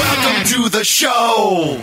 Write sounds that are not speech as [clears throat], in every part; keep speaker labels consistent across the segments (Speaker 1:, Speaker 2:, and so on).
Speaker 1: Welcome to the show.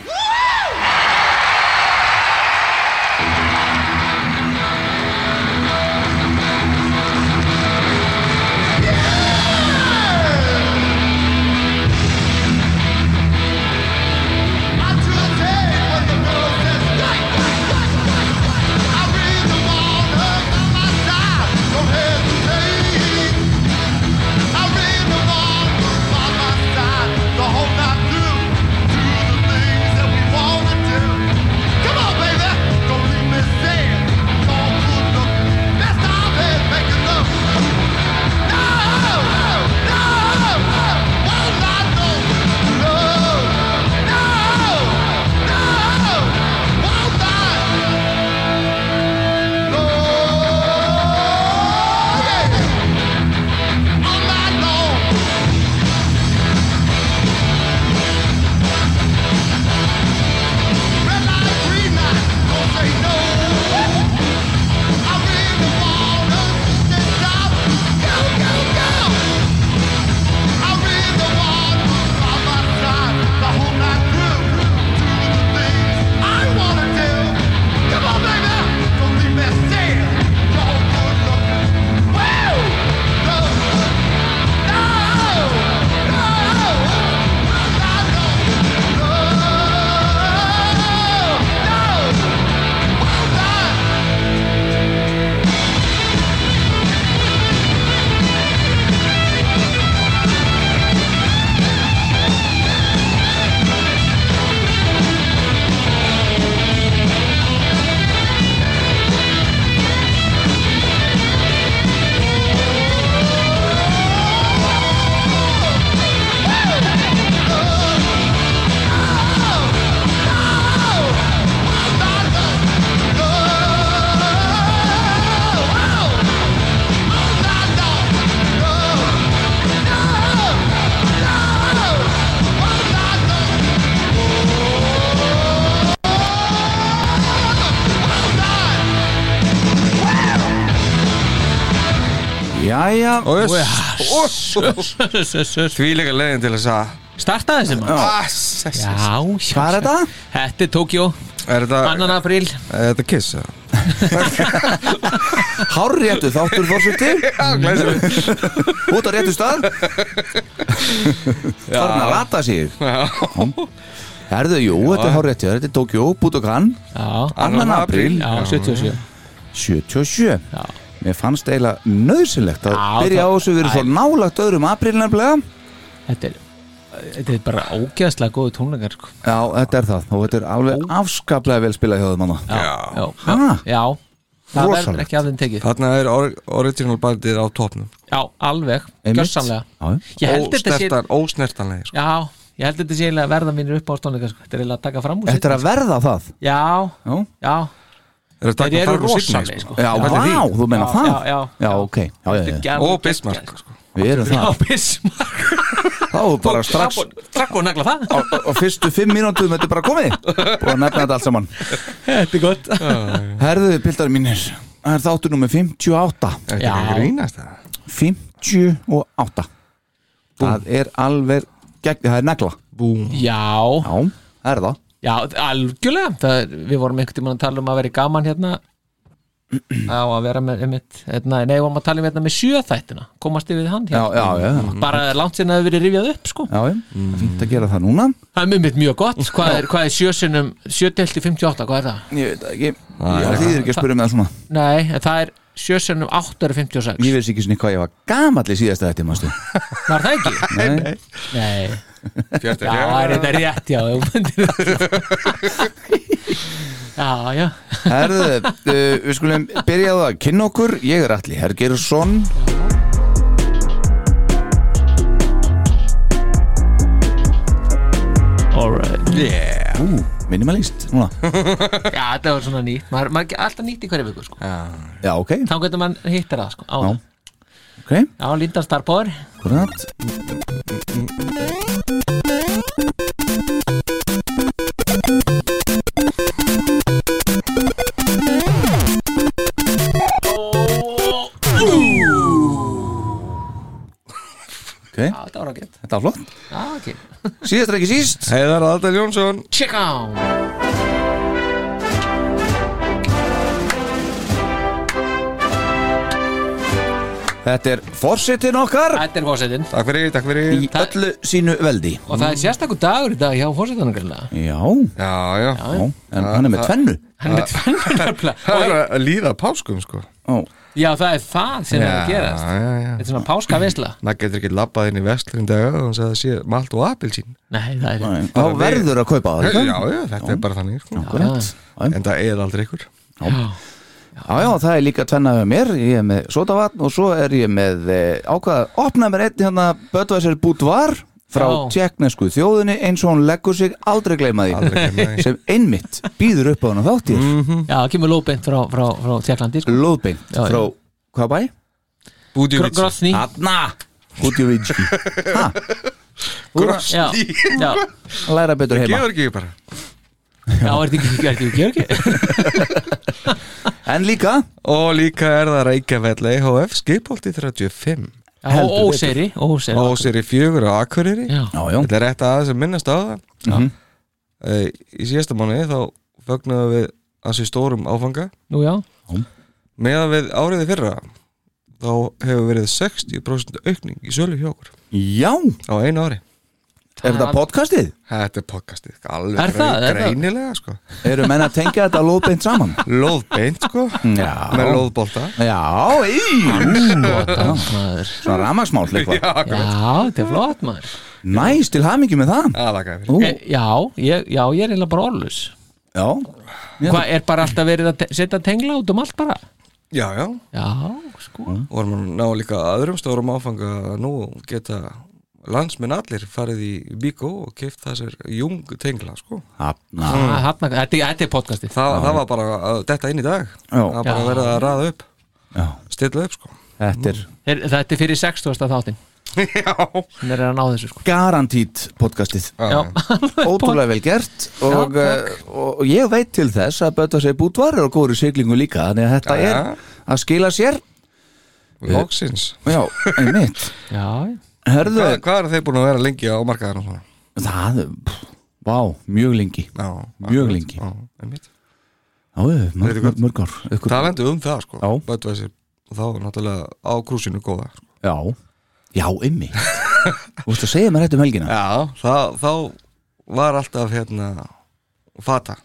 Speaker 2: Jæja
Speaker 3: Og
Speaker 2: og-
Speaker 3: Tvíleika leiðin til þess að
Speaker 4: Startaði þessi maður
Speaker 3: Ah, s- s-
Speaker 4: Já, já
Speaker 2: Hvað er þetta?
Speaker 4: Þetta er Tókjó,
Speaker 3: Er þetta,
Speaker 4: annan apríl
Speaker 3: er þetta kiss? eða?
Speaker 2: Hár réttu þáttur fórsviti
Speaker 3: Já, glæsilegt.
Speaker 2: Út á réttu stað Þarna rata sér
Speaker 3: Já.
Speaker 2: Hm? Herðu, jú, þetta er hár réttu Þetta er Tokjó, Budokan
Speaker 4: Já,
Speaker 2: Annan
Speaker 3: Annan
Speaker 2: apríl
Speaker 4: já, 77
Speaker 2: 77
Speaker 4: Já.
Speaker 2: Mér fannst eiginlega nöðsynlegt að
Speaker 4: Já,
Speaker 2: byrja á
Speaker 4: það-
Speaker 2: þessu Við erum
Speaker 4: Æ.
Speaker 2: svo nálagt öðrum apríl nefnilega
Speaker 4: Þetta er Þetta er bara ógeðslega góðu tónleikar sko.
Speaker 2: Já, þetta er það Og þetta er alveg afskaplega vel spilað hjá þeim manna
Speaker 4: Já, já, já,
Speaker 2: Ha?
Speaker 4: já. Það verður
Speaker 2: Rosalegt.
Speaker 4: ekki af þeim tekið
Speaker 3: Þarna er or- original bandið á topnum
Speaker 4: Já, alveg, gjörsamlega Ég held þetta sé
Speaker 3: Ósnertan, ósnertanlega sko.
Speaker 4: Já, ég held þetta sé eiginlega að verða mínir upp á stónleika sko. Þetta er eiginlega að taka fram úr
Speaker 2: Þetta er
Speaker 4: seinni,
Speaker 2: að verða það
Speaker 4: sko. Já,
Speaker 2: Já,
Speaker 4: já
Speaker 3: Er þetta
Speaker 4: Þeir
Speaker 3: Dagmar
Speaker 4: eru
Speaker 3: Farg og Signý,
Speaker 4: rosalegir, sko.
Speaker 2: já,
Speaker 4: Já.
Speaker 2: vá, þú meina
Speaker 4: Já,
Speaker 2: það
Speaker 4: já, já.
Speaker 2: ok, já, já, já,
Speaker 4: Þetta er
Speaker 3: Og
Speaker 4: alveg
Speaker 3: Bismarck
Speaker 4: geggjað, sko.
Speaker 3: sko.
Speaker 2: við erum
Speaker 4: Já,
Speaker 2: það
Speaker 4: Bismarck
Speaker 2: Þá er bara strax
Speaker 4: Trakk og nagla það
Speaker 2: [laughs] á, á fyrstu fimm mínúndum þetta er bara komið og að nefna þetta allt saman
Speaker 4: Þetta er gott
Speaker 2: Herðu, pildar mínir Það er þáttur nummer 58
Speaker 3: Er þetta ekki
Speaker 4: Já.
Speaker 3: að grínast það?
Speaker 2: 58 Það er alveg gegn, það er negla
Speaker 3: Búm
Speaker 4: Já,
Speaker 2: Já, það er það
Speaker 4: Já, algjörlega það, er- Við vorum einhvern tímann að tala um að vera í gaman hérna á að vera með einmitt, hérna, nei, við vorum að tala um hérna með sjöþættina komast yfir hann
Speaker 2: Já,
Speaker 4: hérna
Speaker 2: já, já, já,
Speaker 4: bara langt sinna hefur verið rifjað upp sko.
Speaker 2: já, já. fínt að gera það núna
Speaker 4: það er mjög mjög, mjög gott hvað er, hvað er sjösunum, 7 til 58 hvað er það?
Speaker 2: Ég veit það ekki, ég þýðir ekki að spyrja með það svona
Speaker 4: Nei, en það er sjössennum 856
Speaker 5: Ég veist ekki svona hvað ég var gamall í síðasta þetta mástu
Speaker 4: Var það ekki?
Speaker 5: [laughs] Nei,
Speaker 4: Nei,
Speaker 3: Fjörti,
Speaker 4: já, það er þetta rétt, já ef þú myndir það. Já, já
Speaker 5: Herðu, uh, við skulum byrja á það að kynna okkur Ég er Alli Hergersson
Speaker 4: Alright
Speaker 3: yeah.
Speaker 5: Ú, minimalist núna
Speaker 4: Já, þetta var svona nýtt Maður maður er alltaf nýtt í hverju viku, sko
Speaker 5: Já, ok,
Speaker 4: Þá getur mann hittar það, sko Á,
Speaker 5: Já. ok,
Speaker 4: já Lindan Starbóður
Speaker 5: hvernig Ok,
Speaker 4: Já, þetta var ágætt
Speaker 5: þetta var flott
Speaker 4: Já, ok
Speaker 5: Síðast er ekki síst
Speaker 3: Heiðar Adel Jónsson
Speaker 4: Check on
Speaker 5: Þetta er forsetin okkar
Speaker 4: Þetta er fórsetin
Speaker 3: Takk fyrir, takk fyrir
Speaker 5: Í öllu sínu veldi
Speaker 4: Og það er sérstakur dagur í dag hjá fórsetanum greinlega
Speaker 5: Já,
Speaker 3: Já, já,
Speaker 5: já en hann er með tvennu
Speaker 4: Hann er með [laughs] tvennu nefnilega
Speaker 3: Það er
Speaker 4: Og-
Speaker 3: að líða páskum sko
Speaker 5: Ó,
Speaker 4: Já, það er það sem er
Speaker 3: Já,
Speaker 4: að gerast
Speaker 3: já, já.
Speaker 4: Þetta er svona páskavisla
Speaker 3: Það getur ekki labbað inn í vestlurinn dag og hann sagði að það sé malt og apelsín
Speaker 4: Nei, það er
Speaker 5: nei, Þá verður að kaupa það
Speaker 3: Já,
Speaker 5: ekki?
Speaker 3: já, þetta er bara þannig sko.
Speaker 5: Akkurat. Já,
Speaker 3: En það er aldrei
Speaker 4: [laughs]
Speaker 3: ykkur
Speaker 5: já, já, það er líka tvenna hjá mér Ég er með sotavatn og svo er ég með eh, ákvað að opna mér einn hérna Böttvæsir Búdvar frá
Speaker 4: Já.
Speaker 5: tjekknesku þjóðinni eins og hún leggur sig aldrei Mm. gleyma því
Speaker 3: Aldrei gleyma því.
Speaker 5: sem einmitt býður upp á hann á þáttir
Speaker 4: Já, það kemur lóbeint frá, frá, frá Tjekklandi sko.
Speaker 5: Lóðbeint
Speaker 4: Já, já.
Speaker 5: frá hvað bæ?
Speaker 3: Búti
Speaker 4: Gro- Grosny
Speaker 5: Hanna Útjúvítski
Speaker 4: Já, já,
Speaker 5: Læra betur heima
Speaker 3: Georgi bara
Speaker 4: já, er þetta ekki, er þetta ekki Georgi?
Speaker 5: En líka
Speaker 3: Og líka er það Reykjavell EHF skipolti 35
Speaker 4: Já, og óseri, óseri
Speaker 3: og sér í fjögur á Akureyri
Speaker 4: Já,
Speaker 5: Já, já
Speaker 3: Þetta er rétt aðeins að minnast á það
Speaker 5: Mhm.
Speaker 3: Eh, Í síðasta mánuði þá fögnuðum við ansi stórum áfanga
Speaker 4: nú já
Speaker 3: meðan við áriði fyrra þá hefur verið 60% aukning í sölu hjá okkur
Speaker 5: Já
Speaker 3: á einu ári
Speaker 5: Er þetta podcastið?
Speaker 3: Þetta er podcastið, sko. alveg
Speaker 4: Er það,
Speaker 3: grei-
Speaker 4: er það?
Speaker 3: greinilega sko
Speaker 5: Eru menn að tengja þetta lóðbeint saman?
Speaker 3: Lóðbeint sko,
Speaker 5: Já
Speaker 3: með lóðbolta
Speaker 5: Já, í
Speaker 4: maður.
Speaker 5: Svona ramagsmál eitthvað
Speaker 3: Já,
Speaker 4: Já, þetta er flott maður
Speaker 5: Næs, til hamingi með það
Speaker 3: aðlaka fyrir
Speaker 5: Ú,
Speaker 4: E, Já, ég, já, ég er eiginlega bara orlus
Speaker 5: Já
Speaker 4: Hvað, er bara alltaf verið að te- setja tengla út um allt bara?
Speaker 3: Já, já,
Speaker 4: Já, sko
Speaker 3: vorum að ná líka öðrum stórum áfanga að nú geta landsmenn allir farið í Bíkó og keift þessir jung tengla sko
Speaker 5: Hafna
Speaker 4: Ah, þarna- Þetta þetta er podcastið
Speaker 3: Þa, Það var bara að detta inn í dag
Speaker 5: Já.
Speaker 3: Það var bara
Speaker 4: Já.
Speaker 3: að verða að raða upp,
Speaker 5: Já
Speaker 3: stilla upp sko
Speaker 5: Þetta er
Speaker 4: Er- Þetta er fyrir 60. [laughs] þáttin
Speaker 3: Já,
Speaker 4: sem er að ná þessu sko
Speaker 5: garantít podcastið
Speaker 4: Já,
Speaker 5: Ótrúlega vel gert og,
Speaker 4: Já,
Speaker 5: eh, og, og ég veit til þess að Bötta segi bútvar er á góri siglingu líka þannig að þetta
Speaker 3: Já, já.
Speaker 5: er að skila sér
Speaker 3: Lóksins
Speaker 5: Já, einmitt
Speaker 4: já,
Speaker 5: Herðu,
Speaker 3: Hvað, hvað er þeir búin að vera lengi á markaðan og svona?
Speaker 5: það, pff, vá, mjög lengi
Speaker 3: Já,
Speaker 5: Mjög
Speaker 3: akkurat.
Speaker 5: lengi.
Speaker 3: Já, einmitt.
Speaker 5: Já, eh, mörg,
Speaker 3: Þetta er
Speaker 5: mörg,
Speaker 3: gott.
Speaker 5: mörg ár Ykkur-
Speaker 3: Talandi um það sko
Speaker 5: Já.
Speaker 3: Budweiser, Þá er náttúrulega á krúsinu góða sko.
Speaker 5: Já, já, ymmi Þú veist að segja mér þetta um helgina
Speaker 3: Já, það, þá var alltaf hérna Fata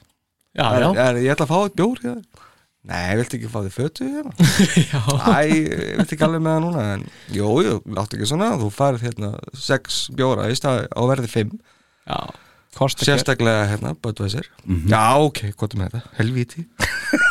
Speaker 4: já,
Speaker 3: er,
Speaker 4: Ah, já.
Speaker 3: er, Ég ætla að fá eitt bjór hérna Nei, viltu ekki fá þig fötu
Speaker 4: [laughs]
Speaker 3: hérna? Æ, ég veit ekki alveg með það núna en, Jó, jú, láttu ekki svona Þú farið hérna sex bjóra í stað á verði fimm
Speaker 4: já. Kosta ekki-
Speaker 3: Sérstaklega hérna, Budweiser Já, ok, hvað er með þetta? Helvíti,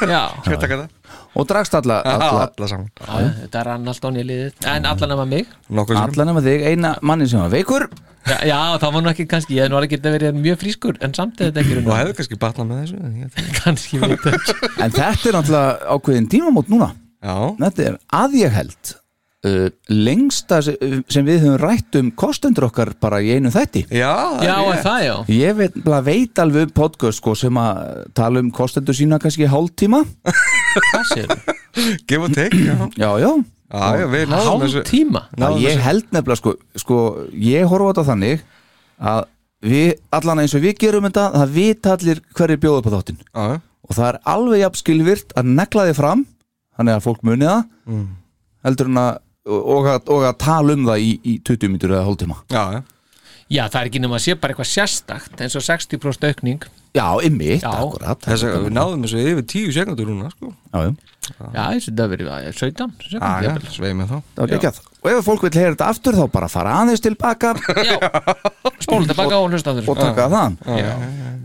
Speaker 4: Já,
Speaker 3: hvað taka það?
Speaker 5: Og dragst alla, alla,
Speaker 3: [laughs] Alla, alla saman
Speaker 4: já, þetta rann allt án í liðið En allan nema mig
Speaker 3: Nokkuð sem
Speaker 5: alla nema þig eina manni sem var veikur
Speaker 4: Já, já það var nú ekki kannski Ég hef nú alveg getað verið mjög frískur En samt er þetta ekki
Speaker 3: Og
Speaker 4: runna
Speaker 3: hefðu kannski batnað með þessu en ég veit ekki.
Speaker 4: Kannski veit það ekki.
Speaker 5: En þetta er náttúrulega ákveðin tímamót núna
Speaker 3: Já,
Speaker 5: Þetta er að ég held uh, lengsta se- sem við höfum rætt um kostendur okkar bara í einu þætti
Speaker 3: já,
Speaker 4: Já, er
Speaker 3: rétt.
Speaker 4: það já
Speaker 5: Ég veit, bara veit alveg um podcast sko, sem að tala um kostendur sína kannski hálftíma
Speaker 4: Hvað séu?
Speaker 3: Give and take, já
Speaker 5: Já, já
Speaker 3: Já, já, við náðum
Speaker 4: Hálf
Speaker 3: þessu
Speaker 4: tíma
Speaker 5: Ná,
Speaker 3: náðum
Speaker 5: Ég
Speaker 3: þessu.
Speaker 5: held nefnilega sko, sko ég horfa á þetta þannig að við, allan eins og við gerum þetta það vita allir hverju bjóðu upp á þáttinn
Speaker 3: Já, já.
Speaker 5: og það er alveg jafn skilvirt að negla þið fram þannig að fólk muni það heldur en að og, og, að, og að tala um það í, í 20 mítur eða hálftíma
Speaker 3: já, já
Speaker 4: Já, það er ekki nema að sé bara eitthvað sérstakt eins og 60% aukning
Speaker 5: Já, ymmið,
Speaker 4: Já.
Speaker 5: akkurat
Speaker 3: Þess að við náðum þessu yfir tíu sekundur núna sko.
Speaker 5: Já, já,
Speaker 4: Já, þessi þetta verið að- 17 sekúndur
Speaker 3: ah, ja,
Speaker 4: jafnvel.
Speaker 3: sveið með þá
Speaker 5: það var ekki Og ef fólk vil heyra þetta aftur þá bara fara aðeins [laughs] tilbaka
Speaker 4: Já, spólum tilbaka og hlusta
Speaker 5: og
Speaker 4: andur
Speaker 5: taka það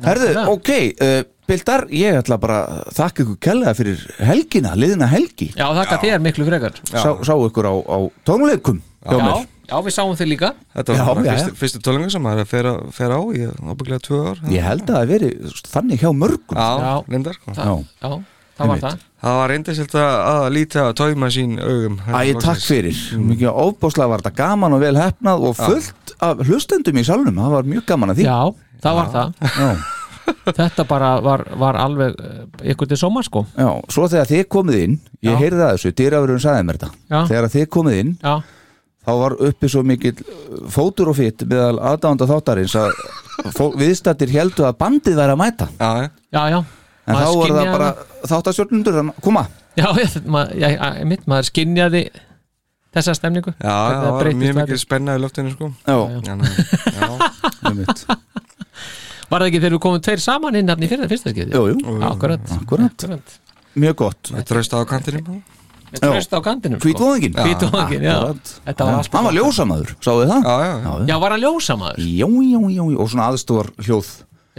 Speaker 5: Herðu, ok, uh, Bildar, ég ætla bara að þakka ykkur kella fyrir helgina, liðina helgi
Speaker 4: Já, þakka þér miklu frekar
Speaker 5: Sá, sá ykkur á, á tónleikum hjá
Speaker 4: Já,
Speaker 5: mér
Speaker 4: já, við sáum þig líka
Speaker 3: Þetta
Speaker 5: Já,
Speaker 3: var bara
Speaker 5: já,
Speaker 3: fyrstu, fyrstu tölningu sem maður er að fer, að- fer á í ábygglega tvö ár
Speaker 5: Ég held að það hafi verið þannig hjá mörgum
Speaker 3: Já,
Speaker 4: Já.
Speaker 3: reyndar sko.
Speaker 4: Já, já það var
Speaker 5: Einmitt.
Speaker 4: það
Speaker 3: Það var reyndiselt að, að líta að tóma sín augum
Speaker 5: Æ, takk fyrir,
Speaker 4: Mm.
Speaker 5: mikið ofbáslega var þetta gaman og vel hefnað og fullt af hlustendum í salnum, það var mjög gaman að því
Speaker 4: Já, það var það
Speaker 5: Já,
Speaker 4: Þetta bara var, var alveg eh, ykkur til sóma sko
Speaker 5: já, svo þegar þið komið inn ég
Speaker 4: Já.
Speaker 5: heyrði að þessu, dýrafurinn sagði mér þetta
Speaker 4: Já.
Speaker 5: þegar þið komið inn,
Speaker 4: Já,
Speaker 5: þá var uppi svo mikill uh, fótur og fitt meðal aðdánda þáttarins að [laughs] fólk- viðstaddir heldu að bandið væri að mæta
Speaker 3: Já, já.
Speaker 4: já, já
Speaker 5: en
Speaker 4: Maður
Speaker 5: þá voru það
Speaker 4: skynjaði
Speaker 5: bara þáttastjórnundur koma,
Speaker 4: Já, [laughs] ég, maður, já, já, mitt, maður skinjaði þessa stemningu
Speaker 3: Já,
Speaker 4: Hvernig
Speaker 3: það var
Speaker 4: breyttist
Speaker 3: mjög
Speaker 4: það.
Speaker 3: mikið spenna í löftinu sko
Speaker 5: já,
Speaker 3: Þannig að- Já,
Speaker 5: [laughs] einmitt
Speaker 4: Var það ekki þegar við komum tveir saman inn hann í fyrir fyrsta skipti?
Speaker 5: jú, jú,
Speaker 4: Akkurat,
Speaker 5: akkurat,
Speaker 4: akkurat.
Speaker 5: mjög gott
Speaker 3: með trösta á kantinum
Speaker 4: Með
Speaker 5: Já.
Speaker 4: tröst á kantinum
Speaker 5: Hvítvóðingin
Speaker 4: Hvítvóðingin, já Þetta var alltaf
Speaker 5: hann var ljósamaður, sáðu það?
Speaker 3: Já, já, já.
Speaker 4: Já, var hann ljósamaður?
Speaker 5: já, já, já, já, og svona aðstofar hljóð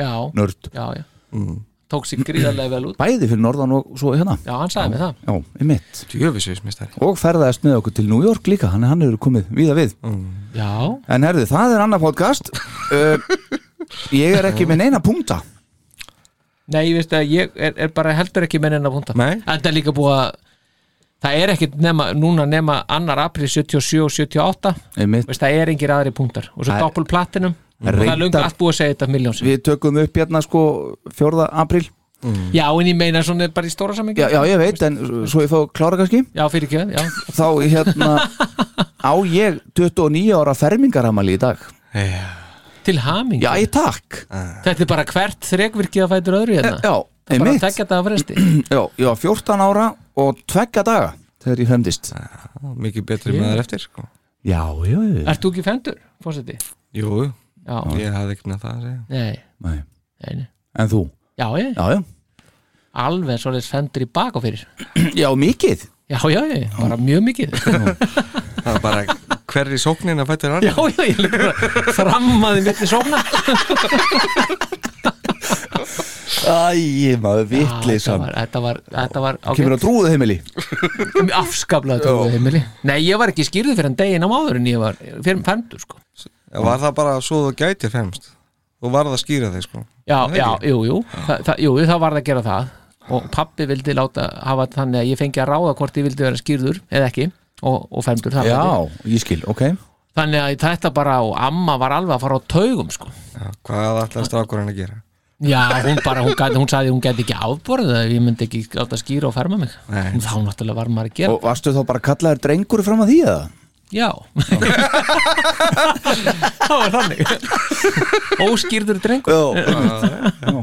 Speaker 4: Já,
Speaker 5: nörd,
Speaker 4: já, já
Speaker 5: Mm.
Speaker 4: Tók sér gríðarlega vel út
Speaker 5: bæði fyrir norðan og svo hérna
Speaker 4: Já, hann sagði mér það
Speaker 5: já, einmitt
Speaker 3: Djöfisvísmistari
Speaker 5: og ferðaðist með okkur til New York líka hann, hann hefur komið víða við
Speaker 4: Já,
Speaker 5: en herðu, það er annað
Speaker 4: [laughs]
Speaker 5: podcast uh, ég er ekki með neina punkta
Speaker 4: nei, ég veist að ég er, er bara heldur ekki með neina púnta
Speaker 3: Nei.
Speaker 4: Þetta er líka búið að Það er ekkit nema, núna nema annar april 77 og 78
Speaker 5: einmitt,
Speaker 4: veist, það er engir aðri punktar og svo
Speaker 5: Það er-
Speaker 4: doppul platinum og það er löngu
Speaker 5: Reyndar-
Speaker 4: allt búið að segja þetta miljón
Speaker 5: við tökum upp hérna sko 4. apríl
Speaker 4: Já, en ég meina svona bara í stóra samengi
Speaker 5: já, já, ég veit, en svo ég fá klára kannski
Speaker 4: já fyrir ekki það, já
Speaker 5: þá
Speaker 4: [laughs]
Speaker 5: hérna á ég 29 ára fermingaramali í dag
Speaker 4: Til haming
Speaker 5: já, ég takk
Speaker 4: Þetta er bara hvert þrekvirkið að fætur öðru hérna
Speaker 5: já,
Speaker 4: Bara
Speaker 5: einmitt,
Speaker 4: að tekja þetta að fresti
Speaker 5: já, ég var 14 ára og tveggja daga þegar ég femdist
Speaker 3: Mikið betri maður eftir sko
Speaker 5: já, já, já,
Speaker 4: Ert þú ekki fendur, fórseti?
Speaker 3: Jú,
Speaker 4: Já,
Speaker 3: ég hafði ekki með það að segja
Speaker 4: nei,
Speaker 5: Nei.
Speaker 4: nei, nei.
Speaker 5: en þú
Speaker 4: Já, ég,
Speaker 5: já, já,
Speaker 4: alveg svoleiðis fendur í bak og fyrir
Speaker 5: [clears throat] já, mikið
Speaker 4: Já, já, ég, bara mjög mikið [laughs]
Speaker 3: Það var bara hverri sóknin að fættir annar
Speaker 4: Já, já, ég lukk bara frammaði mitt í sóna
Speaker 5: æj, maður
Speaker 4: þetta
Speaker 5: vitleysan
Speaker 4: var, þetta var, þetta var
Speaker 5: kemur á
Speaker 4: ágætt
Speaker 5: trúðu heimili
Speaker 4: Afskaplega trúið heimili Nei, ég var ekki skýrðu fyrir en degin á máður en ég var fyrir fendur, sko
Speaker 3: Var það bara svo þú gætir fremst Þú varð að skýra þig sko
Speaker 4: Já,
Speaker 3: Það er
Speaker 4: já,
Speaker 3: ekki.
Speaker 4: jú, jú, Þa, það, jú, það varð að gera það og pappi vildi láta hafa það þannig að ég fengi að ráða hvort ég vildi vera skýrður eða ekki og, og fendur það var
Speaker 5: já, ég skil, ok
Speaker 4: þetta. þannig að þetta bara og amma var alveg að fara á taugum sko.
Speaker 3: Já, Hvað ætlaði strákurinn að gera?
Speaker 4: já, hún bara, hún, gæti, hún sagði að hún gæti ekki afborðið ef ég myndi ekki láta skýra og ferma mig
Speaker 3: Nei.
Speaker 4: þá náttúrulega var maður að gera
Speaker 5: og varstu þá bara kallaður drengur fram að því eða?
Speaker 4: já [laughs] það var þannig óskýrður drengur
Speaker 5: já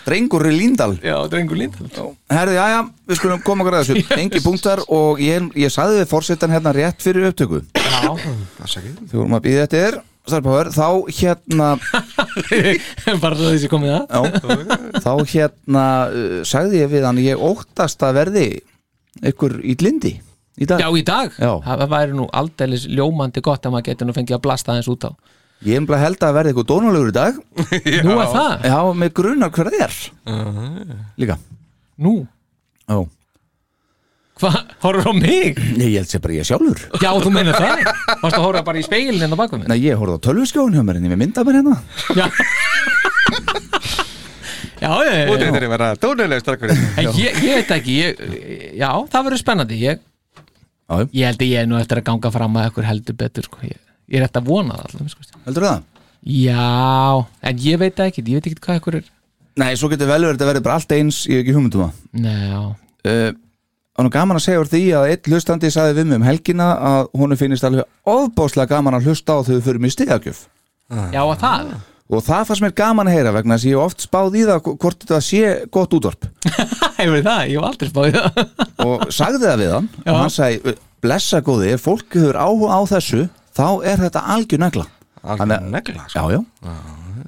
Speaker 5: [laughs] drengur í Líndal
Speaker 4: já, drengur línd
Speaker 5: Herði, já, já, við skulum koma okkur
Speaker 4: [laughs]
Speaker 5: að þessu Engi punktar og ég, ég saði við fórsetan hérna rétt fyrir upptöku
Speaker 3: Afsakið.
Speaker 5: Þegar vorum að býða eftir þér, starfbáður Þá hérna,
Speaker 4: bara svo þessi komið að
Speaker 5: já Þá hérna, uh, sagði ég við hann Ég óttast að verði ykkur í glindi í dag
Speaker 4: Já, í dag,
Speaker 5: Já.
Speaker 4: það væri nú aldeilis ljómandi gott að maður getur nú fengið að blasta aðeins út á
Speaker 5: Ég er bara held að verði ykkur dónulegur í dag
Speaker 4: Nú er það,
Speaker 5: Já, með grunar hver það er Líka,
Speaker 4: nú,
Speaker 5: já
Speaker 4: hvað, horfður á mig?
Speaker 5: Nei, ég held sér bara ég sjálfur
Speaker 4: Já, þú meinar það, varst að horfa bara í speilin en á bakum
Speaker 5: Nei, ég horfði á tölvuskjóðun hjá mér en ég með mynda mér hérna
Speaker 4: Já, já,
Speaker 3: Þú
Speaker 4: ég,
Speaker 3: reyndar að vera dónulega strákurinn
Speaker 4: ég, ég veit ekki ég, Já, það verður spennandi ég,
Speaker 5: Já,
Speaker 4: ég held að ég er nú eftir að ganga fram að ekkur heldur betur sko. ég, ég er eftir að vona það allavega, sko.
Speaker 5: heldur það?
Speaker 4: Já, en ég veit ekki, ég veit ekki hvað ekkur er
Speaker 5: Nei, svo getur vel verið að þetta verði bara allt eins Ég hef ekki hugmyndum það
Speaker 4: Nei, já,
Speaker 5: uh, og nú gaman að segja úr því að einn hlustandi saði við mig um helgina að hún finnist alveg ofbáslega gaman að hlusta á þau fyrir mig stigagjöf
Speaker 4: já, að það
Speaker 5: og það fannst mér gaman að heyra vegna þess að ég hef oft spáð í það hvort þetta sé gott útvarp
Speaker 3: Ah.
Speaker 4: Hefur það, ég hef aldrei spáðið það
Speaker 5: og sagði það við hann
Speaker 4: Já.
Speaker 5: og hann sagði blessa góði, ef fólk hefur áhuga á þessu þá er þetta algjör negla
Speaker 3: alveg negla sko.
Speaker 5: já, já.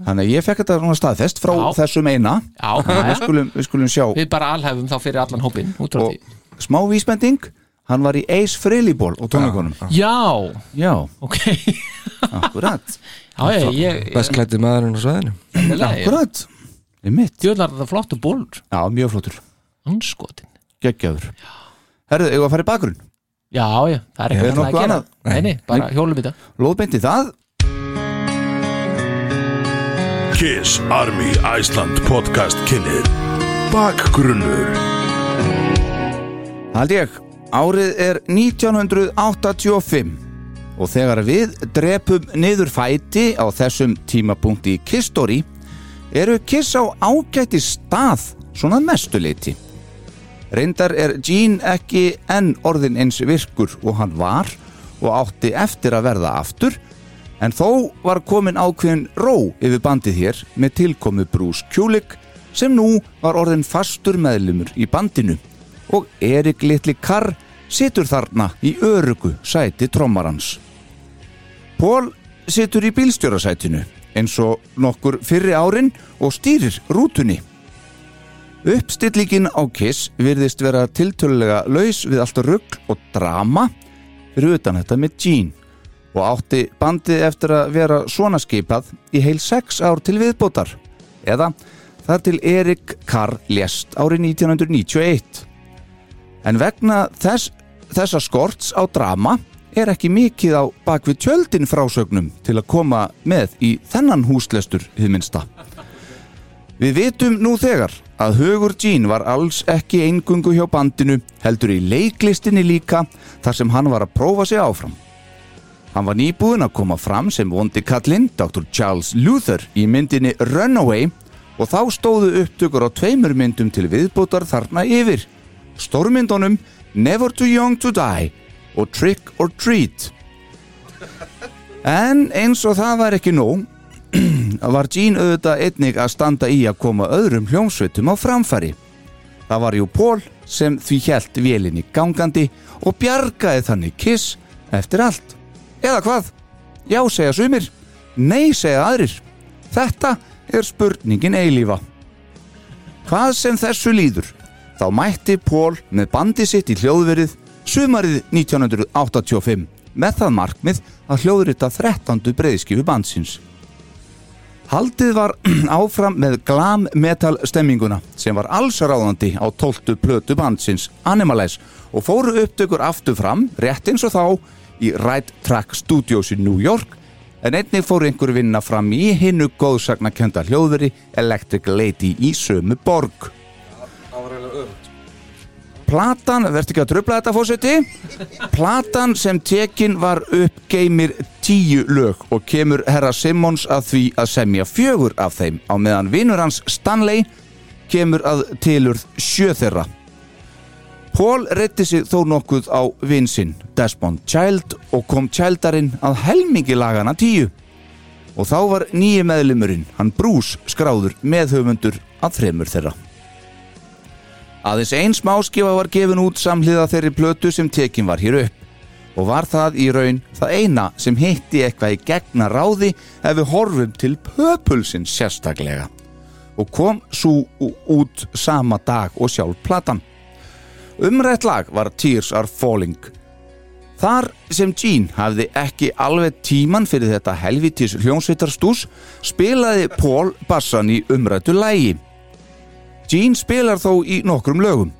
Speaker 5: Þannig að ég fekk þetta svona staðfest frá
Speaker 4: Já.
Speaker 5: þessum eina
Speaker 4: [laughs] já,
Speaker 5: við skulum, við skulum sjá
Speaker 4: við bara alhæfum þá fyrir allan hópin út frá
Speaker 5: og
Speaker 4: því
Speaker 5: smá vísbending hann var í Ace Frehleyból og tónleikunum
Speaker 4: já,
Speaker 5: já,
Speaker 4: ok [laughs]
Speaker 5: akkurat
Speaker 4: já, ég, ég,
Speaker 3: best klætti maðurinn á sveðinu
Speaker 4: ég
Speaker 5: akkurat, er mitt
Speaker 4: djöðlar þetta flottu bólur
Speaker 5: já, mjög flottur,
Speaker 4: anskotin
Speaker 5: geggjaður herðu, eigum við að fara í bakgrunn
Speaker 4: já, já, það er
Speaker 5: Hefur
Speaker 4: ekkert
Speaker 5: nokkuð annað?
Speaker 4: nei, nei, bara hjólum í þetta
Speaker 5: lóðbeint í það
Speaker 1: Kiss Army Iceland podcast kynir Bakgrunnur
Speaker 5: Hald ég, árið er 1985 og þegar við drepum niður fæti á þessum tímapunkti í Kiss Story eru Kiss á ágæti stað svona að mestu leiti. Reyndar er Gene ekki enn orðin eins virkur og hann var og átti eftir að verða aftur en þó var komin ákveðin ró yfir bandið hér með tilkomu Bruce Kulick sem nú var orðin fastur meðlumur í bandinu og Erik Litli Carr situr þarna í örugu sæti trommarans. Pól situr í bílstjórasætinu eins og nokkur fyrri árin og stýrir rútunni. Uppstillingin á Kiss virðist vera tiltölulega laus við allt rugg og drama fyrir utan þetta með Gene og átti bandið eftir að vera svona skipað í heil sex ár til viðbótar eða þar til Erik Carr lést árið 1991. En vegna þess, þessa skorts á drama er ekki mikið á bakvið tjöldin frásögnum til að koma með í þennan húslestur hið minnsta. Við vitum nú þegar að Hugur Jean var alls ekki eingungu hjá bandinu heldur í leiklistinni líka þar sem hann var að prófa sig áfram. Hann var nýbúinn að koma fram sem vondi kallinn Dr. Charles Luther í myndinni Runaway og þá stóðu upptökur á tveimur myndum til viðbútar þarna yfir. Stórmyndunum Never Too Young to Die og Trick or Treat. En eins og það var ekki nóg, var Gene auðvitað einnig að standa í að koma öðrum hljómsveitum á framfæri. Það var jú Pól sem því hjælt vélinni gangandi og bjargaði þannig Kiss eftir allt. Eða hvað? Já, segja sumir. Nei, segja aðrir. Þetta er spurningin eilífa. Hvað sem þessu líður, þá mætti Pól með bandi sitt í hljóðverið sumarið 1985 með það markmið að hljóðrita 13. breyðskifu bandsins. Haldið var [clears throat] áfram með glam metal stemminguna sem var allsráðandi á 12. plötu bandsins Animalize og fóru upptökur aftur fram, rétt eins og þá í Right Track Studios í New York en einnig fóru einhver vinna fram í hinnu góðsagnakenda hljóðveri Electric Lady í sömu borg. Platan, verður ekki að tröfla þetta fórseti? Platan sem tekin var upp geymir tíu lög og kemur herra Simmons að því að semja fjögur af þeim á meðan vinur hans Stanley kemur að tilurð sjö þeirra. Paul reytti sig þó nokkuð á vinsinn Desmond Child og kom Childarinn að helmingi lagana tíu og þá var nýju meðlumurinn, hann Bruce, skráður meðhöfundur að þremur þeirra. Aðeins ein smáskifa var gefin út samhliða þeirri plötu sem tekin var hér upp og var það í raun það eina sem hitti eitthvað í gegna ráði ef við horfum til pöpulsinn sérstaklega og kom svo ú- út sama dag og sjálf platan. Umrætt lag var Tears Are Falling. Þar sem Gene hafði ekki alveg tíman fyrir þetta helvitis hljónsveitarstús spilaði Paul bassan í umrættu lægi. Gene spilar þó í nokkrum lögum.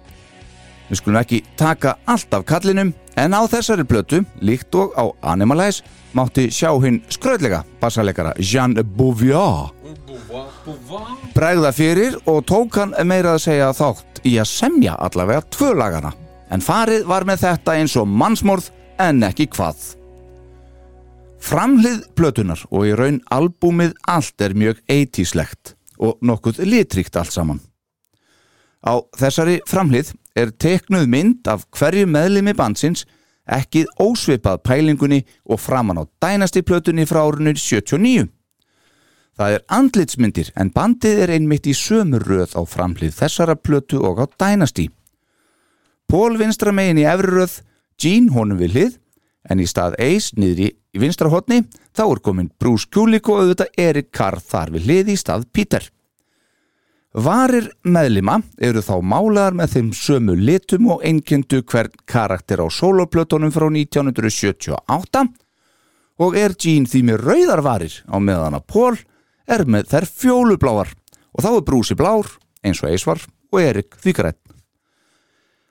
Speaker 5: Við skulum ekki taka allt af kallinum en á þessari plötu, líkt og á Animalize, mátti sjá hinn skröðlega bassalekara Jean Bouvier bregða fyrir og tók hann meira að segja þátt í að semja allavega tvö lagana en farið var með þetta eins og mannsmorð en ekki hvað. Framhlið plötunar og í raun albúmið allt er mjög 80-slegt og nokkuð litrikt allt saman. Á þessari framhlið er teknuð mynd af hverju meðlimi bandsins ekki ósvipað pælingunni og framan á dænasti plötunni frá árunni 79. Það er andlitsmyndir en bandið er einmitt í sömu röð á framhlið þessara plötu og á dænasti. Pól vinstra megin í efri röð, Gene honum við hlið en í stað Ace niðri Í vinstra hotni þá er komin Bruce Kulik og auðvitað Erik Carr þar við hliði í stað Peter. Varir meðlima eru þá málaðar með þeim sömu litum og einkendu hvern karakter á soloplötunum frá 1978 og er Gene því með rauðar varir á meðan að Paul er með þær fjólubláar og þá er Bruce í blár eins og Eisvar og Erik því grætt.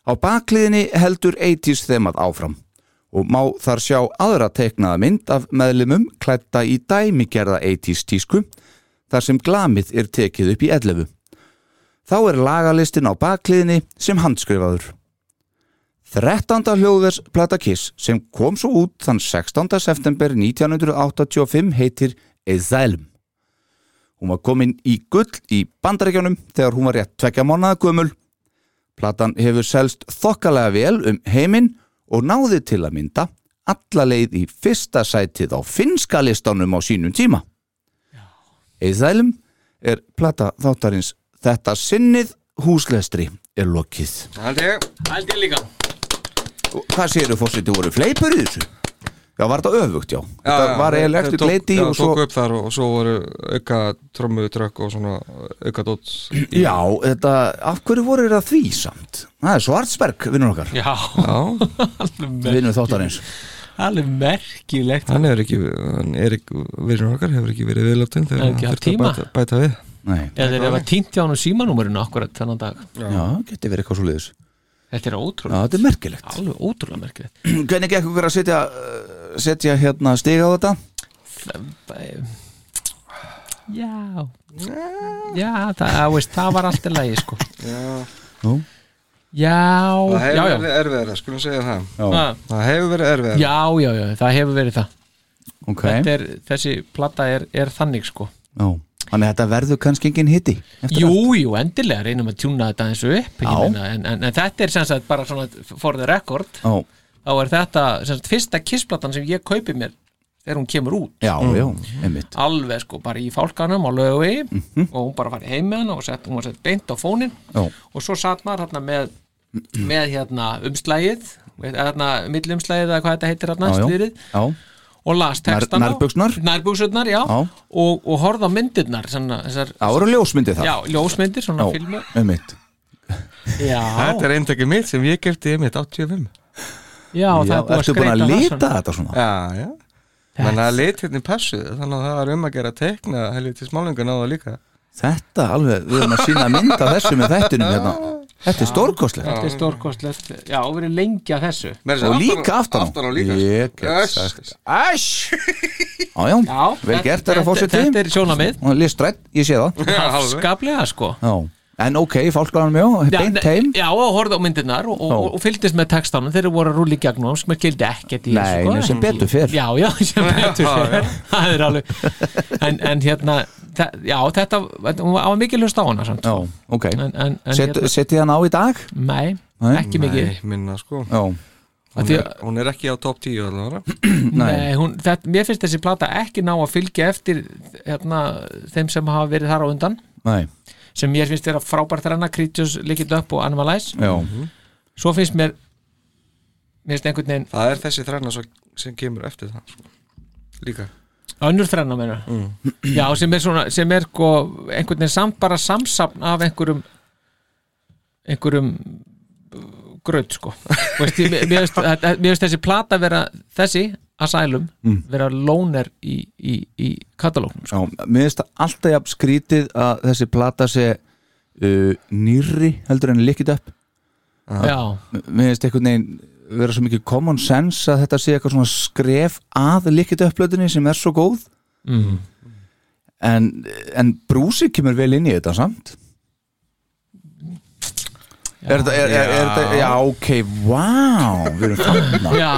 Speaker 5: Á bakliðinni heldur 80s þemað áfram og má þar sjá aðra teiknaða mynd af meðlumum klætta í dæmigerða 80s tísku þar sem glamið er tekið upp í 11. Þá er lagalistin á bakliðinni sem handskrifaður. 13. hljóðvers Plata Kiss sem kom svo út þann 16. september 1985 heitir Eðælm. Hún var komin í gull í bandaríkjunum þegar hún var rétt tvekja mánaða gömul Platan hefur selst þokkalega vel um heiminn og náði til að mynda alla leið í fyrsta sætið á finnska listanum á sínum tíma. Eithælum er plata þáttarins Þetta sinnið húslestri er lokið.
Speaker 3: Held ég
Speaker 4: Hældi ég líka
Speaker 5: Og Hvað séru fórseti, voru fleipur í þessu? Já, var þetta öfugt, já. þetta var eiginlega eftir gleiti
Speaker 3: Ah, já,
Speaker 5: og
Speaker 3: tóku
Speaker 5: svo...
Speaker 3: upp þar og svo voru auka trommu, trökk og svona auka dót
Speaker 5: Já, þetta, af hverju voru þetta því samt? Það er Svartsberg, vinnur okkar,
Speaker 4: Já,
Speaker 3: já,
Speaker 5: vinnur þáttarins.
Speaker 4: alveg merkilegt
Speaker 3: hann er ekki hann er ekki, verið okkar hefur ekki verið viðláttin þegar
Speaker 4: Hefur
Speaker 3: hann
Speaker 4: ekki haft
Speaker 3: þurfti að
Speaker 4: tíma.
Speaker 3: bæta, bæta við
Speaker 5: Nei,
Speaker 4: Eða þeir hafa týnt hjá hann símanúmerinu akkurat þennan dag
Speaker 5: já, geti verið eitthvað svo liðis.
Speaker 4: Þetta er
Speaker 5: Já,
Speaker 4: ótrúlega,
Speaker 5: þetta er merkilegt. [clears throat]
Speaker 4: alveg ótrúlega merkilegt
Speaker 5: hvernig gekk ykkur að setja uh, setja hérna stiga á þetta
Speaker 4: Bæ- Já Já, það, á, veist, það var allt í lagi sko
Speaker 5: Nú?
Speaker 4: Já
Speaker 3: það
Speaker 4: já,
Speaker 3: hefur
Speaker 4: já.
Speaker 3: verið erfiðara, skulum segja það
Speaker 4: Ah,
Speaker 3: það hefur verið erfiðara
Speaker 4: já, já, já, það hefur verið það
Speaker 5: ok
Speaker 4: Þetta er, Þessi platta er, er þannig sko
Speaker 5: Já. þannig að þetta verður kannski engin hitti eftir
Speaker 4: Jú,
Speaker 5: allt.
Speaker 4: jú, endilega reynum að tjúna þetta eins og upp
Speaker 5: Já.
Speaker 4: ég meina, en, en, en þetta er sem sagt bara svona for the record
Speaker 5: já,
Speaker 4: þá er þetta sem sagt fyrsta kissplattan sem ég kaupi mér þegar hún kemur út
Speaker 5: já, já, einmitt
Speaker 4: alveg sko bara í fálkanum á lögu
Speaker 5: Mhm.
Speaker 4: og hún bara farið heim með hana og sett, hún var sett beint á fónin
Speaker 5: Já.
Speaker 4: og svo satt maður hérna með, með hérna umslægið veit- eða hérna millumslægið eða hvað þetta heitir hérna
Speaker 5: Já, já.
Speaker 4: styrið
Speaker 5: já,
Speaker 4: og las textana
Speaker 5: Nær- nærbuxurnar?
Speaker 4: Nærbuxurnar, já,
Speaker 5: Já.
Speaker 4: og, og horfði á myndirnar svona, þessar,
Speaker 5: það voru ljósmyndi það
Speaker 4: já, ljósmyndir svona
Speaker 5: Já,
Speaker 4: filmu
Speaker 5: einmitt
Speaker 4: já,
Speaker 3: þetta er eintakið mitt sem ég kefti einmitt 85
Speaker 4: já, það
Speaker 5: já,
Speaker 4: er búið að
Speaker 5: ertu búin að
Speaker 4: skreita það
Speaker 5: lita
Speaker 4: svona.
Speaker 5: þetta svona
Speaker 3: já, já menn að lit hérna í passuð þannig að það var um að gera tekna helviti smálingun á það líka
Speaker 5: þetta alveg, við erum að sína mynd af þessu með þættinum hérna þetta er stórkostlegt
Speaker 4: þetta er stórkostlegt já, og verið lengi að þessu
Speaker 3: Meira
Speaker 5: og
Speaker 3: að segja
Speaker 5: líka aftan á
Speaker 3: aftan á líka
Speaker 5: ég get
Speaker 3: Öss.
Speaker 5: sagt æsj já, já,
Speaker 4: já,
Speaker 5: vel
Speaker 4: þetta-
Speaker 5: gert þeirra
Speaker 4: þetta-
Speaker 5: fórseti
Speaker 4: þetta er
Speaker 5: [laughs]
Speaker 4: sjónamið,
Speaker 5: listrætt, ég sé það
Speaker 4: skaplega sko
Speaker 5: já, en ok, fólklanum já,
Speaker 4: Já,
Speaker 5: beint
Speaker 4: ne-
Speaker 5: heim
Speaker 4: Já, og horfði á myndirnar og, og,
Speaker 5: Já.
Speaker 4: og fylgdist með textanum þegar voru að rúli gegnum sem er gildi ekkert í
Speaker 5: Nei, nei, sem
Speaker 4: En-
Speaker 5: betur fer.
Speaker 4: Já, já, [laughs] sem betur fer Það er alveg En, en hérna, þe- já, þetta þetta- hún var- hann var mikið hlust á hana samt
Speaker 5: já, ok
Speaker 4: En, en, en
Speaker 5: Set,
Speaker 4: hérna,
Speaker 5: Setið hann á í dag?
Speaker 4: nei,
Speaker 5: Nei.
Speaker 4: ekki mikið
Speaker 3: Nei, minna sko
Speaker 5: Já,
Speaker 4: Af
Speaker 3: hún
Speaker 4: því
Speaker 3: er,
Speaker 4: að-
Speaker 3: hún er ekki á top 10 allavega
Speaker 4: Nei, hún, þetta, mér finnst þessi plata ekki ná að fylgja eftir hérna, þeim sem hafa verið þar á undan
Speaker 5: nei,
Speaker 4: sem mér finnst vera frábært þrenna Kritius, Lick It Up og Animalize
Speaker 5: já,
Speaker 4: Svo finnst mér mér finnst einhvern veginn
Speaker 3: það er þessi þræna svo, sem kemur eftir það sko. líka
Speaker 4: önnur þrenna meina já, sem er svona, sem er sko einhvern veginn samt bara samsapn af einhverjum einhverjum gröð sko Þú veist, ég, mér- mér veist, að- að- mér veist þessi plata vera þessi, Asylum vera lóner í, í, í katalóknum sko.
Speaker 5: já Mér finnst það alltaf jafn skrítið að þessi plata sé uh, nýrri heldur en líkit upp
Speaker 4: já,
Speaker 5: Mér finnst einhvern veginn vera svo mikið common sense að þetta sé eitthvað svona skref að líkit upplöðinni sem er svo góð
Speaker 4: mm.
Speaker 5: en, en brúsi kemur vel inn í þetta samt Já, er þetta, er, er, er þetta, já, ok, wow, við erum þarna,
Speaker 4: já,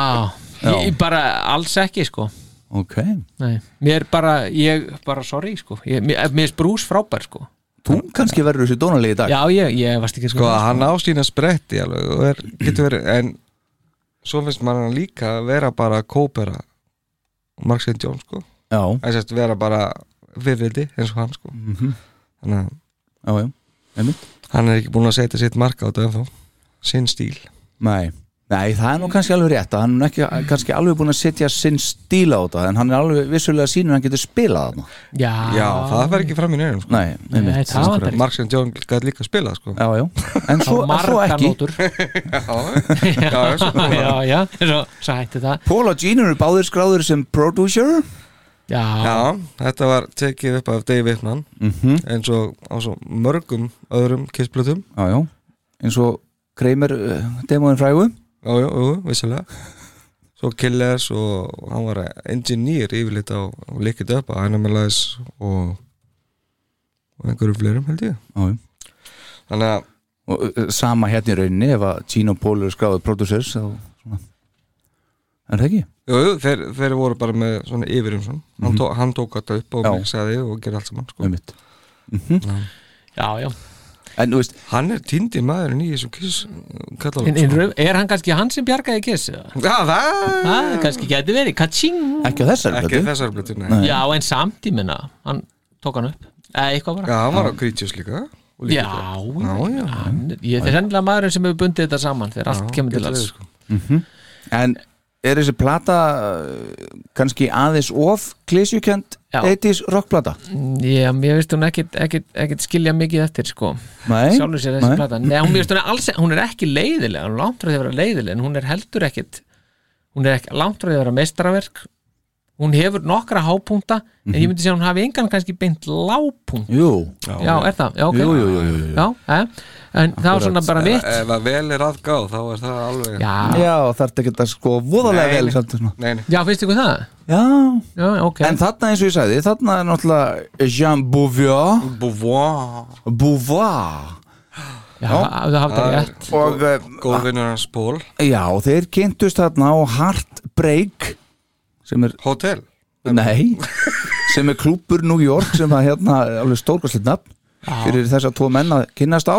Speaker 5: Já.
Speaker 4: Ég, bara alls ekki sko
Speaker 5: ok,
Speaker 4: Nei. mér bara, ég bara sorry sko, ég, mér, mér er brús frábær sko
Speaker 5: þú kannski verður þessi dónalegi í dag,
Speaker 4: já, ég, ég varst ekki
Speaker 3: sko
Speaker 4: sko
Speaker 3: að hann á sína spretti alveg og er, getur verið en svo finnst maður hann líka vera bara að kópera Mark St. John sko
Speaker 5: já,
Speaker 3: að sérst vera bara virðildi eins og hann sko
Speaker 4: Mhm.
Speaker 3: þannig að
Speaker 5: já, já, einmitt
Speaker 3: hann er ekki búin að setja sitt mark á þetta ennþá sinn stíl
Speaker 5: Nei, Nei, það er nú kannski alveg rétt að hann er ekki, kannski alveg búin að setja sinn stíla á þetta en hann er alveg vissulega sínur að hann getur spilað hann
Speaker 4: Já,
Speaker 3: Já,
Speaker 4: Ah.
Speaker 3: það fer ekki fram í nefnum sko.
Speaker 5: Nei, einmitt
Speaker 4: Nei, það var
Speaker 3: Marks and John gæti líka að spila sko.
Speaker 5: Já,
Speaker 4: [laughs]
Speaker 5: já, en svo, en svo
Speaker 4: margar
Speaker 5: ekki
Speaker 4: nótur
Speaker 3: [laughs]
Speaker 4: [laughs]
Speaker 3: já, já, svo kom það.
Speaker 4: Já, já, svo, svo hætti það
Speaker 5: Paul og Gene eru báðir skráður sem producer
Speaker 4: Já,
Speaker 3: já, þetta var tekið upp af Dave Whitman
Speaker 2: Mhm.
Speaker 3: eins og á svo mörgum öðrum kissblutum
Speaker 5: Já, já, eins og Kramer uh, demóin frægu
Speaker 3: Já, já, jú, vissilega Svo Killers og hann var engineer yfirleitt á á Lick It Up, Animalize og, og einhverjum fleirum held ég
Speaker 5: Já, já
Speaker 3: Þannig að
Speaker 5: og uh, sama hérna í rauninni ef að Gene og Paul eru skráður producers þá svona Er það ekki?
Speaker 3: Jú, jú, þeir, þeir voru bara með svona yfirum svona. Hann, tók, hann tók þetta upp og
Speaker 5: Mhm. Já.
Speaker 3: mixaði og gerði allt saman sko.
Speaker 5: Einmitt.
Speaker 4: já, já.
Speaker 5: Um En þú veist,
Speaker 3: Hann er tindi maðurinn í þessum kiss katalóg sko.
Speaker 4: In, in, Er hann kannski hann sem bjargaði kiss? eða?
Speaker 3: Já,
Speaker 5: Mm.
Speaker 3: það
Speaker 4: Það kannski geti verið, katsing
Speaker 5: ekki á þessari
Speaker 3: Ekki
Speaker 5: blötu
Speaker 3: þessar blötu, nei
Speaker 5: Nei.
Speaker 4: Já, en samt í minna, hann tók hann upp Eða eitthvað bara
Speaker 3: Já, hann var á Creatures líka og líka
Speaker 4: Já,
Speaker 3: þetta.
Speaker 4: já,
Speaker 3: já, já,
Speaker 4: ég, það er sennilega maðurinn sem hefur bundið þetta saman þegar allt kemur til
Speaker 3: getur
Speaker 4: alls
Speaker 3: verið, sko.
Speaker 5: En er þessi plata uh, kannski aðeins of klísjukjönd
Speaker 4: Já.
Speaker 5: 80s rockplata?
Speaker 4: Já, mér veist hún ekkit, ekkit, ekkit skilja mikið eftir sko
Speaker 5: Nei,
Speaker 4: sjálfur sér þessi
Speaker 5: nei.
Speaker 4: plata Nei, hún, mér finnst hún, er alls, hún er ekki leiðilega hún er langt frá því að vera leiðilega en hún er heldur ekkit hún er ekki, langt frá því að vera meistaraverk hún hefur nokkra hápunta en
Speaker 5: Mhm.
Speaker 4: ég myndi segja að hún hafi engan kannski beint lápunkt
Speaker 5: Jú,
Speaker 4: já, er það, já, ok
Speaker 5: jú, jú, jú, jú, jú.
Speaker 4: Já, eh, en það var svona bara mitt
Speaker 3: Ef að vel er aðgáð, þá er það alveg
Speaker 4: já,
Speaker 5: Já, þarf ekki að sko voðalega
Speaker 3: Nei,
Speaker 5: vel
Speaker 3: nei.
Speaker 5: samt, svona.
Speaker 3: Nei, nei,
Speaker 4: já, finnst ykkur það?
Speaker 5: Já,
Speaker 4: Já, ok
Speaker 5: en þarna eins og ég sagði Þarna er náttúrulega Jean Beauvoir
Speaker 3: búvá
Speaker 5: Beauvoir
Speaker 4: já, það hafði það rétt
Speaker 5: Og eh,
Speaker 3: Góðvinnur hans Pól
Speaker 5: já, þeir kynntust þarna á Heartbreak Sem er,
Speaker 3: Hotel
Speaker 5: nei [laughs] Sem er klúpur New York Sem að hérna er alveg stórkvæslið nafn Fyrir þess að tvo menn að kynnast á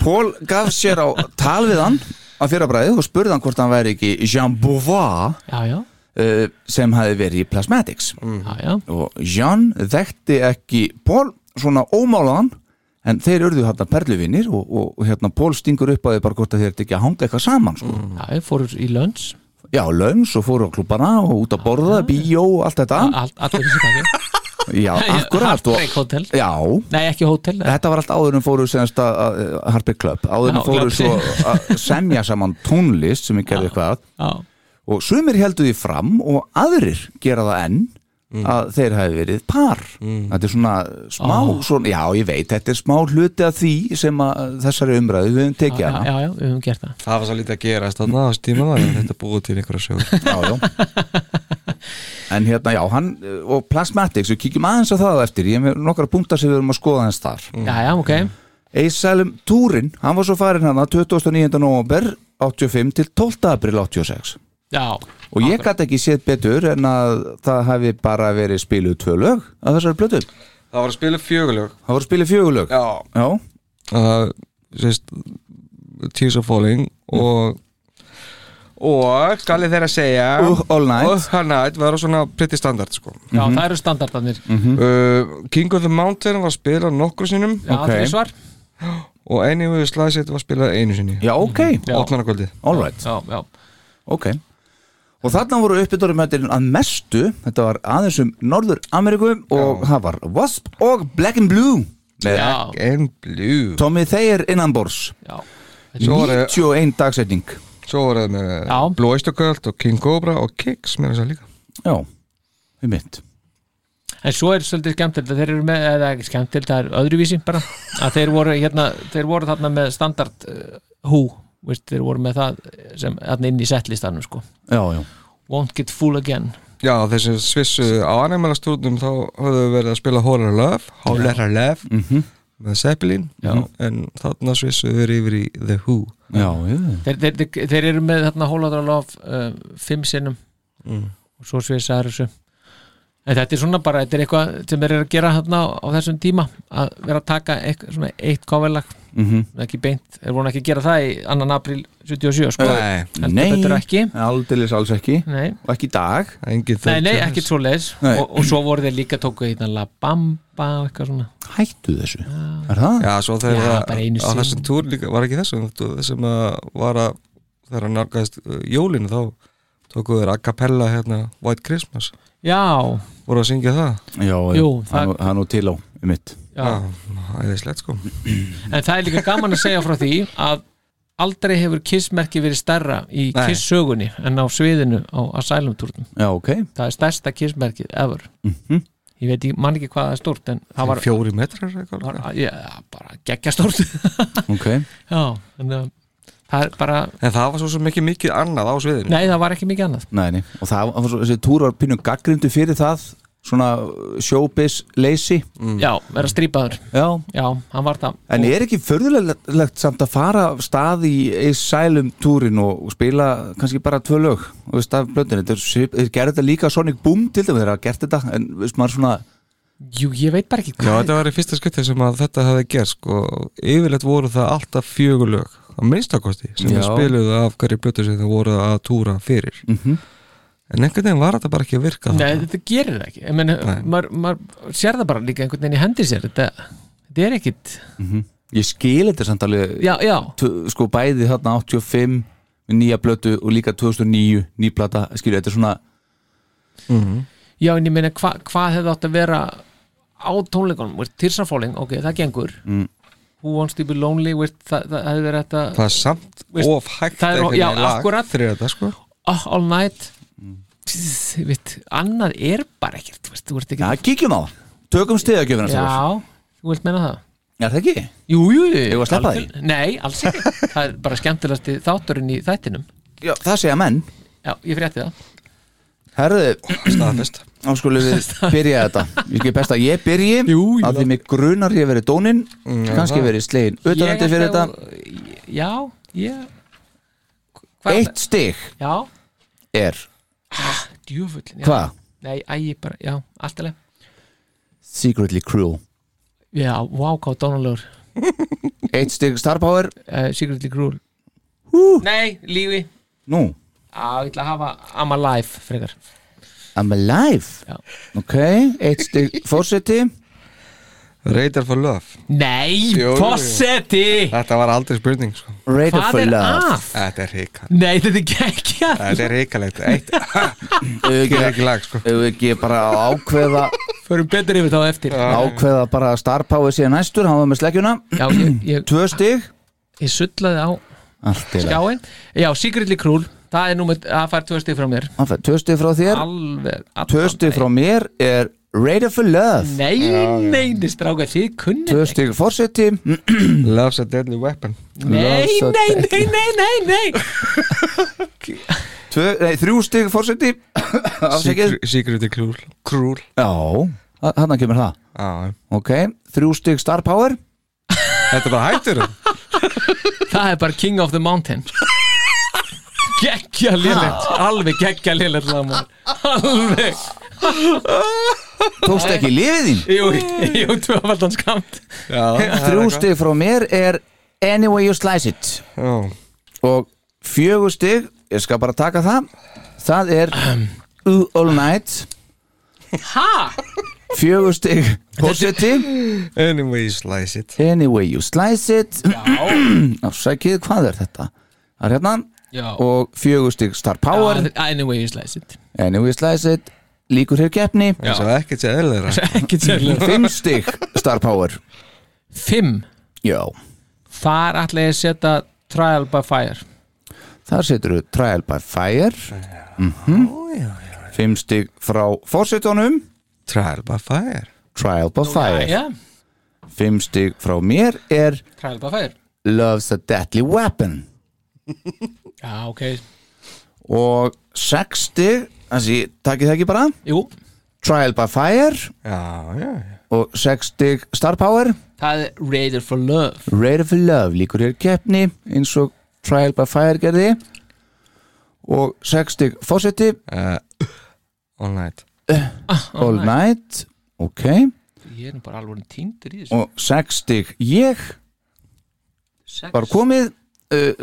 Speaker 5: Paul gaf sér á tal við hann Að fyrra bræðið og spurði hann hvort hann væri ekki Jean Beauvoir
Speaker 4: Já, já,
Speaker 5: eh, sem hafi verið í Plasmatics
Speaker 4: já, já,
Speaker 5: og Jean þekkti ekki Paul svona ómálaðan en þeir urðu hérna perluvinir og, og, og hérna Paul stingur upp að þið bara hvort að þeir eru ekki að hanga eitthvað saman sko.
Speaker 4: já, ég fór í lönns
Speaker 5: já, launs og fóru á klubbana og út að borða, bíó og allt þetta [laughs]
Speaker 4: Allir þessi kaki
Speaker 5: Ah. já, akkurat og,
Speaker 4: Hartbreik hótel
Speaker 5: já,
Speaker 4: Nei, ekki hótel eh,
Speaker 5: þetta var allt áður en fóru semst að, að, að Harpy Club áður
Speaker 4: Já,
Speaker 5: en fóru
Speaker 4: Club.
Speaker 5: svo að semja saman tónlist sem ég gerði eitthvað að
Speaker 4: Já,
Speaker 5: og sumir heldur því fram og aðrir gera það enn
Speaker 4: Mm.
Speaker 5: að þeir hafi verið par þetta er svona smá
Speaker 4: Ah.
Speaker 5: svona, já ég veit, þetta er smá hluti af því sem að þessari umræðu við höfum
Speaker 4: já,
Speaker 5: tekið
Speaker 4: Ah, já,
Speaker 5: hana
Speaker 4: já, við höfum gert það
Speaker 3: Það var svo lítið að gera Þannig að stíma var en þetta búið til einhverja sögur
Speaker 5: já, já. en hérna já, hann og Plasmatics, við kíkjum aðeins á það á eftir, ég hef nokkra punktar sem við höfum að skoða hans þar
Speaker 4: Já, já, ok
Speaker 5: Eisalum Túrin, hann var svo farin hana 29. november 85 til 12. april 86
Speaker 4: Já,
Speaker 5: og ég gæti ekki séð betur en að það hafi bara verið spiluð tvö lög að þessari blötu
Speaker 3: Það var að spila fjögulög
Speaker 5: Það voru að spila fjögulög
Speaker 3: Já
Speaker 5: Já,
Speaker 3: uh, Sérst Tears of Falling Og Og skal ég þeirra segja
Speaker 5: Uh, All Night.
Speaker 3: Og All Night var svona pretty standard sko
Speaker 4: já það eru standardarnir
Speaker 3: uh, King of the Mountain var spilað nokkru sinum
Speaker 4: Já,
Speaker 5: Ok.
Speaker 4: okay. því svar
Speaker 3: Og Anyway Slice It var spilað einu sinni
Speaker 5: já ok,
Speaker 4: Já.
Speaker 3: Ótlanarkvöldið
Speaker 5: all right,
Speaker 4: Já, já,
Speaker 5: ok Og þarna voru uppbyttorumhættirinn að mestu Þetta var aðeins um Norður Ameríku og það var Wasp og Black and Blue með
Speaker 4: já,
Speaker 3: And Blue
Speaker 5: Tommy Thayer innanbors
Speaker 4: já,
Speaker 3: Svo var það
Speaker 5: 91 dagsetning
Speaker 3: Svo var það með
Speaker 4: Já.
Speaker 3: Blue Oyster Cult og King Cobra og Kicks með þess að segja líka
Speaker 5: Já, við mitt
Speaker 4: En svo er svolítið skemmtild að þeir eru með, eða ekki skemmtild, það er öðruvísi bara að þeir voru hérna, þeir voru þarna með standard uh, hú, veist, þeir voru með það sem þarna inn í settlistanum sko
Speaker 5: Já, já,
Speaker 4: Won't get full again
Speaker 3: Já, þessi svissu á animalastúrnum þá höfðu verið að spila Horror Love Horror Love
Speaker 5: Mhm.
Speaker 3: með Zeppelin
Speaker 4: Já.
Speaker 3: en þarna svissu verið yfir í The Who
Speaker 5: já, já.
Speaker 4: Þeir, þeir, þeir, þeir eru með þarna hólaðarlof uh, fimm sinnum og svo svisaður þessu En þetta er svona bara, þetta er eitthvað sem þeir eru að gera þarna á, á þessum tíma að vera að taka eitt, svona eitt coverlag
Speaker 5: Mm
Speaker 4: ekki beint, er voru ekki að gera það í annan april 77 sko
Speaker 3: Nei,
Speaker 4: Heldur
Speaker 5: Nei,
Speaker 4: betur ekki.
Speaker 5: aldeilis alls ekki
Speaker 4: Nei,
Speaker 5: Og ekki í dag
Speaker 3: engin
Speaker 4: nei, nei
Speaker 3: Jones.
Speaker 4: ekki svo leis
Speaker 5: Nei.
Speaker 4: og, og svo voru þeir líka tóku hérna La Bamba og eitthvað svona
Speaker 5: Hættu þessu, er það?
Speaker 3: Já, svo þegar
Speaker 4: Já,
Speaker 3: það
Speaker 4: bara einu
Speaker 3: á
Speaker 4: sinni.
Speaker 3: þessum túr líka var ekki þessum þú- sem að var að þegar hann nálgæðist uh, jólinu þá tóku þeir a cappella hérna White Christmas
Speaker 4: já,
Speaker 3: voru að syngja það
Speaker 5: Já,
Speaker 4: Jú,
Speaker 5: það er
Speaker 4: það-
Speaker 5: nú- það er nú til á um mitt
Speaker 4: já.
Speaker 3: æðislegt sko
Speaker 4: en það er líka gaman að segja frá því að aldrei hefur kissmerki verið stærra í
Speaker 3: Nei.
Speaker 4: kisssögunni en á sviðinu á Asylum-túrnum
Speaker 5: Já, ok
Speaker 4: það er stærsta kissmerkið ever ég veit ekki, man ekki hvað það er stórt en það var,
Speaker 3: fjóri metrar eitthvað
Speaker 4: var já, bara geggja stórt
Speaker 5: Ok,
Speaker 4: [laughs] já, en uh, það er bara
Speaker 3: en það var svo sem ekki mikið annað á sviðinu
Speaker 4: nei, það var ekki mikið annað
Speaker 5: næni Og það var svo, þessi túr var pínum gaggrindu fyrir það Svona showbiz leysi
Speaker 4: já, vera strípaður,
Speaker 5: Já,
Speaker 4: já, hann var það
Speaker 5: en er ekki förðulegt samt að fara af stað í Asylum túrin og spila kannski bara tvö lög og veist af blöndinu, þeir, svip- þeir gerðu þetta líka á Sonic Boom til þeim, þeir hafa gert þetta en veist maður svona,
Speaker 4: jú, ég veit bara ekki
Speaker 3: Já,
Speaker 4: hvað
Speaker 3: þetta var í fyrsta skutti sem að þetta hefði gerst sko. yfirleitt voru það alltaf fjögulög á minnstakosti sem
Speaker 5: Já.
Speaker 3: við spiluðu af hverju blötu sem þau voru að túra fyrir
Speaker 5: Mhm.
Speaker 3: en einhvern veginn var þetta bara ekki að virka
Speaker 4: Nei, þetta gerir það ekki Ég meina,
Speaker 3: Nei.
Speaker 4: maður maður sér það bara líka einhvern veginn í hendi sér þetta, þetta er ekkit
Speaker 5: ég skil þetta samt alveg
Speaker 4: já, já,
Speaker 5: tvö- sko bæði þarna 85 með nýja blötu og líka 2009 nýplata, skilja, þetta er svona
Speaker 4: Já, en ég meina, hva, hvað hefði átt að vera á tónleikunum, veist, Tirsa Falling, ok, það gengur
Speaker 5: Mm.
Speaker 4: Who Wants to be Lonely, veist, það, það hefði verið þetta
Speaker 3: það er samt
Speaker 4: Veist,
Speaker 3: of hægt
Speaker 4: það er-
Speaker 3: einhvern
Speaker 4: já,
Speaker 3: veginn lag
Speaker 4: akkurat.
Speaker 3: fyrir þetta sko
Speaker 4: oh, All Night
Speaker 5: Mm.
Speaker 4: Pss, veist, annað er bara ekkert, veist, þú ert
Speaker 5: Já,
Speaker 4: ekki
Speaker 5: kíkjum á það, tökum stiðagjöfina Já,
Speaker 4: Já, þú vilt meina það
Speaker 5: er það ekki?
Speaker 4: Jú, jú, jú,
Speaker 5: Eigum við að sleppa því?
Speaker 4: algjör- Nei, alls
Speaker 5: [laughs]
Speaker 4: ekki, það er bara skemmtilegasti þátturinn í þættinum
Speaker 5: Já, það segja menn
Speaker 4: Já, ég frétti það
Speaker 5: Herðu,
Speaker 3: staðfest
Speaker 5: þá skulum
Speaker 4: [laughs]
Speaker 5: við byrja þetta Ég skil best að ég byrji
Speaker 4: Jú, jú. Mm,
Speaker 5: að því mig grunar ég verið dónin kannski verið slegin utanandi
Speaker 4: Ég
Speaker 5: fyrir þetta
Speaker 4: ætla að- Já, ég Hvað-
Speaker 5: Eitt stig
Speaker 4: Já,
Speaker 5: er,
Speaker 4: djúfullin já.
Speaker 5: hvað?
Speaker 4: Nei, ægi bara, já, alltaf
Speaker 5: Secretly Cruel
Speaker 4: Já, wow, hvað dónalegur
Speaker 5: Eitt stig Star Power,
Speaker 4: uh, Secretly Cruel Nei, lífi
Speaker 5: nú,
Speaker 4: Á, ég ætla að hafa I'm Alive frekar
Speaker 5: I'm Alive
Speaker 4: Já.
Speaker 5: Ok, eitt stig Forseti
Speaker 3: Radar for Love
Speaker 4: Nei,
Speaker 3: Jú, jú, jú.
Speaker 4: fossetti
Speaker 3: þetta var aldrei spurning sko
Speaker 5: Raider
Speaker 4: Hvað
Speaker 5: for
Speaker 4: er
Speaker 5: Love
Speaker 4: af?
Speaker 3: þetta er ríkal
Speaker 4: Nei, þetta er gekkja
Speaker 3: þetta er ríkalegt eitt
Speaker 5: Ef
Speaker 3: er ekki lag sko
Speaker 5: við ekki bara að [laughs] ákveða
Speaker 4: Förum betur yfir þá á eftir
Speaker 5: ákveða bara að Star Power sé næstur hann var með sleggjuna,
Speaker 4: Já, ég, ég,
Speaker 5: tvö stig
Speaker 4: ég sullaði á
Speaker 5: allt í lagi.
Speaker 4: skjáin Já, Secretly Cruel Það er númer, það fær tvö stig frá mér
Speaker 5: Hann fær tvö stig frá þér,
Speaker 4: Alveg allan
Speaker 5: tvö stig frá mér er Raider for Love
Speaker 4: Nei, nei, nei, stráka, þið kunni
Speaker 5: tvö stig forseti Mm,
Speaker 3: Love's a Deadly Weapon
Speaker 4: Nei,
Speaker 5: Loves a
Speaker 4: nei, nei, nei, nei, nei
Speaker 5: tvö, nei, þrjú stig forseti afsækið
Speaker 3: Secret- Secret Cruel Cruel
Speaker 5: já, hann kemur það
Speaker 3: Já, já.
Speaker 5: ok, þrjú stig Star Power
Speaker 3: þetta er bara hættur
Speaker 4: [laughs] Það er bara King of the Mountain Gekkja lélegt Alveg gekkja lélegt lagmál Alveg
Speaker 5: tókst ekki lifið þín
Speaker 4: Jú, jú, tvöfaldan skamt
Speaker 5: þrjú stig frá mér er Anyway You Slice It
Speaker 3: Já.
Speaker 5: og fjögur stig ég skal bara taka það það er Ooh All Night
Speaker 4: Ha?
Speaker 5: fjögur stig forseti
Speaker 3: Anyway you slice it
Speaker 5: Anyway you slice it [clears throat] Afsækið, hvað er þetta? Það er hérna
Speaker 4: Já
Speaker 5: Og fjögur stig star power
Speaker 4: Já, Anyway, you slice it
Speaker 5: Anyway you slice it Líkur hér keppni
Speaker 3: eins og ekkert sé eðlera
Speaker 4: Ekki tjörlega
Speaker 5: [laughs] Fimm stig star power
Speaker 4: Fimm
Speaker 5: Já,
Speaker 4: Þar ætla ég að setja Trial by Fire
Speaker 5: þar setur við trial by fire mm -hmm. Fimm stig frá fórsetunum
Speaker 3: Trial by Fire
Speaker 5: Trial by fire
Speaker 4: Jæja,
Speaker 5: Fimm stig frá mér er
Speaker 4: Trial by Fire
Speaker 5: Love's a deadly weapon
Speaker 4: Já, ok
Speaker 5: Og sex stig Þannig, takið það ekki bara
Speaker 4: Jú
Speaker 5: Trial by fire
Speaker 3: Já, já, já
Speaker 5: Og sex stig star power
Speaker 4: Það er Raider for Love
Speaker 5: Raider for Love líkur hér keppni eins og Trial by Fire gerði og 6 stig Fawcetti
Speaker 3: Uh, all night
Speaker 5: All Night ok,
Speaker 4: Ég er nú bara alveg týndur í þessu
Speaker 5: og 6 stig ég
Speaker 4: Sex.
Speaker 5: var komið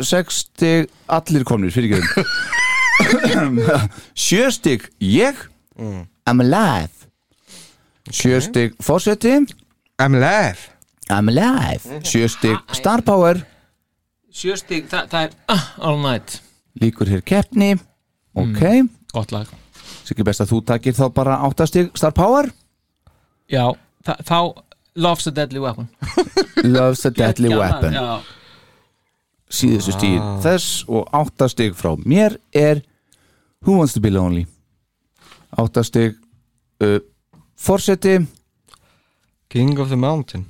Speaker 5: 6 stig allir komnir fyrir gerum 7 stig ég I'm alive 7 stig Fawcetti
Speaker 3: I'm live
Speaker 5: I'm alive 7 stig Star Power
Speaker 4: Sjöstig, það, það er ah, All Night
Speaker 5: líkur hér keppni ok,
Speaker 4: gott lag
Speaker 5: sem ekki best að þú takir þá bara áttastig Star Power
Speaker 4: já, þa- þá Love's a Deadly Weapon
Speaker 5: Love's a Deadly
Speaker 4: Já,
Speaker 5: Weapon
Speaker 4: já.
Speaker 5: síðustu stíð þess og áttastig frá mér er Who Wants to Be Lonely áttastig uh, Forseti,
Speaker 3: King of the Mountain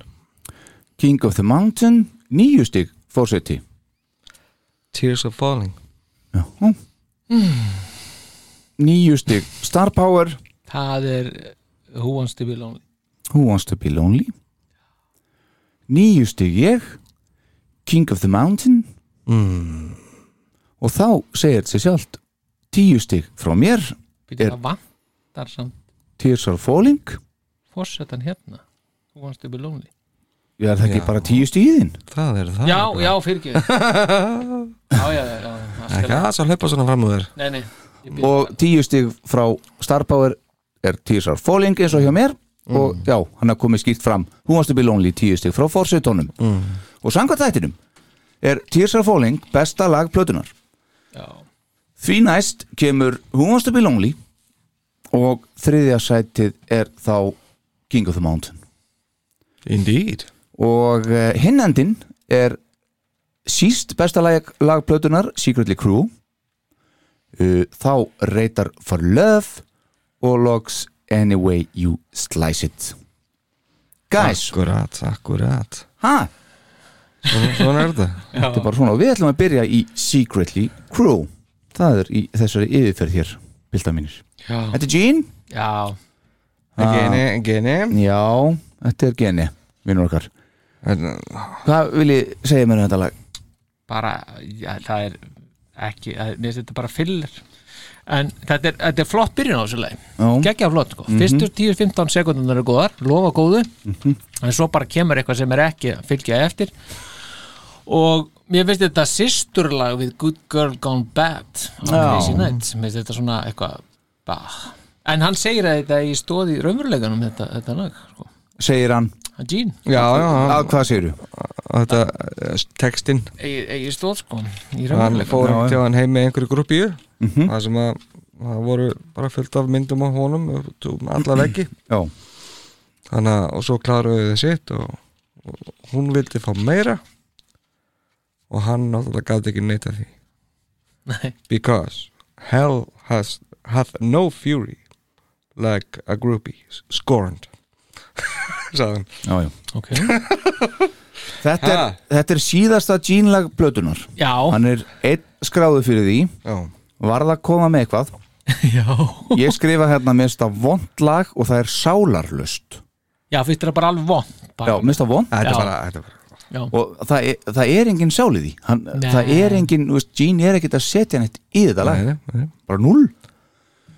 Speaker 5: King of the Mountain níu stig Forseti
Speaker 3: Tears of Falling
Speaker 5: Já. níu stig Star Power
Speaker 4: það er uh, Who Wants to Be Lonely
Speaker 5: Who Wants to Be Lonely Níu stig ég King of the Mountain mm. og þá segir þetta sér sjálft tíu stig frá mér
Speaker 4: Býtum,
Speaker 5: Er-
Speaker 4: það vantar samt
Speaker 5: Tears are Falling
Speaker 4: fórsetan hérna Who Wants to Be Lonely
Speaker 5: ég er það ekki
Speaker 3: Já.
Speaker 5: bara tíu stigin
Speaker 3: Það er það
Speaker 4: já, já, fyrirgjöð já, já, já, já allt í
Speaker 3: Ekki
Speaker 4: lagi.
Speaker 3: aðeins að hlaupa svona fram úr þér
Speaker 4: nei, nei ég býð
Speaker 5: og tíu stig frá Star Power er Tears are Falling eins og hjá mér og já, hann er komið skýrt fram Who Wants to Be Lonely tíu stig frá Forsetónum mm. og samkvæmt þættinum er Tears are Falling besta lag plötunar
Speaker 4: já.
Speaker 5: Því næst kemur Who Wants to Be Lonely og þriðja sætið er þá King of the Mountain
Speaker 3: Indeed
Speaker 5: og eh, hinn endin er síst besta lag, lagplötunar Secretly Crew Uh, þá reytar For Love og loks Any Way You Slice It Guys,
Speaker 3: Akkurat, akkurat
Speaker 5: ha,
Speaker 3: Svona- Svona er þetta
Speaker 5: þetta er bara svona og við ætlum að byrja í Secretly Crew það er í þessari yfirferð hér bylda mínir.
Speaker 4: já,
Speaker 5: Þetta er Gene
Speaker 4: já.
Speaker 3: Geni, geni
Speaker 5: Já, þetta er geni, vinnur okkar Hérna. Hvað vil ég segja mér um þetta lag?
Speaker 4: bara, já, það er ekki, það er- mér finnst þetta bara fyllir en þetta er, þetta er flott byrjun á þessu leið
Speaker 5: Já, Mhm.
Speaker 4: geggja flott sko, fyrstu 10-15 sekundunar eru góðar, lofa góðu en svo bara kemur eitthvað sem er ekki að fylgja eftir og mér finnst þetta sýsturlag við Good Girl Gone Bad á
Speaker 5: Já.
Speaker 4: Crazy Nights, mér finnst þetta svona eitthvað bah. en hann segir að þetta í stóði raunveruleganum þetta, þetta lag sko.
Speaker 5: segir hann
Speaker 4: Hann Gene,
Speaker 3: Já, já,
Speaker 5: Að
Speaker 3: hann-
Speaker 5: hvað segirðu?
Speaker 3: þetta eh, textinn
Speaker 4: eigi, eigi stóð sko í
Speaker 3: hann
Speaker 4: raunveruleganum
Speaker 3: fór
Speaker 5: Já, já.
Speaker 3: til hann heim með einhverju grúppíu
Speaker 5: Mhm.
Speaker 3: það sem að það voru bara fullt af myndum á honum út um alla veggi
Speaker 5: Já,
Speaker 3: þannig að og svo kláruðu þið sitt og, og hún vildi fá meira og hann náttúrulega gaf ekki neitt af því
Speaker 4: Nei.
Speaker 3: because hell has hath no fury like a groupie scorned [laughs] sagði hann
Speaker 5: já, já
Speaker 4: Ok.
Speaker 5: Þetta er,
Speaker 3: Ha?
Speaker 5: þetta er síðasta Gene-lag blötunar
Speaker 4: já,
Speaker 5: Hann er einn skráðu fyrir því
Speaker 3: já,
Speaker 5: Varð að koma með eitthvað
Speaker 4: [laughs] já
Speaker 5: Ég skrifa hérna mér finnst það vond lag og það er sálarlust
Speaker 4: já, finnst þetta bara alveg von
Speaker 5: Já, mér finnst það vond
Speaker 3: þetta
Speaker 4: Já.
Speaker 3: er bara, þetta er bara
Speaker 5: og það er, það er engin sál í því hann,
Speaker 4: Nei.
Speaker 5: það er engin, þú veist, Gene er ekkert að setja neitt í þetta lag,
Speaker 3: nei, nei.
Speaker 5: bara null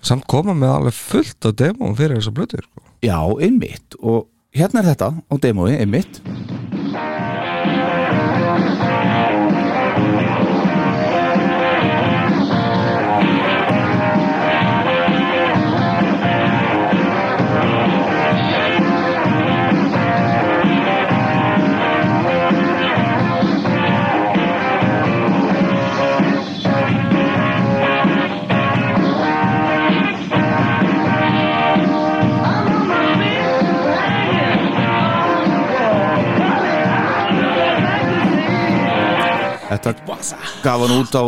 Speaker 3: samt koma með alveg fullt af demóum fyrir þessar blötu sko.
Speaker 5: Já, einmitt og hérna er þetta á demói, einmitt Þetta gaf hann út á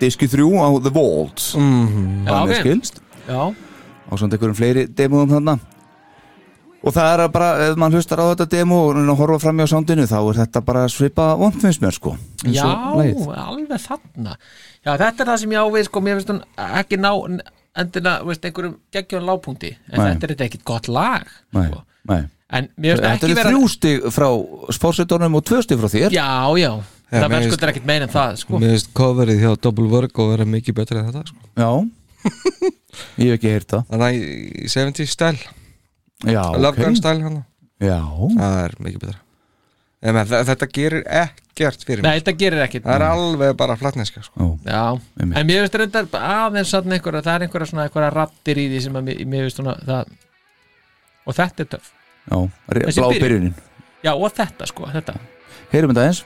Speaker 5: diski 3 á The Vault mm,
Speaker 3: Mhm.
Speaker 4: já,
Speaker 5: að mér
Speaker 4: ok.
Speaker 5: skilst
Speaker 4: já,
Speaker 5: á samt einhverjum fleiri demóðum þarna og það er að bara, ef mann hlustar á þetta demó og reynir að horfa framjá sándinu þá er þetta bara svipa vondfinnst mér sko eins
Speaker 4: Já,
Speaker 5: og lagið.
Speaker 4: alveg þarna Já, þetta er það sem ég ávið sko, mér finnst hún ekki ná endina, veist, einhverjum geggjum lágpunkti en
Speaker 5: Nei.
Speaker 4: þetta er þetta ekkit gott lag
Speaker 5: Nei,
Speaker 4: sko.
Speaker 5: nei.
Speaker 4: en mér finnst
Speaker 5: Þetta
Speaker 4: ekki
Speaker 5: eru
Speaker 4: vera
Speaker 5: þrjú stig frá spórsetunum og tvö stig frá þér
Speaker 4: Já, já,
Speaker 3: Já, mér
Speaker 4: það verður sko
Speaker 3: finnst-
Speaker 4: þetta er ekkit meina en það sko.
Speaker 3: Mér finnst coverið hjá Double Work og vera mikið betra en þetta sko.
Speaker 5: Já. ég hef ekki heyrt það
Speaker 3: Þannig að í í 70s style,
Speaker 5: Já,
Speaker 3: Love
Speaker 5: ok.
Speaker 3: Gun style hann
Speaker 5: Já,
Speaker 3: Það er mikið betra Nei, menn, þe- Þetta gerir ekkert fyrir
Speaker 4: Nei,
Speaker 3: mig
Speaker 4: þetta gerir ekkit
Speaker 3: Það er alveg bara flatneska sko.
Speaker 5: já,
Speaker 4: Já,
Speaker 5: Einmitt.
Speaker 4: en mér finnst reyndar aðeins þarna einhverja, það er einhverja svona einhverja rattir í því sem að mér, mér finnst svona það og þetta er töff
Speaker 5: já Re-
Speaker 4: Þessi
Speaker 5: Blá
Speaker 4: byrjun.
Speaker 5: byrjunin
Speaker 4: Já, og þetta sko, þetta
Speaker 5: Heyrum þetta eins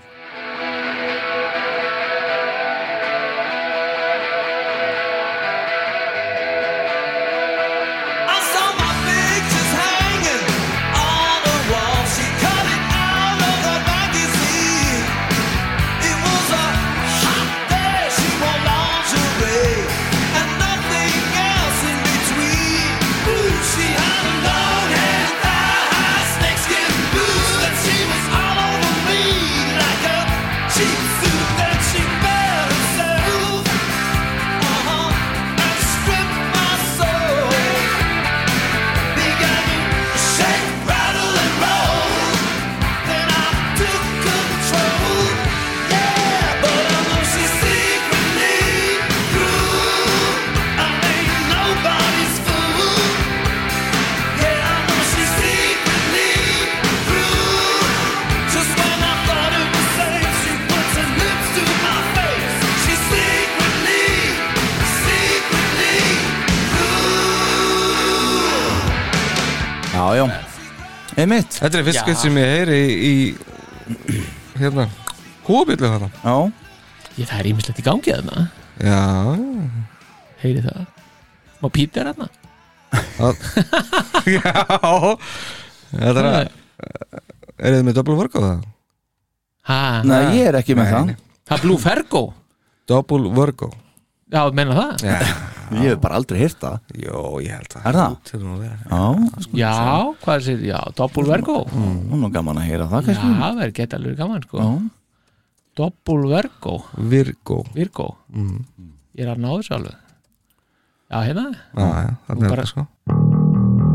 Speaker 5: Já, já Einmitt
Speaker 3: Þetta er fyrst skett sem ég heyri í, í hérna, húbílu þarna
Speaker 5: Já
Speaker 4: Ég, það er ímislegt í gangi þarna
Speaker 3: Já,
Speaker 4: Heyri það Má pípja þarna
Speaker 3: já Þetta er að Er þið með double work á það?
Speaker 4: Ha,
Speaker 5: Nei, ég er ekki með það
Speaker 3: nei.
Speaker 4: það er Blue Fergo
Speaker 3: Double work á
Speaker 4: Já, menna það?
Speaker 3: Já,
Speaker 5: Ég hef bara aldrei hýrt það
Speaker 3: jó, ég held það
Speaker 5: Er það?
Speaker 3: Til nú að vera.
Speaker 5: Já,
Speaker 4: Já, hvað er sér? Já, Double Vergo
Speaker 5: nú er nú gaman að heyra það
Speaker 4: Já,
Speaker 5: kannski
Speaker 4: það er gett alveg gaman sko
Speaker 5: Mm. Já,
Speaker 4: Double Vergo,
Speaker 3: Virgo
Speaker 4: Virgo
Speaker 5: Mm.
Speaker 4: Ég er að ná þessu alveg Já, hérna
Speaker 3: Já, já, þannig er
Speaker 4: Bara-
Speaker 3: það sko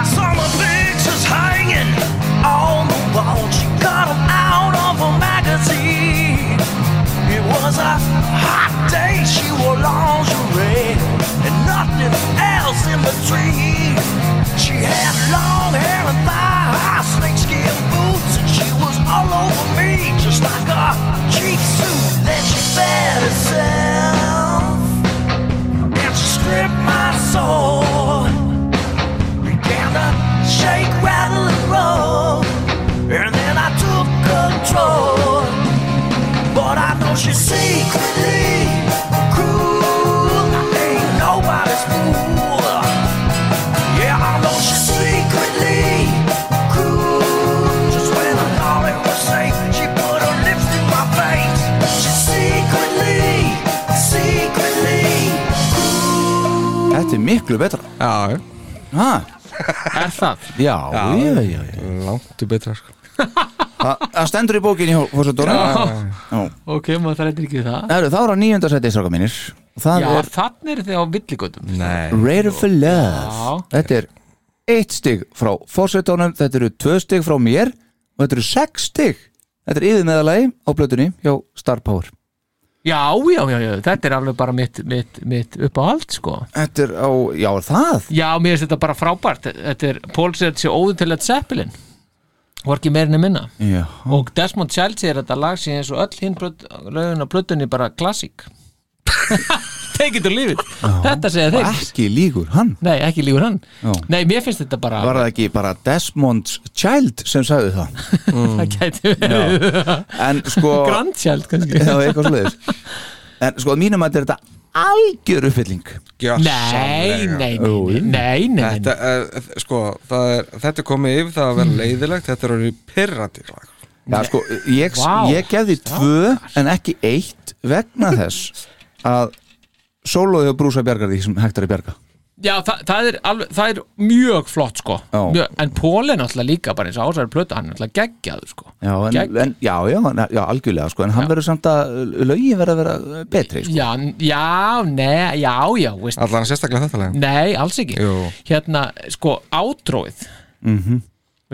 Speaker 2: I saw my pictures hanging on the wall. She got 'em out of a magazine. It was a hot day. She wore lingerie and nothing else in between. She had long hair and thigh high snakeskin boots, and she was all over me just like a cheap suit that she fed herself. And she stripped my soul began to shake, rattle, and roll. And then I took control. But I know she's secretly cruel. Ain't nobody's fool. Yeah, I know she's secretly cruel. Just when I thought it was safe, she put her lips to my face. She's secretly, secretly
Speaker 5: þetta er miklu betra
Speaker 3: Já,
Speaker 5: Ha,
Speaker 4: Er það?
Speaker 5: já, já, já, já.
Speaker 3: já, langt í betra sko
Speaker 5: Þa- Það stendur í bókinni hjá fórsöldóra Já,
Speaker 4: Ok, maður það reyndar ekki það
Speaker 5: Herru, þá er á nýjöndasæti stráka mínir Það
Speaker 4: Já,
Speaker 5: er
Speaker 4: þannig er þið á villigötum
Speaker 3: Nei
Speaker 5: Raider for Love Þetta er eitt stig frá fórsetónum Þetta eru tvö stig frá mér Og þetta eru sex stig Þetta er yfir meðalagi á blötunni hjá Star Power
Speaker 4: Já, já, já, já, þetta er alveg bara mitt, mitt, mitt upp á allt sko
Speaker 5: Þetta er á, já er það
Speaker 4: Já, mér finnst þetta bara frábært Þetta er Paul sér þetta sé óður til að Zeppelin og ekki meira enn minna
Speaker 5: Já,
Speaker 4: og Desmond Child segir að þetta lag sé eins og öll hinn blöð- lögin á plötunni bara [laughs] klassík Take it or leave it Þetta segja þeir
Speaker 5: ekki líkur hann
Speaker 4: Nei, ekki lífur hann
Speaker 5: Já.
Speaker 4: Nei, mér finnst þetta bara
Speaker 5: Var það ekki bara Desmond's Child sem sagði það
Speaker 4: Það gæti verið
Speaker 5: En [laughs] sko
Speaker 4: Grand Child kannski
Speaker 5: Já, eitthvað sliðis En sko, að mínum að þetta er þetta algjör uppfylling
Speaker 4: Nei, nei, nei, nei, nei, nei,
Speaker 3: Þetta
Speaker 4: nei.
Speaker 3: er, sko, það er, þetta er komið yfir það að
Speaker 4: Mm.
Speaker 3: vera leiðilegt, þetta er orðið pirrandi lag.
Speaker 5: Já, sko, ég,
Speaker 4: Vá.
Speaker 5: ég gefði tvö en ekki eitt vegna þess að sólóði og brúsa bjargar því sem hægt er að bjarga
Speaker 4: Já, það, það, er alveg, það er mjög flott sko
Speaker 5: Já.
Speaker 4: mjög, En Paul er náttúrulega líka bara eins og ásæður plötu Hann er náttúrulega geggjaður sko
Speaker 5: Já, en,
Speaker 4: Gegn-
Speaker 5: en, já, já, en- já algjörlega sko, en hann verður samt að lögin verður að vera betri sko.
Speaker 4: Já, já, nei, já, já, veist
Speaker 3: Allan sérstaklega þetta lag.
Speaker 4: Nei, alls ekki
Speaker 3: Jú.
Speaker 4: Hérna, sko, átróið mm
Speaker 5: Mhm.
Speaker 4: -hmm.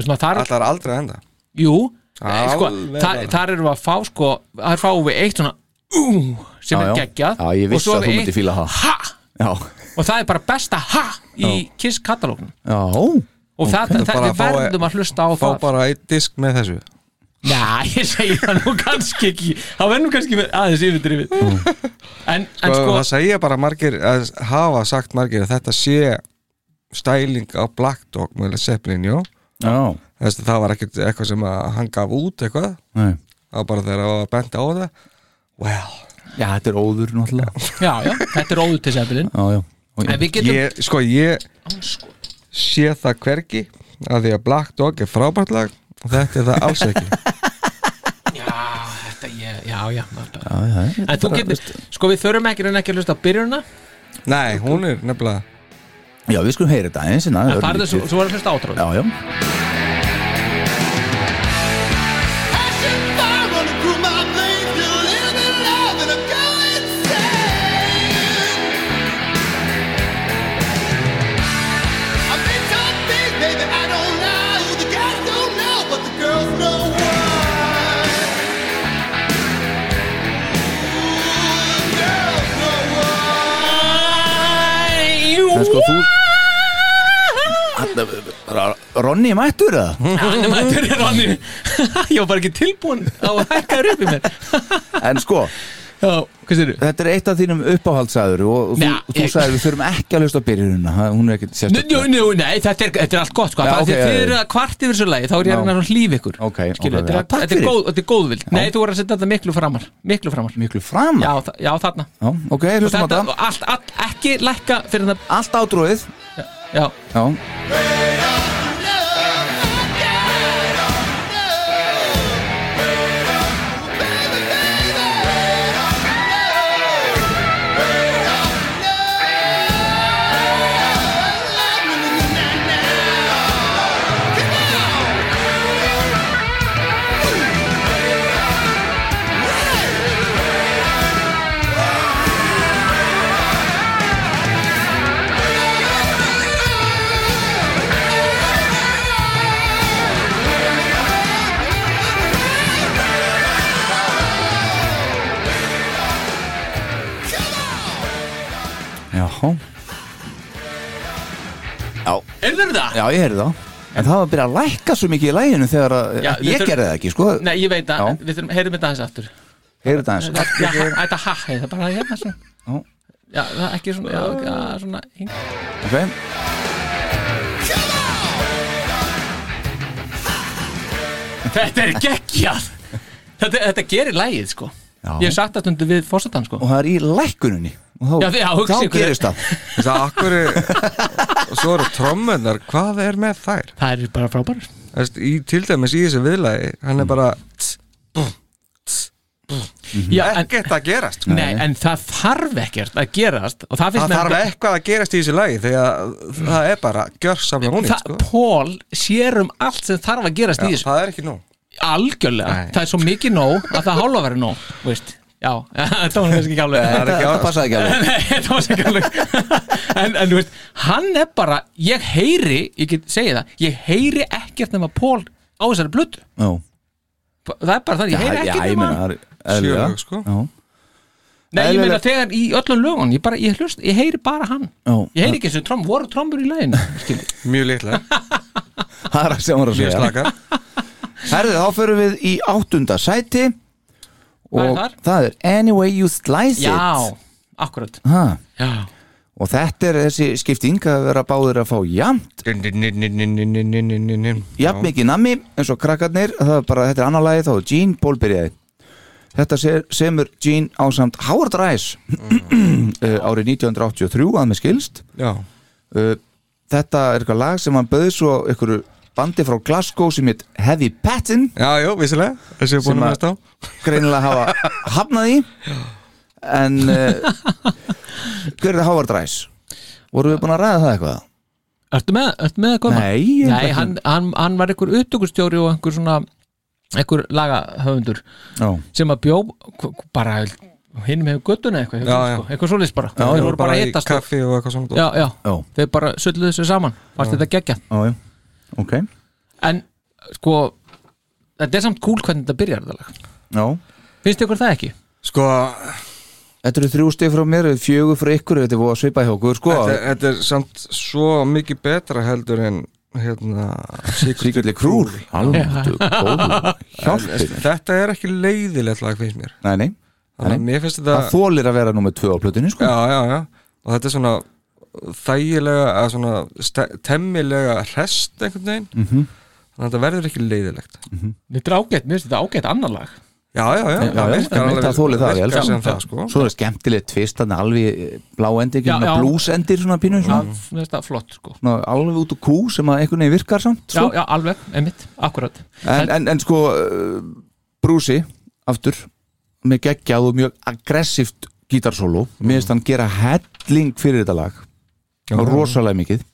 Speaker 4: svona, þar,
Speaker 3: Allar aldrei að enda.
Speaker 4: Jú,
Speaker 3: Alveg
Speaker 4: sko,
Speaker 3: bara.
Speaker 4: þar, þar erum við að fá sko, þar fáum við eitt svona uh, sem
Speaker 5: Já,
Speaker 4: er
Speaker 5: já.
Speaker 4: geggjað
Speaker 5: Já, ég
Speaker 4: og
Speaker 5: vissi
Speaker 4: svo
Speaker 5: að
Speaker 4: við
Speaker 5: þú myndir
Speaker 4: eitt
Speaker 5: fíla það.
Speaker 4: ha,
Speaker 5: Já,
Speaker 4: og það er bara besta ha í Kiss katalógnum
Speaker 5: já,
Speaker 4: og það, það,
Speaker 3: Bara
Speaker 4: við
Speaker 3: fá-
Speaker 4: verðum að hlusta á
Speaker 3: Fá
Speaker 4: það
Speaker 3: bara eitt disk með þessu.
Speaker 4: Já, [laughs] ég segi það nú kannski ekki það verðum kannski með aðeins yfirdrifið en, en
Speaker 3: Sko,
Speaker 4: sko
Speaker 3: það segja bara margir, að hafa sagt margir að þetta sé stæling á Black Dog með Led Zeppelin, jú.
Speaker 5: já,
Speaker 3: Þessi, það var ekkert eitthvað sem að hann gaf út eitthvað,
Speaker 5: nei.
Speaker 3: það var bara þegar það var að benda á það. Well,
Speaker 5: já, þetta er óður náttúrulega
Speaker 4: já, já, þetta er óður til sefilin
Speaker 5: Já, já, og,
Speaker 4: en við getum
Speaker 3: ég, sko, ég sé það hvergi að því að Black Dog er frábært lag og þetta er það alls
Speaker 4: [laughs]
Speaker 3: ekki.
Speaker 4: Já, þetta ég, já, já, já.
Speaker 5: já, já, já.
Speaker 4: En þú getur, sko við þurfum ekki en ekki að hlusta á byrjunna
Speaker 3: Nei, hún er nefnilega
Speaker 5: já, við skulum heyra þetta eins en
Speaker 4: en farðu svo,
Speaker 5: örlítið.
Speaker 4: svo var að hlusta á átróið
Speaker 5: Já, já, en sko þú Þarna bara, Ronni mættur það
Speaker 4: [laughs] Hann er mættur í ranni Ég var bara ekki tilbúin á að hækka þér upp
Speaker 5: [laughs]
Speaker 4: í mér
Speaker 5: En sko,
Speaker 4: Já, hvað sér þú?
Speaker 5: þetta er eitt af þínum uppáhaldsæður og þú,
Speaker 4: Nei,
Speaker 5: þú
Speaker 4: ég-
Speaker 5: sagðir við þurfum ekki að hlusta á byrjununa ha, hún er ekki
Speaker 4: Njú,
Speaker 5: sérstaklega
Speaker 4: njú, nei, þetta er, þetta er allt gott sko.
Speaker 5: Já,
Speaker 4: ja,
Speaker 5: ok,
Speaker 4: okay,
Speaker 5: já,
Speaker 4: Þið
Speaker 5: já.
Speaker 4: eru að kvart yfir þessu lagi Þá er ég
Speaker 5: Já.
Speaker 4: að reyna að hlífa ykkur
Speaker 5: Ok, ok,
Speaker 4: Skilu,
Speaker 5: já,
Speaker 4: þetta,
Speaker 5: takk
Speaker 4: er, þetta, er
Speaker 5: fyrir.
Speaker 4: góð, þetta er góðvild Nei, þú voru að setja þetta miklu framar Miklu framar
Speaker 5: miklu fram
Speaker 4: Já,
Speaker 5: já.
Speaker 4: þa- já þarna
Speaker 5: ok, hlustum á
Speaker 4: Þetta,
Speaker 5: það
Speaker 4: allt, allt, ekki lækka fyrir það
Speaker 5: allt ádróið
Speaker 4: Já,
Speaker 5: já. já
Speaker 4: er það það?
Speaker 5: já, ég heyrði það en það var að byrja að lækka svo mikið í læginu þegar að
Speaker 4: Já, við
Speaker 5: ég
Speaker 4: þurfum-
Speaker 5: gerði það ekki, sko
Speaker 4: Nei, ég veit að
Speaker 5: Já.
Speaker 4: við þurfum, heyrðum þetta aðeins aftur
Speaker 5: heyrðu það eins
Speaker 4: Þetta ja, þetta ha, hei, það bara hérna svona
Speaker 5: Já.
Speaker 4: Já, það ekki svona, já, já, svona hing.
Speaker 5: ok,
Speaker 4: Þetta er geggjað þetta, þetta gerir lægið, sko
Speaker 5: Já.
Speaker 4: Ég hef sagt það stundu við fórsetan, sko
Speaker 5: og það er í lækkuninni og þá,
Speaker 4: Já, þið- já,
Speaker 5: þá
Speaker 4: hugsið ykkur.
Speaker 5: gerist það
Speaker 3: Það akkur Og [laughs] svo eru trommunar, hvað er með þær?
Speaker 4: Það er bara frábærar
Speaker 3: Þess, í, til dæmis í þessu viðlagi Hann er bara
Speaker 4: já, Mm. en,
Speaker 3: ekkert að gerast sko.
Speaker 4: Nei, en það þarf ekkert að gerast og það finnst
Speaker 3: Það
Speaker 4: mér
Speaker 3: þarf eitthvað að gerast í þessu lagi Þegar það er bara gjörsamlega hún
Speaker 4: Það,
Speaker 3: sko.
Speaker 4: Pól sér um allt sem þarf að gerast í
Speaker 3: Já,
Speaker 4: þessu
Speaker 3: Það er ekki nú
Speaker 4: algjörlega,
Speaker 3: Nei.
Speaker 4: það er svo mikið nóg að það hálfa verið nóg, veist Já, [laughs] þetta var kannski ekki alveg
Speaker 3: Það er ekki
Speaker 5: það passaði ekki alveg
Speaker 4: [laughs] Nei, þetta var ekki alveg [laughs] en, en þú veist, hann er bara ég heyri, ég get segið það ég heyri ekkert nema Pól á þessari blötu
Speaker 5: Já.
Speaker 4: það er bara þannig, ég heyri
Speaker 5: Já,
Speaker 4: ekkert
Speaker 5: ég
Speaker 4: nema hann
Speaker 5: meina, það er eðlilega.
Speaker 3: Sjö lög, sko.
Speaker 5: Já.
Speaker 4: Nei, ég meina
Speaker 5: eðlilega.
Speaker 4: þegar í öllum lögun ég, bara, ég, hlust, ég heyri bara hann
Speaker 5: Já.
Speaker 4: ég heyri ekki þessu tromm, voru trommur í læginu skilur.
Speaker 3: Mjög litla,
Speaker 5: það er að sem voru að
Speaker 3: mjög
Speaker 4: [laughs]
Speaker 5: segja
Speaker 3: slakar
Speaker 5: Herðu, þá förum við í áttunda sæti
Speaker 4: Hvað er
Speaker 5: og
Speaker 4: þar?
Speaker 5: það er Anyway You Slice
Speaker 4: Já, akkurat
Speaker 5: It ha.
Speaker 4: Já,
Speaker 5: og þetta er þessi skipting að vera báðir að fá jafnt jafn
Speaker 3: Jafn
Speaker 5: mikið nammi eins og krakkarnir það er bara, þetta er annar lagi þá er Gene Paul byrjaði þetta se- semur Gene ásamt Howard Rice [clears throat] eh, árið 1983 að með skilst
Speaker 3: Já,
Speaker 5: Uh, þetta er eitthvað lag sem hann bauði svo einhverju bandi frá Glasgow sem heit Heavy Patton
Speaker 3: já, já, vissilega Þessi er búin
Speaker 5: Sem
Speaker 3: að
Speaker 5: að-
Speaker 3: næsta á
Speaker 5: greinilega hafa hafnað í en uh, hver er það Howard Rice? voru við búin að ræða það eitthvað?
Speaker 4: ertu með, ertu með að koma?
Speaker 5: Nei, ég er
Speaker 4: Nei
Speaker 5: ekki-
Speaker 4: hann, hann, hann var einhver upptökustjóri og einhver svona einhver lagahöfundur
Speaker 5: Já.
Speaker 4: sem að bjó k- k- bara hinn með göttuna eitthvað
Speaker 3: Já,
Speaker 4: eitthvað,
Speaker 3: já.
Speaker 4: sko, eitthvað svoleiðis bara
Speaker 5: Já,
Speaker 4: þeir
Speaker 5: já,
Speaker 4: voru bara að
Speaker 3: í
Speaker 4: hittast og-
Speaker 3: kaffi og eitthvað svona
Speaker 4: já, já,
Speaker 5: Já.
Speaker 4: þeir bara sölluðu þessu saman fannst þetta geggja
Speaker 5: Já, já. ok
Speaker 4: en sko, þetta er samt cool hvernig þetta byrjar þetta lag
Speaker 5: Já.
Speaker 4: finnst ykkur það ekki?
Speaker 3: Sko,
Speaker 5: þetta eru þrjú stið frá mér, fjögur frá ykkur þetta er búið að svipa hjá okkur sko
Speaker 3: þetta, þetta er samt svo mikið betra heldur en hérna, Secret-
Speaker 5: Sigurli Krúr Alvöldu, góðu, hjálpi
Speaker 3: Þetta er ekki leiðilegt lag finnst mér
Speaker 5: Nei, nei,
Speaker 3: Þannig að
Speaker 5: Nei.
Speaker 3: mér finnst
Speaker 5: það
Speaker 3: þetta
Speaker 5: þólir að vera nummer tvö á plötunni sko
Speaker 3: Já, já, já Og þetta er svona þægilega eða svona ste- temmilega hrest einhvern veginn Þannig að þetta verður ekki leiðilegt
Speaker 4: Þetta er ágætt, mér finnst þetta ágætt annar lag
Speaker 3: Já, já, já,
Speaker 5: já,
Speaker 3: það virkar
Speaker 5: einmitt,
Speaker 3: alveg-
Speaker 5: það þolir það,
Speaker 3: virkar
Speaker 5: ég elska
Speaker 3: sem
Speaker 5: það.
Speaker 3: það, sko
Speaker 5: Svo er skemmtilegt tvist þannig alveg eh, bláendir,
Speaker 4: Já, já.
Speaker 5: blúsendir svona pínu svona,
Speaker 4: mm. þetta er flott sko
Speaker 5: svona, alveg út úr kú sem að einhvern veginn virkar samt
Speaker 4: Já,
Speaker 5: sko.
Speaker 4: já, alveg, einmitt, akkurat
Speaker 5: En, en, en sko eh, brúsi aftur með geggjað og mjög aggressíft gítarsólu, mér finnst hann gera helling fyrir þetta lag og rosalega mikið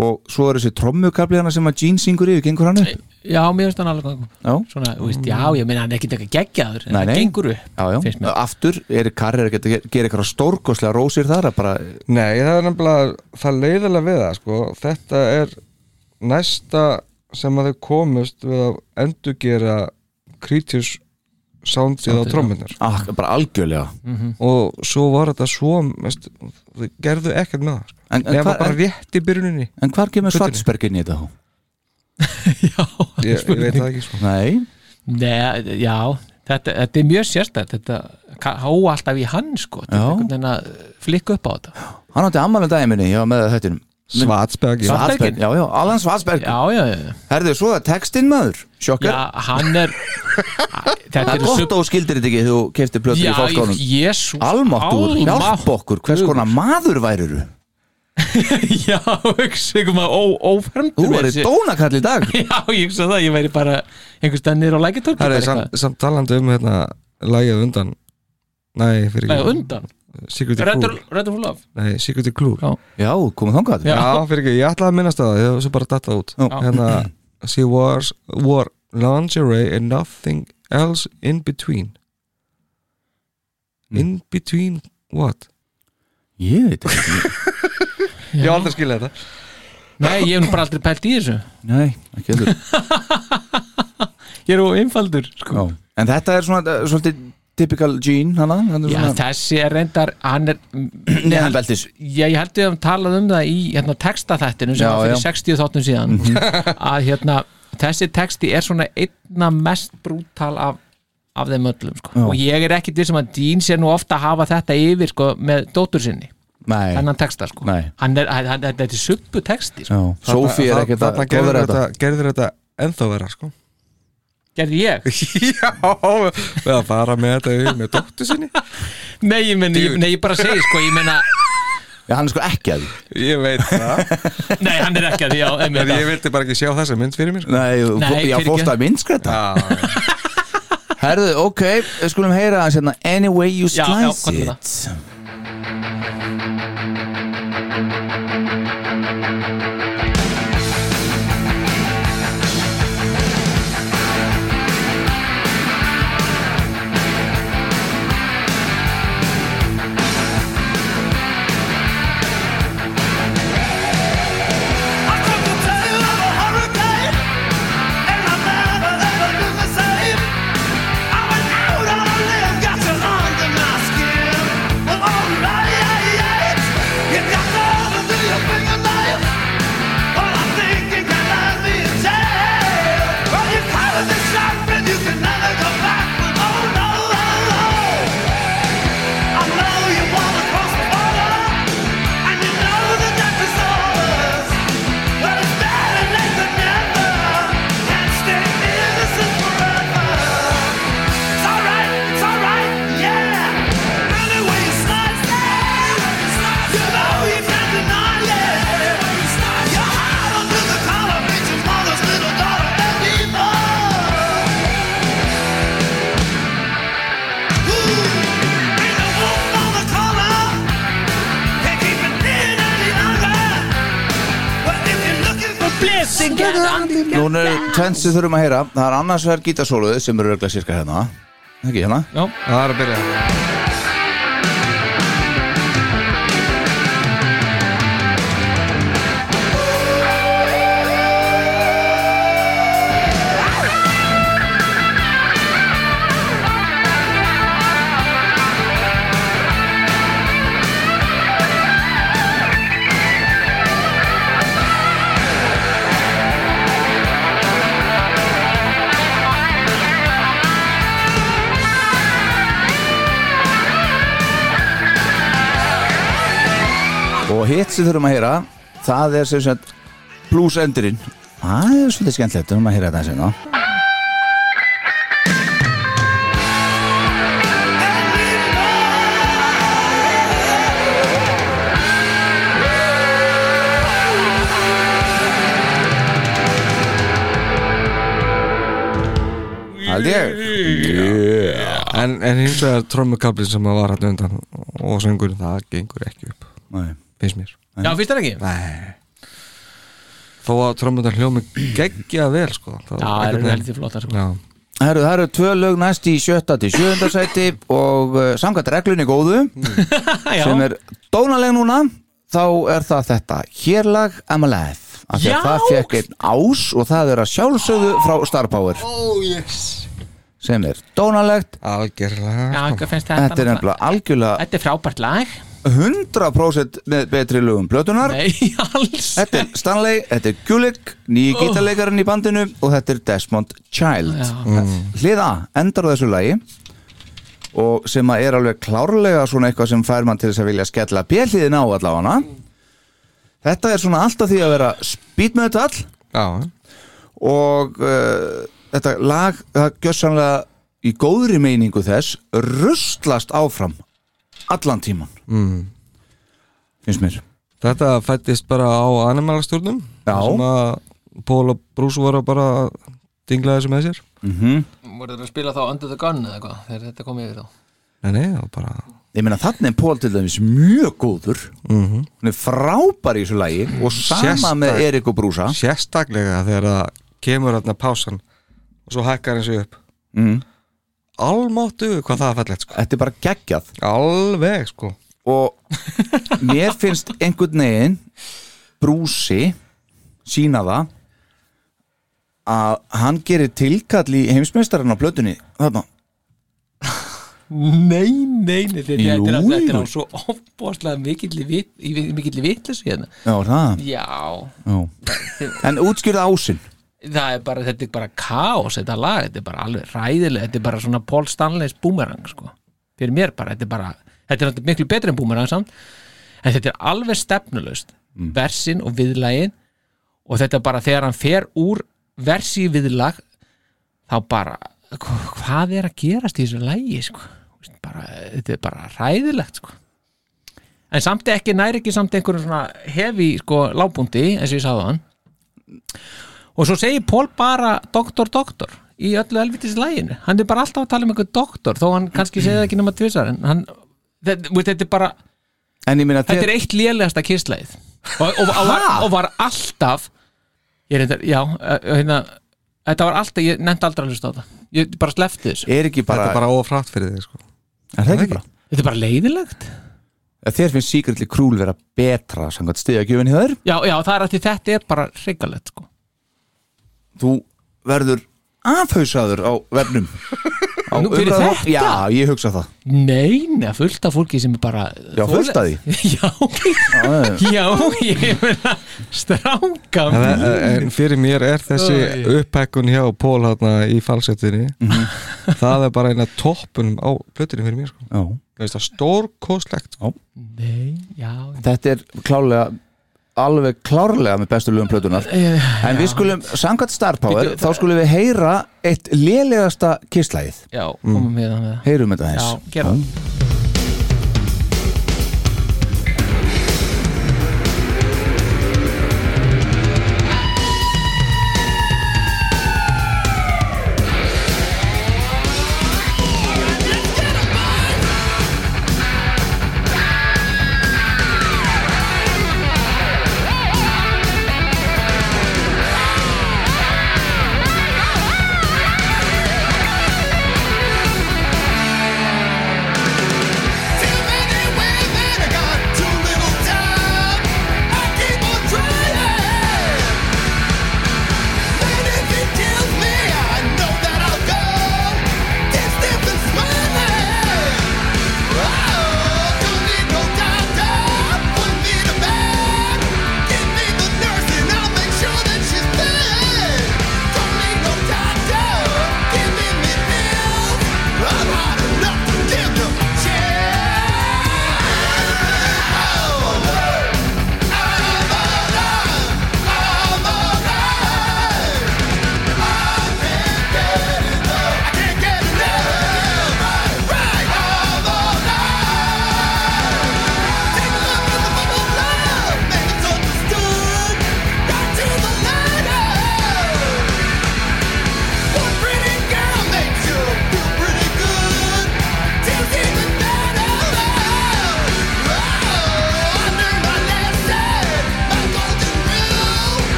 Speaker 5: og svo er þessi trommukabljana sem að Gene syngur yfir, gengur hann upp?
Speaker 4: Já, mér finnst hann alveg góð.
Speaker 5: Já,
Speaker 4: Svona, þú veist, já, ég meina hann er ekkert eitthvað geggjaður en
Speaker 5: Nei,
Speaker 4: það
Speaker 5: nei.
Speaker 4: gengur upp
Speaker 5: já, já.
Speaker 4: Finnst mér.
Speaker 5: aftur er Karri að geta- gera eitthvað stórkoslega rósir þar að bara,
Speaker 3: Nei, það er nefnilega það leiðilega við það, sko Þetta er næsta sem að þau komust við að endurgera Creatures soundið á trommunar
Speaker 5: ah, bara algjörlega
Speaker 3: og svo var þetta svo veist, þau gerðu ekkert með það sko.
Speaker 5: En, en,
Speaker 3: Nefna
Speaker 5: hvar,
Speaker 3: bara
Speaker 5: en,
Speaker 3: rétt í byrjuninni
Speaker 5: en hvar kemur
Speaker 3: Fötunni.
Speaker 5: Svartsberg inn í þetta? þá?
Speaker 3: Ég,
Speaker 4: já,
Speaker 3: ég veit það ekki sko
Speaker 5: Nei,
Speaker 4: Nei, já þetta, þetta er mjög sérstætt þetta ka- háa alltaf í hann sko þetta er
Speaker 5: Já.
Speaker 4: einhvern veginn að flikka upp á þetta
Speaker 5: hann átti ammálum daginn minni, ég var með þettinum
Speaker 3: Svartsberg já.
Speaker 4: Svartsberginn?
Speaker 5: já, já, Alan Svartsberg
Speaker 4: já, já, já,
Speaker 5: Herðu, svo er textinn maður,
Speaker 4: já
Speaker 5: sjokkar
Speaker 4: hann
Speaker 5: [laughs]
Speaker 4: er þetta
Speaker 5: Það er
Speaker 4: eru
Speaker 5: gott
Speaker 4: sub-
Speaker 5: og skildir þetta ekki þú keftir plötur í
Speaker 4: já,
Speaker 5: fólkskónum
Speaker 4: jésu
Speaker 5: Almáttúr, hjálp okkur, hvers konar maður væriru
Speaker 4: [laughs] já, hugsa ykkur maður ófremdur
Speaker 5: Þú væri dónakall í dag
Speaker 4: [laughs] já, ég hugsa það, ég væri bara einhvers stannir á lækitorki
Speaker 3: Það er samt, samt talandi um hérna Lægið undan Nei, fyrir
Speaker 4: Nei,
Speaker 3: ekki
Speaker 4: undan,
Speaker 3: Security Crew
Speaker 4: Rættur Fúlaf
Speaker 3: Nei, Security Crew
Speaker 4: Já.
Speaker 5: Já, komum þangað
Speaker 4: Já.
Speaker 3: Já, fyrir ekki, ég ætlaði að minnast á það Ég hef svo bara dattað út
Speaker 5: Já.
Speaker 3: Hérna, she was, wore lingerie and nothing else in between
Speaker 5: Hmm.
Speaker 3: In between what?
Speaker 5: Ég veit ekki
Speaker 3: Ég hef aldrei skilja þetta
Speaker 4: Nei, ég hef nú bara aldrei pælt í þessu
Speaker 5: Nei, ekki heldur
Speaker 4: Ég er óinfaldur sko.
Speaker 5: [laughs] Já. En þetta er svona, eh, svolítið typical gene hana hann er
Speaker 4: Já,
Speaker 5: svona-
Speaker 4: þessi er reyndar hann er,
Speaker 5: [clears throat] Neðan beltis
Speaker 4: já, ég held við að talað um það í hérna, textaþættinu sem
Speaker 5: Já,
Speaker 4: var fyrir
Speaker 5: já.
Speaker 4: 60 þáttum síðan [laughs] að hérna, þessi texti er svona einna mest brútal af, af þeim öllum sko.
Speaker 5: Já.
Speaker 4: og ég er ekkit við sem að Dín sé nú ofta að hafa þetta yfir sko, með dóttur sinni
Speaker 5: Nei,
Speaker 4: hennan texta sko.
Speaker 5: Nei.
Speaker 4: hann er, hann, hann, þetta er subbu texti sko.
Speaker 5: já Sophie er ekkert að
Speaker 3: Þarna
Speaker 5: góður
Speaker 3: gerðir
Speaker 5: að
Speaker 3: þetta, gerðir þetta ennþá vera, sko [laughs]
Speaker 4: gerði ég
Speaker 3: Já, við að fara með þetta yfir með dóttu sinni
Speaker 4: nei, ég, meni, ég, nei, ég bara segi sko, ég meina,
Speaker 5: Já, hann er sko ekki að því
Speaker 3: Ég veit það
Speaker 4: nei, hann er ekki að því já, einmitt,
Speaker 3: En ég vildi bara ekki sjá þessa mynd fyrir mér sko.
Speaker 5: Nei,
Speaker 4: Nei,
Speaker 5: Nei já,
Speaker 4: fyrirgefðu.
Speaker 5: fórst að minnskræta Herðu, ok, við skulum heyra hans hérna Any way you
Speaker 4: Já, já,
Speaker 5: slice
Speaker 4: komdu með
Speaker 5: it
Speaker 2: Blessing
Speaker 5: Núna er tvennt sem þurfum að heyra Það er annars verð gítasóluðu sem eru örgla sirka hérna Ekki hérna?
Speaker 4: já,
Speaker 3: Það er að byrja
Speaker 5: Og hitt sem þurfum að heyra Það er sem sagt Blues endurinn Það er svolítið skemmtilegt, þurfum að heyra þetta hérna. sem þá Það er
Speaker 3: En, en hins vegar trommukablin sem að var hann undan og söngurinn, það gengur ekki upp
Speaker 5: Nei.
Speaker 3: finnst mér
Speaker 4: já, finnst það ekki
Speaker 3: Þó að trommundan hljómi geggja vel sko þá
Speaker 4: já, það
Speaker 3: einhvern
Speaker 4: eru
Speaker 3: veginn-
Speaker 4: heldur flottar sko.
Speaker 3: Já,
Speaker 5: Herru, það eru tvö lög næst í sjötta til sjöunda sæti og uh, samkvæmt reglunni góðu
Speaker 4: [laughs] já,
Speaker 5: sem er dónaleg núna þá er það þetta Hérlag I'm Alive af því
Speaker 4: Já!
Speaker 5: að það fekk einn ás og það er að sjálfsögðu frá Star Power
Speaker 6: Oh, yes.
Speaker 5: sem er dónalegt
Speaker 3: algjörlega
Speaker 4: já,
Speaker 3: sko.
Speaker 4: hvað finnst þetta
Speaker 5: þetta er nefnilega algjörlega
Speaker 4: Þetta er frábært lag
Speaker 5: 100% með betri um lögum blötunar
Speaker 4: Nei, [laughs] alls
Speaker 5: Þetta er Stanley, þetta er Gulick nýji oh. í bandinu og þetta er Desmond Child
Speaker 4: Já.
Speaker 5: hliða, endar á þessu lagi og sem að er alveg klárlega svona eitthvað sem fær mann til þess að vilja skella bjelliðin á allafana þetta er svona alltaf því að vera speedmetal
Speaker 3: Já,
Speaker 5: og uh, þetta lag það gjössanlega í góðri meiningu þess rustlast áfram allan tíman mm. finnst mér
Speaker 3: þetta fættist bara á animalasturnum
Speaker 5: Já.
Speaker 3: sem að Pól og Brús voru bara að dingla þessu með sér
Speaker 5: Mhm.
Speaker 7: Voru þeir að spila þá Under the Gun eða eitthvað þegar þetta kom yfir þá
Speaker 3: Nei, nei, það var bara
Speaker 5: ég meina þannig er Pól til dæmis mjög góður -hmm. hún er frábær í þessu lagi og sama
Speaker 3: Sérstak-
Speaker 5: með Erik og Brúsa
Speaker 3: sérstaklega þegar það kemur hérna pásan og svo hækkar eins og upp
Speaker 5: Mm.
Speaker 3: Almáttu, hvað það er fallegt sko
Speaker 5: þetta er bara geggjað
Speaker 3: Alveg sko
Speaker 5: og mér finnst einhvern veginn brúsi sína það að hann gerir tilkall í heimsmeistarinn á blötunni þarna,
Speaker 4: Nei, nei, nei, þetta
Speaker 5: Jú,
Speaker 4: þetta er, þetta er
Speaker 5: jú.
Speaker 4: á svo ofbóðslega mikill í vitlis hérna
Speaker 5: já það
Speaker 4: Já,
Speaker 5: já. en útskýrða ásinn
Speaker 4: það er bara, þetta er bara kaos þetta lag, þetta er bara alveg ræðilega þetta er bara svona Paul Stanley's boomerang sko. fyrir mér bara, þetta er bara þetta er náttúrulega miklu betri en boomerang samt en þetta er alveg stefnulust versin og viðlagin og þetta er bara þegar hann fer úr versi í viðlag þá bara, hva- hvað er að gerast í þessu lagi sko? Þú veist, bara, þetta er bara ræðilegt sko. en samt ekki næri ekki samt einhverjum svona hefi sko, lábúndi, eins og ég sagði hann og svo segir Pól bara doktor, doktor í öllu elvitis læginu hann er bara alltaf að tala um einhver doktor þó hann kannski segja það ekki nema tvisar en hann, þetta, þú veist, þetta er bara
Speaker 5: en ég meina
Speaker 4: þetta er
Speaker 5: þér-
Speaker 4: eitt lélegasta kisslægið og, og, og, var, og var alltaf ég reyndar, já eh, hérna, þetta var alltaf, ég nefndi aldrei að hlusta á það ég bara slefti þessu,
Speaker 5: er ekki bara,
Speaker 3: Þetta er bara ofrætt fyrir þig sko
Speaker 5: er það ekki bara?
Speaker 4: þetta er bara leiðilegt
Speaker 5: Að þér finnst Secretly Cruel vera betra samkvæmt stiðagjöfin hjá þér
Speaker 4: já, já, það er að því þetta er bara hrikalegt sko.
Speaker 5: þú verður afhauðsaður á vefnum á
Speaker 4: [laughs] Nú, fyrir
Speaker 5: umræðu-
Speaker 4: þetta?
Speaker 5: já, ég hugsa það
Speaker 4: nei, neða, fullt af fólki sem er bara
Speaker 5: Já, fullt af
Speaker 4: því [laughs] já,
Speaker 5: Já,
Speaker 4: Já, ég meina stráka
Speaker 3: en, en- en fyrir mér er þessi upphækkun hjá Pól hérna í falsettinni
Speaker 4: Mhm.
Speaker 3: það er bara eina toppun á plötunni fyrir mér sko
Speaker 5: já.
Speaker 3: Það veist það stórkostlegt sko.
Speaker 4: Nei, já
Speaker 5: þetta er klálega alveg klárlega með bestu lögum plötunar en við skulum, samkvæmt Star Power
Speaker 4: Bíddu,
Speaker 5: þá skulum við heyra eitt lélegasta kisslægið,
Speaker 4: Já, komum við hann með það
Speaker 5: heyrum þetta
Speaker 4: Já,
Speaker 5: þess
Speaker 4: gera það
Speaker 5: þetta er gegn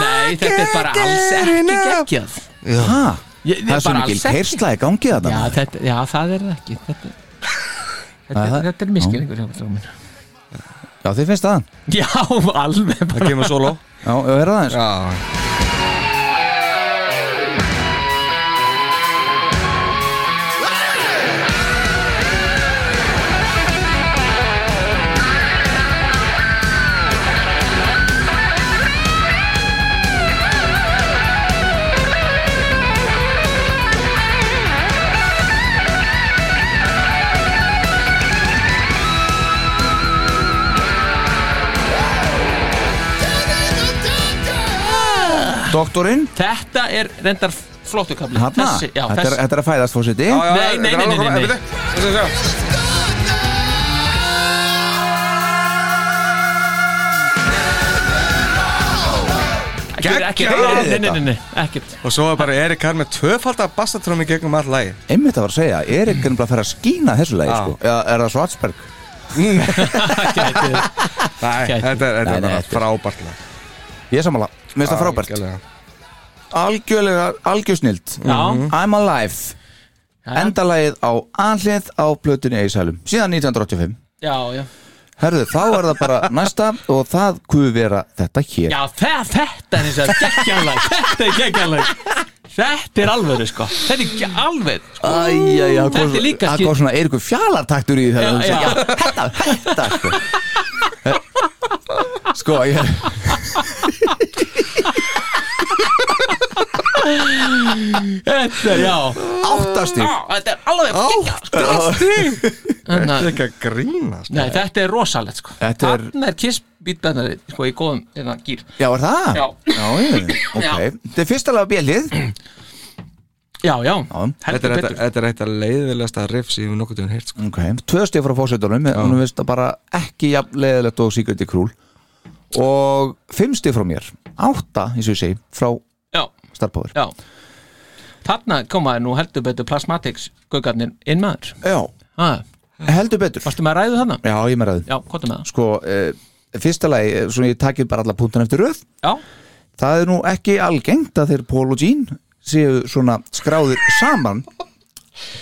Speaker 4: Nei, þetta er bara alls ekki geggjað
Speaker 5: ha,
Speaker 4: Ég-
Speaker 5: það er svo
Speaker 4: bara
Speaker 5: mikil
Speaker 4: alls ekki.
Speaker 5: kersla í gangi
Speaker 4: já,
Speaker 5: þetta
Speaker 4: þetta, já, það er það ekki Þetta, þetta,
Speaker 5: það-
Speaker 4: þetta er miskilningur hjá strákum minn.
Speaker 5: já, þið finnst það
Speaker 4: Já, alveg bara
Speaker 3: það kemur solo
Speaker 5: já, já, er það eins
Speaker 3: já,
Speaker 5: doktorinn
Speaker 4: Þetta er reyndar flottu kafli
Speaker 5: Hanna,
Speaker 4: Þessi, já,
Speaker 5: þetta, er,
Speaker 4: þessi
Speaker 5: þetta er að fæðast fórseti
Speaker 3: já, já,
Speaker 4: Nei, nei, nei, nei, nei, nei.
Speaker 3: nei, nei.
Speaker 4: Ekkert, ekkert,
Speaker 3: Geggjaður
Speaker 4: nei, nei,
Speaker 5: þetta.
Speaker 4: nei, nei, ekkert
Speaker 3: og svo er bara Erik Karr með tvöfaldar bassatrömmi gegnum all lagi
Speaker 5: einmitt að var að segja, Erik er bara að fara að skína þessu lagi,
Speaker 3: Já.
Speaker 5: sko, já, er það Svartsberg [laughs]
Speaker 3: Nei, þetta
Speaker 4: Gæti.
Speaker 3: er, þetta er
Speaker 5: Nei, nei,
Speaker 3: bara
Speaker 5: þetta er-
Speaker 3: frábært lag.
Speaker 5: ég er sammála, mér finnst það frábært
Speaker 3: Algjörlega.
Speaker 5: algjörlega, algjörsnild Mhm.
Speaker 4: Já.
Speaker 5: I'm Alive, endalagið á anlið á plötunni Eisælum, síðan 1985
Speaker 4: Já, já
Speaker 5: herðu, þá er það
Speaker 4: [laughs]
Speaker 5: bara næsta og það kuð vera þetta hér
Speaker 4: Já, þe þetta er eins og geggjanleg Þetta er geggjanleg Þetta er alvöru, sko Þetta er ekki alveg sko.
Speaker 5: Æja, já,
Speaker 4: Þetta er líka
Speaker 5: Það
Speaker 4: skil-
Speaker 5: kom svona Eirikur fjalartaktur í
Speaker 4: Já,
Speaker 5: þegar hún
Speaker 4: já.
Speaker 5: sagði, já, þetta, þetta,
Speaker 4: [laughs]
Speaker 5: sko Sko, ég,
Speaker 4: [laughs] Þetta er, já
Speaker 5: áttastík
Speaker 4: Á, Þetta er alveg geggjað sko.
Speaker 3: Þetta er
Speaker 4: Þannig
Speaker 3: ekki að grínast
Speaker 4: Nei, þetta er rosalegt, sko
Speaker 5: Þetta er-
Speaker 4: Þarna er kiss býtbennari, sko, í góðum Þetta gýr
Speaker 5: Já, er það?
Speaker 4: Já.
Speaker 5: Já, ég, ok
Speaker 4: Já.
Speaker 5: Þetta er fyrsta lag á bjölið
Speaker 4: Já, já,
Speaker 3: Þetta
Speaker 4: heldur
Speaker 3: er-
Speaker 4: betur
Speaker 3: þetta er eitt að leiðilegasta riff sem ég nokkuð tíðan heyrt sko.
Speaker 5: Ok, tvö stíð frá fósveitunum Hún veist það bara ekki jafn leðilegt og síkvöldi krúl Og fimm stíð frá mér Átta, eins og ég segi, frá
Speaker 4: Já,
Speaker 5: starfbóður
Speaker 4: já Þarna komaði nú heldur betur plasmatics Gaukarnir inn maður
Speaker 5: Já,
Speaker 4: ha,
Speaker 5: heldur betur
Speaker 4: Varstu með að ræðu þarna?
Speaker 5: Já, ég með ræðum
Speaker 4: Já, hvað er með það?
Speaker 5: Sko, eh, fyrsta lagi, eh, svona ég takið bara alla púntan eftir röð
Speaker 4: Já,
Speaker 5: það er nú ekki algengt að þeir Paul og Jean séu svona skráðir saman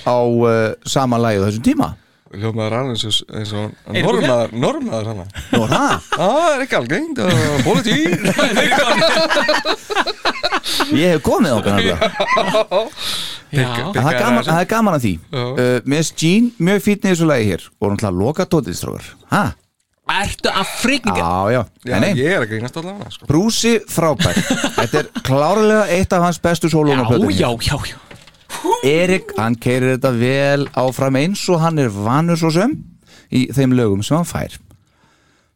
Speaker 5: á uh, sama lagi á þessum tíma
Speaker 3: Hljómaður hann eins og, eins og
Speaker 4: Eiríkur
Speaker 3: normaður, normaður hann
Speaker 5: Nú er það,
Speaker 3: Það er ekki algengt og politík
Speaker 5: ég hef komið okkur nefnilega
Speaker 4: já,
Speaker 5: En það er gaman, það er gaman að því uh, Mér finnst Jean mjög fítni í þessu lagi hér og hann hlað loka tótiðstrókar Ha,
Speaker 4: Ertu að frikninga?
Speaker 5: já, já,
Speaker 3: Já,
Speaker 5: já nei,
Speaker 3: ég er að grínast allavega sko.
Speaker 5: Brúsi frábær Þetta er klárlega eitt af hans bestu sólun
Speaker 4: Já,
Speaker 5: á plötunni.
Speaker 4: já, já, já
Speaker 5: Erik, hann keirir þetta vel áfram eins og hann er vanur svo sem í þeim lögum sem hann fær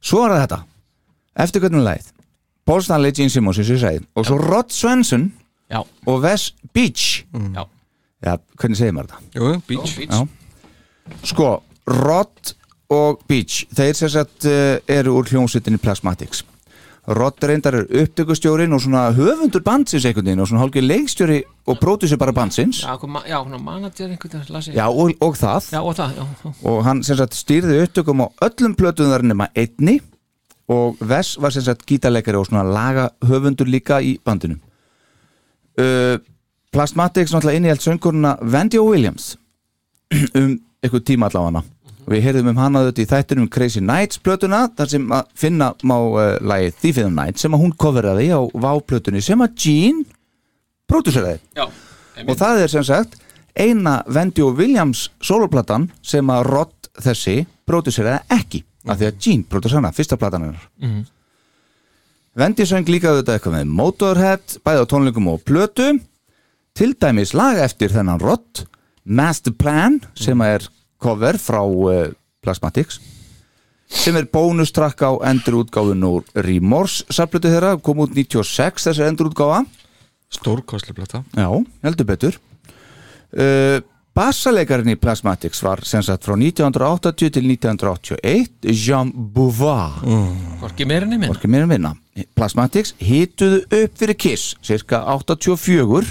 Speaker 5: Svo er það þetta Eftir hvernig leið Paul Stanley, Gene Simmons, eins og ég segi og svo Rod Svensson
Speaker 4: Já,
Speaker 5: og Wes Beach
Speaker 4: já,
Speaker 5: Já, hvernig segir maður þetta?
Speaker 3: Jú, beach
Speaker 5: Sko, Rod og Beach þeir sem sagt eh, eru úr hljómsveitinni Plasmatics Rod reyndar er upptökustjórin og svona höfundur bandsins einhvern veginn og svona hálfgeir leikstjóri og brótusir bara bandsins
Speaker 4: já, hvað ma- já, hún á manager einhvern veginn, lasi
Speaker 5: Já, og, og það
Speaker 4: já, og það, já, já,
Speaker 5: og hann sem sagt stýrði upptökum á öllum plötum þar nema einni og Vess var sem sagt gítarleikari og svona laga höfundur líka í bandinu uh, Plasmatics náttúrulega innihjælt söngurna Wendy O. Williams [clears throat] um eitthvað tíma allavega og við heyrðum um hana þetta í þættinum Crazy Nights plötuna þar sem að finna má uh, lagið Thief in the Night sem að hún coveraði á váplötunni sem að Gene pródúseraði
Speaker 4: já.
Speaker 5: og það er sem sagt eina Wendy og Williams soloplatan sem að Rod þessi próduseraði ekki af því að Gene próduseraði hana, fyrsta platan hennar Wendy söng líka auðvitað eitthvað með Motorhead bæði á tónleikum og plötu til dæmis laga eftir þennan Rod Master Plan sem að er cover frá uh, Plasmatics sem er bónustrakk á endurútgáfun úr Remorse saflötu þeirra, kom út 96 þessi endurútgáfa
Speaker 3: Stórkostlega blata
Speaker 5: Já, heldur betur uh, Bassalekarinn í Plasmatics var sem sagt frá 1980 til 1981 Jean Bouvard mm.
Speaker 4: Hvorki meira nefnir minn
Speaker 5: Orkið mér að vinna Plasmatics hituðu upp fyrir Kiss cirka 84 uh,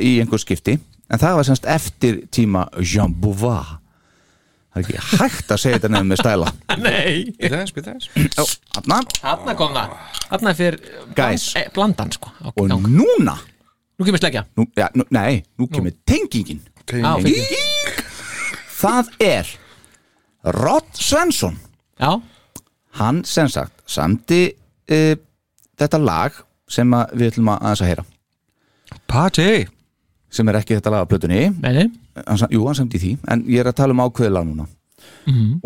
Speaker 5: í einhver skipti en það var semst eftir tíma Jean Bouvard Það er ekki hægt að segja þetta nefnum með stæla
Speaker 4: Nei
Speaker 3: Býta eins, býta eins
Speaker 5: Jó, þarna
Speaker 4: Þarna kom það Þarna fyrir
Speaker 5: Guys.
Speaker 4: bland, e, Blandan, sko ok,
Speaker 5: Og
Speaker 4: gang.
Speaker 5: núna
Speaker 4: Nú kemur sleggja
Speaker 5: nú, ja, nú, nei, nú kemur tengingin
Speaker 4: Já,
Speaker 3: Tenging.
Speaker 4: fyrir-
Speaker 5: það er Rod Svensson
Speaker 4: já,
Speaker 5: hann sem sagt samdi uh, þetta lag sem að við ætlum að aðeins að heyra
Speaker 3: Party
Speaker 5: sem er ekki þetta lag af plötunni
Speaker 4: meni
Speaker 5: hann, sam- jú, hann samdi því, en ég er að tala um ákveðið lag núna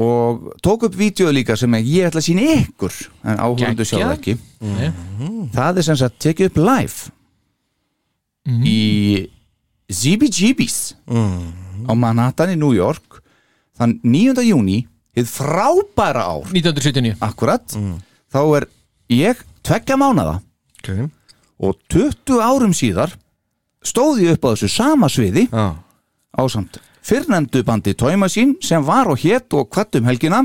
Speaker 5: og tók upp vídeo líka sem ég ætla að sína ykkur en áhverjum sjá það
Speaker 4: Geggjað.
Speaker 5: ekki það er sem sagt tekið upp live í ZBGB's á Manhattan í New York þann 9. júni hið frábæra ár
Speaker 4: 1979
Speaker 5: akkurat þá er ég tveggja mánada
Speaker 3: okay.
Speaker 5: og 20 árum síðar stóð ég upp á þessu sama sviði
Speaker 3: Já.
Speaker 5: ásamt fyrrnendu bandi Tóima sín sem var og hétt og kvatt um helgina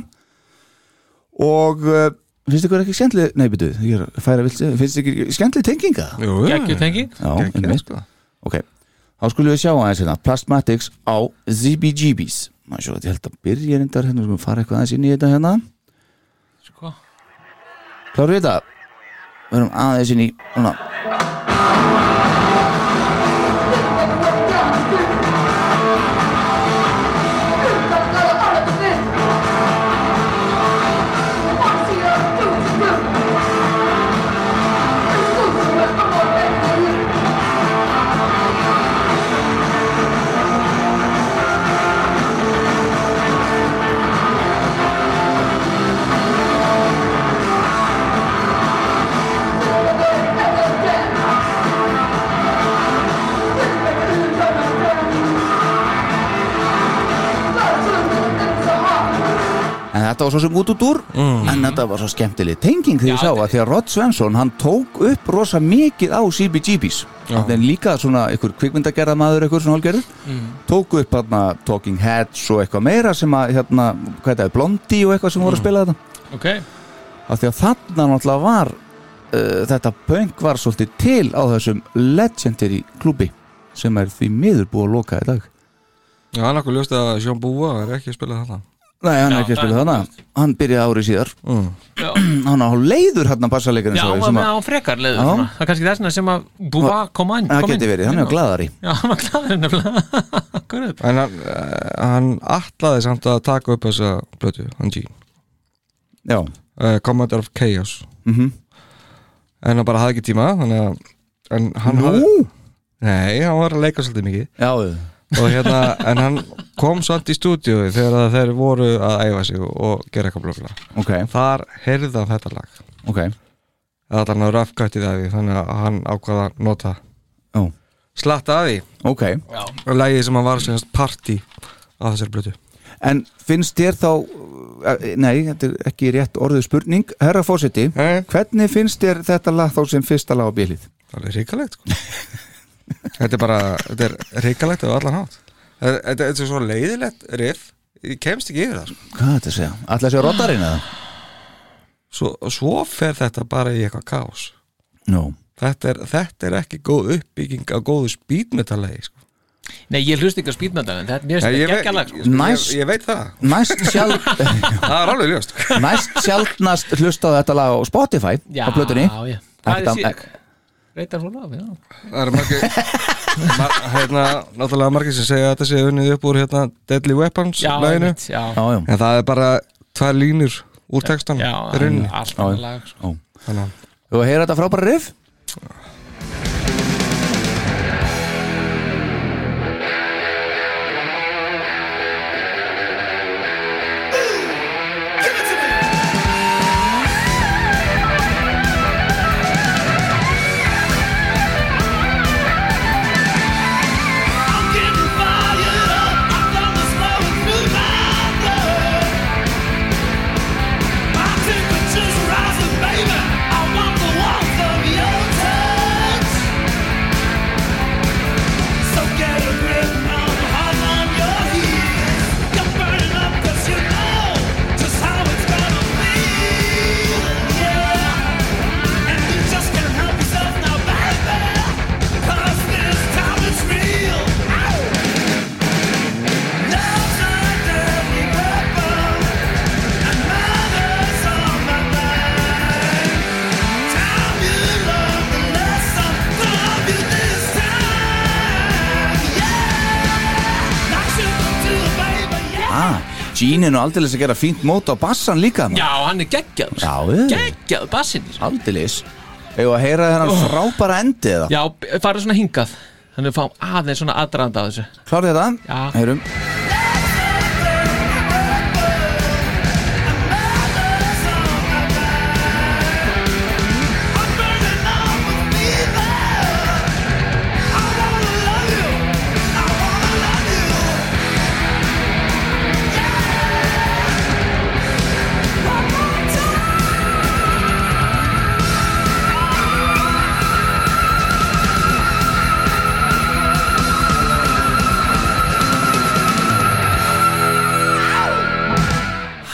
Speaker 5: og uh, finnst ykkur ekki skemmtli nei betu, ég er að færa vilt finnst ykkur ekki skemmtli tenginga
Speaker 3: Jú,
Speaker 4: Gekkju tenging
Speaker 5: já,
Speaker 3: Geggjað,
Speaker 5: einmitt.
Speaker 3: sko.
Speaker 5: ok, þá skulum við sjá aðeins hérna Plastmatics á ZBGB's maður svo, ég held að byrja reyndar hérna við skulum fara eitthvað aðeins inn í þetta hérna
Speaker 4: sko.
Speaker 5: kláru við þetta við erum aðeins inn í svona En þetta var svo sem út út úr En þetta var svo skemmtileg tenging þegar ég
Speaker 4: Já,
Speaker 5: sá að því að Rod Svensson hann tók upp rosa mikið á CBGB's Þannig en líka svona ykkur kvikmyndagerða maður ykkur svona hálgerður Tók upp hérna Talking Heads og eitthvað meira sem að hérna, hvað þetta er, Blondie og eitthvað sem voru að spila þetta
Speaker 4: ok,
Speaker 5: Af því að þarna náttúrulega var uh, þetta punk var svolítið til á þessum legendary klubi sem er því miður búið að loka í dag
Speaker 3: Já, hann okkur ljóst að Sjón Búa er ekki að spila þetta
Speaker 5: Nei, hann
Speaker 4: Já,
Speaker 5: er ekki að
Speaker 4: það-
Speaker 5: spila þarna Hann byrjaði árið síðar
Speaker 3: mm.
Speaker 5: hann á leiður hérna bassalegarinn
Speaker 4: já, hann var með á frekar leiður
Speaker 5: Já. Ah.
Speaker 4: svona. það er kannski þessna sem að búa kom inn
Speaker 5: það
Speaker 4: kom inn.
Speaker 5: geti verið, hann er glæðari
Speaker 4: já, hann var glæður nefnilega [laughs] Akkurat.
Speaker 3: En hann, eh, hann atlaði samt að taka upp þessa blötu, hann Gene
Speaker 5: já,
Speaker 3: uh, Commander of Chaos
Speaker 5: Mhm.
Speaker 3: En hann bara hafði ekki tíma Þannig að en hann
Speaker 5: Nú?
Speaker 3: hafði- Nei, hann var að leika svolítið mikið
Speaker 5: já,
Speaker 3: og hérna, En hann kom samt í stúdíu þegar að þeir voru að æfa sig og- og gera eitthvað blöfla
Speaker 5: ok,
Speaker 3: Þar heyrði hann þetta lag
Speaker 5: ok
Speaker 3: Það er hann að rafkvættið að því Þannig að hann ákvaða að nota
Speaker 5: Ó.
Speaker 3: Slatta að því
Speaker 5: ok,
Speaker 3: og lagið sem hann var sem sagt party á þessari blötu
Speaker 5: en finnst þér þá eh, nei, þetta er ekki rétt orðið spurning herra fósiti,
Speaker 3: Nei.
Speaker 5: hvernig finnst þér þetta lag þá sem fyrsta lag á bílið?
Speaker 3: Það er ríkalegt sko.
Speaker 5: [laughs]
Speaker 3: Þetta er bara, þetta er ríkalegt á allan hátt Þetta þetta- þetta er svo leiðilegt riff Ég kemst ekki yfir það sko.
Speaker 5: hvað er þetta að segja? Ætla að segja roddarinn eða?
Speaker 3: svo, svo fer þetta bara í eitthvað kaos
Speaker 5: no,
Speaker 3: Þetta er, þetta er ekki góð uppbygging á góðu speedmetallegi sko.
Speaker 4: nei, ég hlust ekki á spýtmöndan en þetta mér
Speaker 3: Nei, ég,
Speaker 4: finnst þetta
Speaker 3: veit-
Speaker 4: geggja lag
Speaker 3: sko,
Speaker 4: sko.
Speaker 5: Næst-
Speaker 3: ég, ég veit það
Speaker 5: næst sjálf [laughs]
Speaker 3: Það er alveg ljóst
Speaker 5: næst sjálfnast hlustaði þetta lag á Spotify
Speaker 4: já,
Speaker 5: á plötunni
Speaker 4: já.
Speaker 5: Ekkert
Speaker 4: það
Speaker 5: am-
Speaker 4: er
Speaker 5: ek-
Speaker 4: reytar hún af, já
Speaker 3: Það er margir mar, hérna, Náttúrulega margir sem segja að þetta sé unnið upp úr hérna, Deadly Weapons
Speaker 4: já,
Speaker 3: laginu
Speaker 4: einmitt, já,
Speaker 5: já, já,
Speaker 3: En það er bara tvær línur úr textan
Speaker 4: já,
Speaker 3: í rauninni.
Speaker 4: allt
Speaker 5: Já,
Speaker 4: annað
Speaker 5: já.
Speaker 4: lag sko.
Speaker 5: já
Speaker 3: Þannig að
Speaker 5: og heyra þetta frábæra riff
Speaker 2: Baby, I want the warmth of your touch
Speaker 5: Gene Ah, er nú aldeilis að gera fínt mót á bassan líka maður.
Speaker 4: Já, hann er geggjaður
Speaker 5: Já, við-
Speaker 4: Geggjaður, bassinn sko.
Speaker 5: aldeilis Eða að heyra þennan frábæra endi eða
Speaker 4: Oh. Já, farið svona hingað Þannig að fá aðeins svona aðdraðanda af þessu
Speaker 5: Klárið þetta?
Speaker 4: Já.
Speaker 5: Heyrum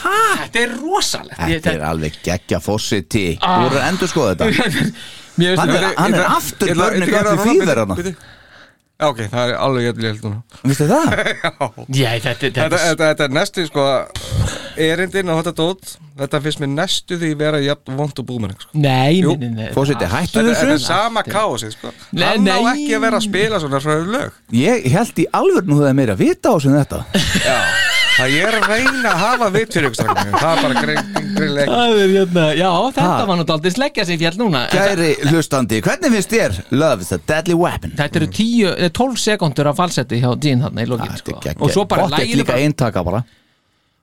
Speaker 4: Hæ, þetta er rosalegt Ég-
Speaker 5: Þetta er alveg geggja fósiti
Speaker 4: Ah.
Speaker 5: Þú voru að endur
Speaker 4: [laughs]
Speaker 5: skoða þetta
Speaker 4: Mér
Speaker 5: Hann
Speaker 4: veist
Speaker 5: er, hann er aftur börnir gætið fýðar hann
Speaker 3: Já, ok, það er alveg jæfnilega held núna
Speaker 5: Vistu það?
Speaker 4: Já,
Speaker 3: þetta,
Speaker 4: þetta, þetta, þetta,
Speaker 3: þetta, þetta er næstu, sko erindin á þetta dót þetta finnst mér næstu því vera jafn vond og búmenning sko.
Speaker 4: Nei,
Speaker 3: Jú.
Speaker 4: nei, nei, nei
Speaker 5: Fósiti, hættu
Speaker 3: þetta, þetta
Speaker 5: þessu
Speaker 3: er sama kási sko.
Speaker 4: Nei,
Speaker 3: hann á
Speaker 4: nei.
Speaker 3: ekki að vera að spila svona svona lög
Speaker 5: Ég held í alveg nú það er meira vita á sem þetta
Speaker 3: Já, það ég er að reyna að hafa vit fyrir ykkur strákar mínir. það er bara grein- greinlega ekki
Speaker 4: Það er hérna, já, þetta
Speaker 5: Ha.
Speaker 4: var náttúrulega aldrei sleggja sem fjall núna En
Speaker 5: Kæri hlustandi, hvernig finnst þér Love is a deadly weapon?
Speaker 4: Þetta eru 10, eh, 12 sekundur af falsetti hjá Jean þarna í lokin sko.
Speaker 5: Ah, Þetta er
Speaker 4: Og svo bara
Speaker 5: Pottet
Speaker 4: læginu
Speaker 5: líka
Speaker 4: bara,
Speaker 5: eintaka bara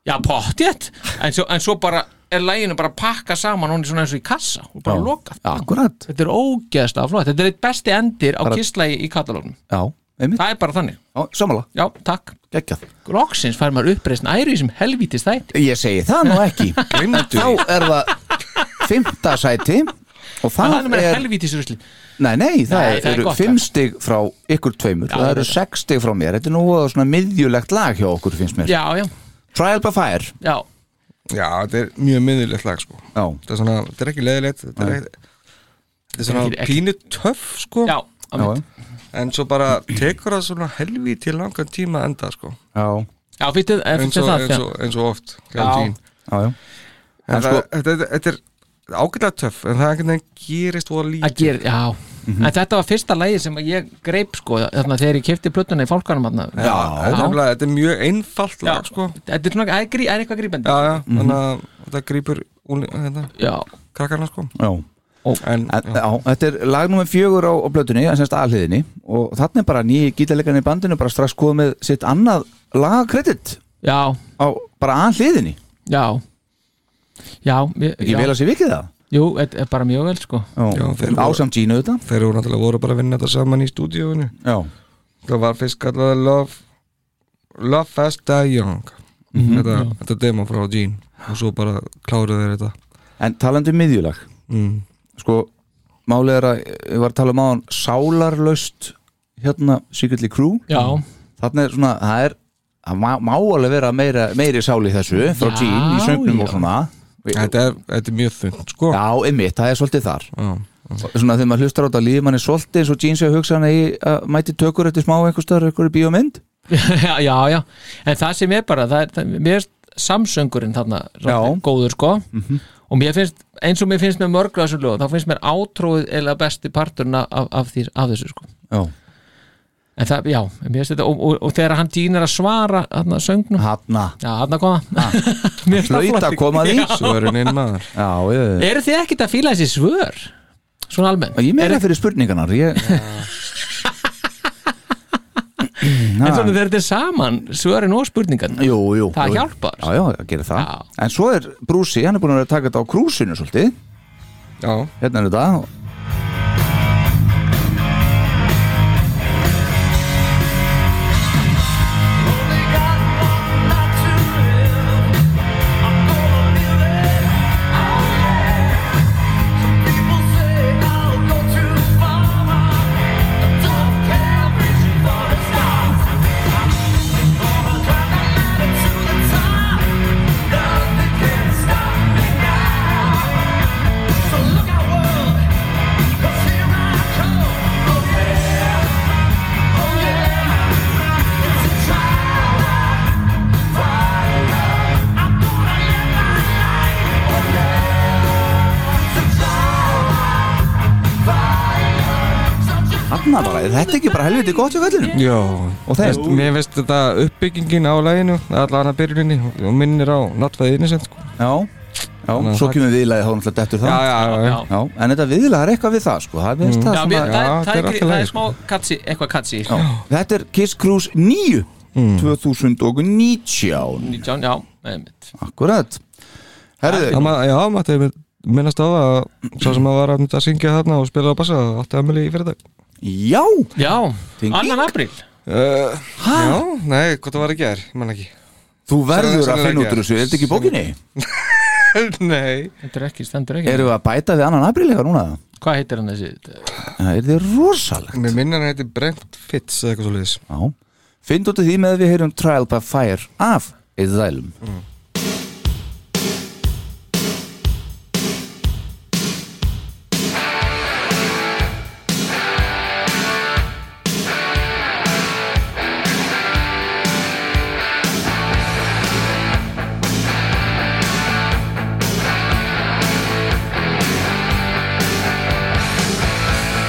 Speaker 4: Já, pottjett en, svo- en svo bara er læginu bara pakka saman Hún er svona eins og í kassa og bara
Speaker 5: Já.
Speaker 4: lokað
Speaker 5: Akkurat,
Speaker 4: Þetta er ógeðslega flott Þetta er eitt besti endir á
Speaker 5: Bara-
Speaker 4: kistlagi í katalónum
Speaker 5: já, einmitt
Speaker 4: Það er bara þannig
Speaker 5: Já, Sammála,
Speaker 4: Já, takk
Speaker 5: geggjað
Speaker 4: Loksins fær maður uppreisn æru í sem helvítist þætti
Speaker 5: Ég segi það nú ekki
Speaker 3: Gleymdu
Speaker 5: Þá er það fymta sæti Og
Speaker 4: Það
Speaker 5: það
Speaker 4: er meira
Speaker 5: er,
Speaker 4: helvítis rusli
Speaker 5: nei, nei,
Speaker 4: Nei,
Speaker 5: það
Speaker 4: það er
Speaker 5: eru
Speaker 4: gott
Speaker 5: fimm
Speaker 4: lag.
Speaker 5: stig frá ykkur tveimur
Speaker 4: Já,
Speaker 5: Það
Speaker 4: ég
Speaker 5: eru
Speaker 4: veit það.
Speaker 5: sex stig frá mér Þetta er nú voða svona miðjulegt lag hjá okkur finnst mér
Speaker 4: Já, já,
Speaker 5: Trial by Fire
Speaker 4: já
Speaker 3: Já, þetta er mjög miðurlegt lag sko.
Speaker 5: Já,
Speaker 3: þetta, er svona, þetta er ekki leðilegt þetta er, ekki- þetta er
Speaker 4: Ekki-
Speaker 3: svona
Speaker 4: ekki-
Speaker 3: pínu töff sko.
Speaker 4: Já,
Speaker 5: já,
Speaker 4: já,
Speaker 3: en svo bara tekur það svona helvi til langan tíma að enda sko.
Speaker 5: já,
Speaker 4: já fyrir
Speaker 3: eins, og,
Speaker 4: það
Speaker 3: eins,
Speaker 4: já.
Speaker 3: og, eins og oft
Speaker 4: Já.
Speaker 3: en
Speaker 5: já, já. En
Speaker 3: það,
Speaker 5: sko,
Speaker 3: þetta, þetta, þetta er ágætlega töff en það er einhvern veginn gerist og
Speaker 4: að
Speaker 3: lítið
Speaker 4: gera, já en þetta var fyrsta lægi sem að ég greip sko þarna þegar ég kefti plötuna í fólkanum þarna.
Speaker 3: Já, þetta er nefnilega- þetta er mjög einfalt
Speaker 4: Já.
Speaker 3: lag sko.
Speaker 4: þetta er svona, það er grí- það er eitthvað grípandi
Speaker 3: já, já, þannig að þetta grýpur hérna,
Speaker 4: já,
Speaker 3: krakkarna sko.
Speaker 5: já
Speaker 3: en,
Speaker 5: En, já, þetta er lag nummer fjögur á, á blötunni, en semst aðliðinni og þannig bara nýji gítarleikarni í bandinu bara strax komið með sitt annað lagakredit
Speaker 4: já,
Speaker 5: á bara aðliðinni
Speaker 4: já já, ég,
Speaker 5: ekki
Speaker 4: já.
Speaker 5: vel að sé vikið það
Speaker 4: jú, þetta er bara mjög vel sko
Speaker 5: já,
Speaker 3: Já, þeir voru-
Speaker 5: ásamt Gínu þetta
Speaker 3: þeir eru náttúrulega voru bara að vinna þetta saman í stúdíóinu
Speaker 5: já,
Speaker 3: það var fyrst kallaði Love Love Fast Die Young þetta, þetta demo frá Gene og svo bara kláruðu þeir þetta
Speaker 5: en talandi um miðjulag
Speaker 3: mm.
Speaker 5: sko, málið er að ég var að tala um áðan sálarlaust hérna Secretly Crew
Speaker 4: já,
Speaker 5: þannig er svona, það er það má, má alveg vera meira, meiri sál í þessu frá
Speaker 4: Já,
Speaker 5: Gín í söngnum
Speaker 4: já.
Speaker 5: og svona
Speaker 3: þetta, er, þetta er mjög þund sko
Speaker 5: já, einmitt, það er svolítið þar
Speaker 3: Já.
Speaker 5: svona þegar maður hlustar á þetta líf mann er svolítið eins og Gene sé að hugsa hann í að mæti tökur eftir smá einhver stöður einhverju bíómynd
Speaker 4: [laughs] já, já, já en það sem er bara, það er, það, mér finnst samsöngurinn þarna
Speaker 5: Já. Mhm.
Speaker 4: góður sko og mér finnst, eins og mér finnst með mörgla þessu lög, þá finnst mér átróið eða besti parturna af, af, því, af þessu sko
Speaker 5: já.
Speaker 4: En það, já, mér finnst þetta og, og, og þegar hann dýnir að svara hann söngnum,
Speaker 5: hafna
Speaker 4: já, hann að koma [laughs] Mér finnst það
Speaker 5: Ah. hlaut að
Speaker 4: flott.
Speaker 5: koma að því já,
Speaker 3: svörun inn maður
Speaker 5: ég,
Speaker 4: Eru þið ekkert að fíla þessi svör? Svona almennt
Speaker 5: ég meira
Speaker 4: Er-
Speaker 5: fyrir spurningarnar ég... [laughs]
Speaker 4: En svona þegar þetta er saman, svörin og spurningan
Speaker 5: Jú, jú,
Speaker 4: Það
Speaker 5: jú.
Speaker 4: hjálpar.
Speaker 5: Já, já, það gerir það
Speaker 4: Já.
Speaker 5: En svo er Brúsi, hann er búin að vera að taka þetta á krúsinu svolítið
Speaker 3: já,
Speaker 5: Hérna er þetta
Speaker 2: Stop me now. So look out, world.
Speaker 5: Þarna bara, er þetta ekki bara helviti gott í völlinu?
Speaker 3: Já,
Speaker 5: Og það er-
Speaker 3: Veist- mér finnst þetta uppbyggingin á læginu, allan að byrjuninni og minnir á nattfæði innisend sko.
Speaker 5: Já, já,
Speaker 3: Þannig að
Speaker 5: svo
Speaker 3: það-
Speaker 5: kemur viðlæði þá náttúrulega dettur
Speaker 3: Já,
Speaker 5: það
Speaker 3: já, já, já.
Speaker 5: Já, en þetta viðlag er eitthvað við það sko Það er mm. það
Speaker 4: Já,
Speaker 5: sem
Speaker 4: mér,
Speaker 5: að
Speaker 3: Já,
Speaker 4: það, er, það,
Speaker 3: þetta er
Speaker 4: er,
Speaker 3: allt í
Speaker 4: grí- það
Speaker 3: lagi,
Speaker 4: er smá katsi, eitthvað katsi sko.
Speaker 5: já. Þetta er Kiss Cruise 9 2019
Speaker 4: 19, já, einmitt
Speaker 5: Akkurat
Speaker 3: Já,
Speaker 5: Herðu,
Speaker 3: ma- já maður þegar minnast á það að svo sem að var að mynda að syngja þarna og spila á bassa átti Amelie í fyrir dag
Speaker 5: já,
Speaker 4: Já,
Speaker 5: Tenging.
Speaker 4: annan apríl
Speaker 3: uh, Já, nei, hvað það var að gera, mann ekki
Speaker 5: þú verður
Speaker 3: Sennilega
Speaker 5: að finna út
Speaker 3: ekki.
Speaker 5: úr þessu Er þetta ekki í bókinni?
Speaker 3: [laughs] Nei
Speaker 4: Stendur ekki, stendur ekki
Speaker 5: Erum við að bæta við annan apríl eitthvað núna?
Speaker 4: Hvað heitir hann þessi?
Speaker 5: Það er þið rosalegt
Speaker 3: Mér minna hann heiti Brent Fitz eða eitthvað svo liðis
Speaker 5: Já, finn út af því með að við heyrum Trial by Fire af Eðælum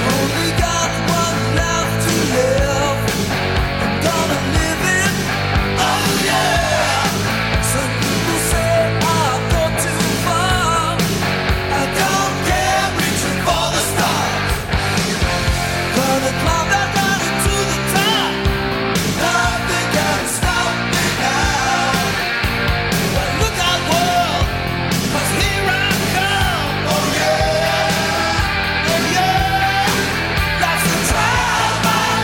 Speaker 2: Only got one life to live. I'm gonna live it. Oh yeah. Some people say I go too far. I don't care, reaching for the stars. Gonna climb that mountain to the top. Nothing can stop me now. But look out, world, 'cause here I come. Oh yeah. Oh yeah. That's the trial by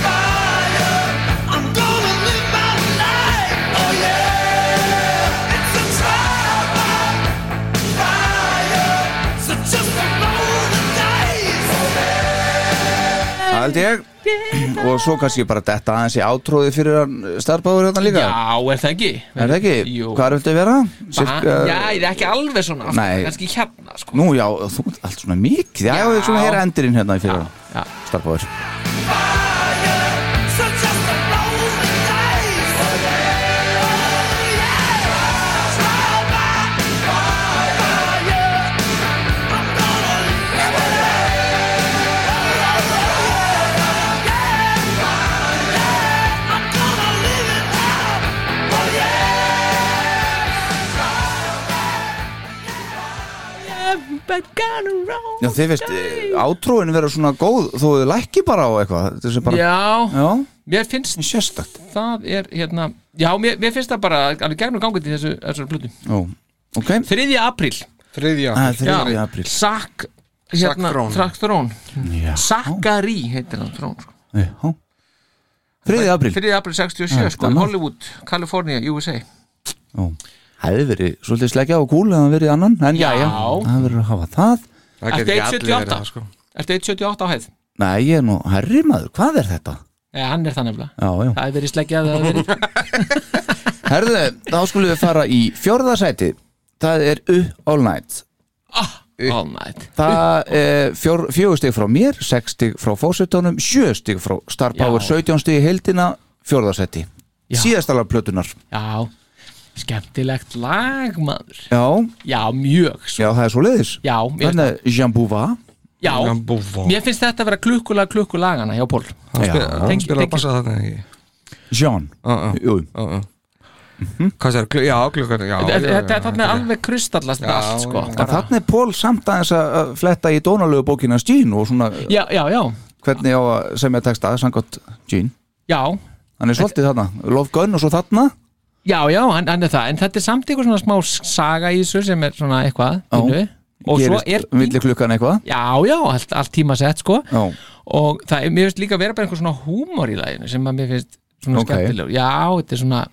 Speaker 2: fire. I'm gonna live my life. Oh yeah. It's a trial by fire. So just roll the dice.
Speaker 5: Það held ég Og svo kannski bara detta aðeins í átróði fyrir hann starfbáður hérna líka
Speaker 4: Já, er það ekki?
Speaker 5: Er það ekki?
Speaker 4: Jú.
Speaker 5: Hvað viltu vera?
Speaker 4: Cirka... Já, ég er ekki alveg svona
Speaker 5: Nei.
Speaker 4: Kannski hérna, sko
Speaker 5: Nú já, þú ert allt svona mikið Já,
Speaker 4: Já.
Speaker 5: við svona heyra endurinn hérna í fyrir
Speaker 4: já.
Speaker 5: Starfbáður
Speaker 2: Fire. So just roll the dice. Oh yeah. Oh yeah. Trial by fire. I'm gonna live it. I'm gonna live it out. Oh yeah.
Speaker 5: Já, þið veist, átróin vera svona góð Þó þið lækki bara á eitthvað Þetta er bara,
Speaker 4: Já,
Speaker 5: já
Speaker 4: mér finnst
Speaker 5: sérstakt
Speaker 4: það er hérna Já, mér, mér finnst það bara alveg gegnum gangið til þessu, þessu plötu
Speaker 5: Já, ok
Speaker 4: 3. apríl
Speaker 3: Þriðja
Speaker 5: Það er þriðri apríl
Speaker 4: Sak hérna,
Speaker 3: Throne.
Speaker 4: Sak Thrón
Speaker 5: Já.
Speaker 4: Sakari heitir hann Thrón sko.
Speaker 5: Já. Þriðji apríl
Speaker 4: 3. apríl 67
Speaker 5: Já,
Speaker 4: sko,
Speaker 5: gaman.
Speaker 4: Hollywood, California, USA
Speaker 5: Já. hefði verið svolítið sleggja og kúl eða verið annan, en já, já,
Speaker 4: Já.
Speaker 5: það verður að hafa það
Speaker 3: Það
Speaker 4: Ertu
Speaker 3: geti ekki allir verið
Speaker 4: 178?
Speaker 3: það sko
Speaker 4: Ertu 178 á hæð?
Speaker 5: Nei, ég er nú, herri maður, hvað er þetta?
Speaker 4: Nei, hann er það nefnilega
Speaker 5: Já, já,
Speaker 4: Það er verið sleggjað það er [laughs] verið
Speaker 5: herðu, þá skulum við fara í fjórðasæti Það er Up All Night
Speaker 4: All night
Speaker 5: Það er fjór, fjögur stig frá mér, sex stig frá fósitónum, sjö stig frá Star Power,
Speaker 4: Já.
Speaker 5: 17 stig í heildina, fjórðasæti
Speaker 4: Já.
Speaker 5: Síðastala plötunar
Speaker 4: Já, skemmtilegt lag maður
Speaker 5: Já,
Speaker 4: Já, mjög svo
Speaker 5: já, það er svo leiðis
Speaker 4: Já, mér,
Speaker 5: Þannig að Jean Bouva
Speaker 4: já,
Speaker 3: Hann búfa
Speaker 4: mér finnst þetta að vera klukkulag klukkulagana hjá Pól
Speaker 5: Já.
Speaker 3: Hann
Speaker 4: Tengi-
Speaker 3: spila á
Speaker 4: tengi-
Speaker 3: bassa þarna ekki
Speaker 5: Jean,
Speaker 4: Ah,
Speaker 3: Já, já,
Speaker 5: jú,
Speaker 3: já, já Hvað það er, klu- já, klukkan já, já, já,
Speaker 4: Mhm. Þetta
Speaker 3: já,
Speaker 4: er þarna
Speaker 3: já.
Speaker 4: alveg kristallast
Speaker 3: Já,
Speaker 4: allt sko
Speaker 3: já.
Speaker 5: En þarna er Pól samt aðeins að að fletta í dónalögu bókina Jean og svona
Speaker 4: Já, já, já,
Speaker 5: hvernig á að semja texta samkvæmt Jean.
Speaker 4: já
Speaker 5: Hann er svolítið þarna, Love Gun og svo þarna
Speaker 4: Já, já, hann, hann er það, en þetta er samt eitthvað svona smá s- saga í þessu sem er svona eitthvað
Speaker 5: Já.
Speaker 4: pínu. Og svo er
Speaker 5: villi klukkan eitthvað
Speaker 4: Já, já, allt, allt tímasett sko
Speaker 5: Já,
Speaker 4: og það er, mér finnst líka að vera bara einhver svona húmor í laginu sem að mér finnst svona
Speaker 5: Ok.
Speaker 4: skemmtilegur já, þetta er svona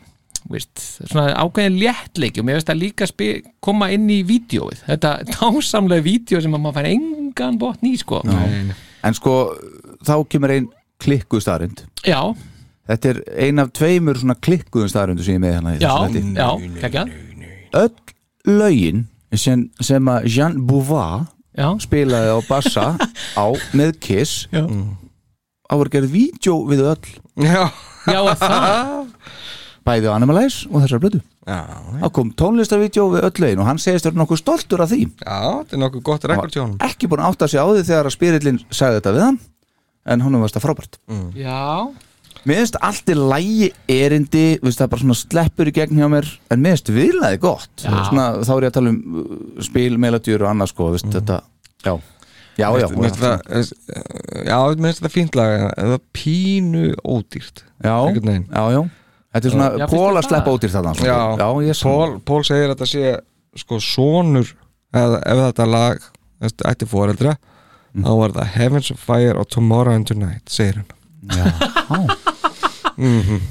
Speaker 4: Veist, svona ákveðin léttleiki og mér finnst það líka spi, koma inn í vídjóið þetta dásamlega vídjó sem að maður fær engan botn í sko já,
Speaker 5: en sko þá kemur ein klikkuð starrend
Speaker 4: já,
Speaker 5: Þetta er ein af tveimur svona klikkuðum starrendu sem ég er með hérna í
Speaker 4: já,
Speaker 5: þessu þætti.
Speaker 4: já, geggjað.
Speaker 5: Öll lögin sem, sem að Jean Bouva
Speaker 4: já,
Speaker 5: spilaði á
Speaker 4: [laughs]
Speaker 5: bassa á með Kiss
Speaker 4: Já.
Speaker 5: á að gera vídeo við öll
Speaker 3: Já,
Speaker 4: [laughs] já, er það
Speaker 5: bæði á Animalize og þessar blödu
Speaker 3: já,
Speaker 5: þá kom tónlistarvídeó við öll lögin og hann segist vera nokkuð stoltur af því
Speaker 3: já, þetta er nokkuð gott rekord hjá honum
Speaker 5: ekki búin að átta sig á því þegar að spyrillin sagði þetta við hann en honum varst það frábært
Speaker 4: Já,
Speaker 5: Mér finnst allt í lægi erindi viðst, það bara svona sleppur í gegn hjá mér en mér finnst viðlaði gott svona, þá er ég að tala um uh, spil, meladjur og annað sko, viðst, þetta já, já, já,
Speaker 3: Mér finnst það- eh, já, mér finnst þetta fínt lag en það er pínu ódýrt
Speaker 5: já,
Speaker 3: einhvern veginn.
Speaker 5: já, já Þetta
Speaker 4: Já,
Speaker 5: er svona
Speaker 4: finnst
Speaker 5: pól
Speaker 4: þér
Speaker 5: að sleppa
Speaker 4: það?
Speaker 5: ódýr þarna sko.
Speaker 3: Já.
Speaker 5: já, ég er sammála.
Speaker 3: Pól, Pól segir að þetta sé sko sonur eða ef þetta lag veist, ætti foreldra þá var það Heavens of Fire og Tomorrow and Tonight segir hann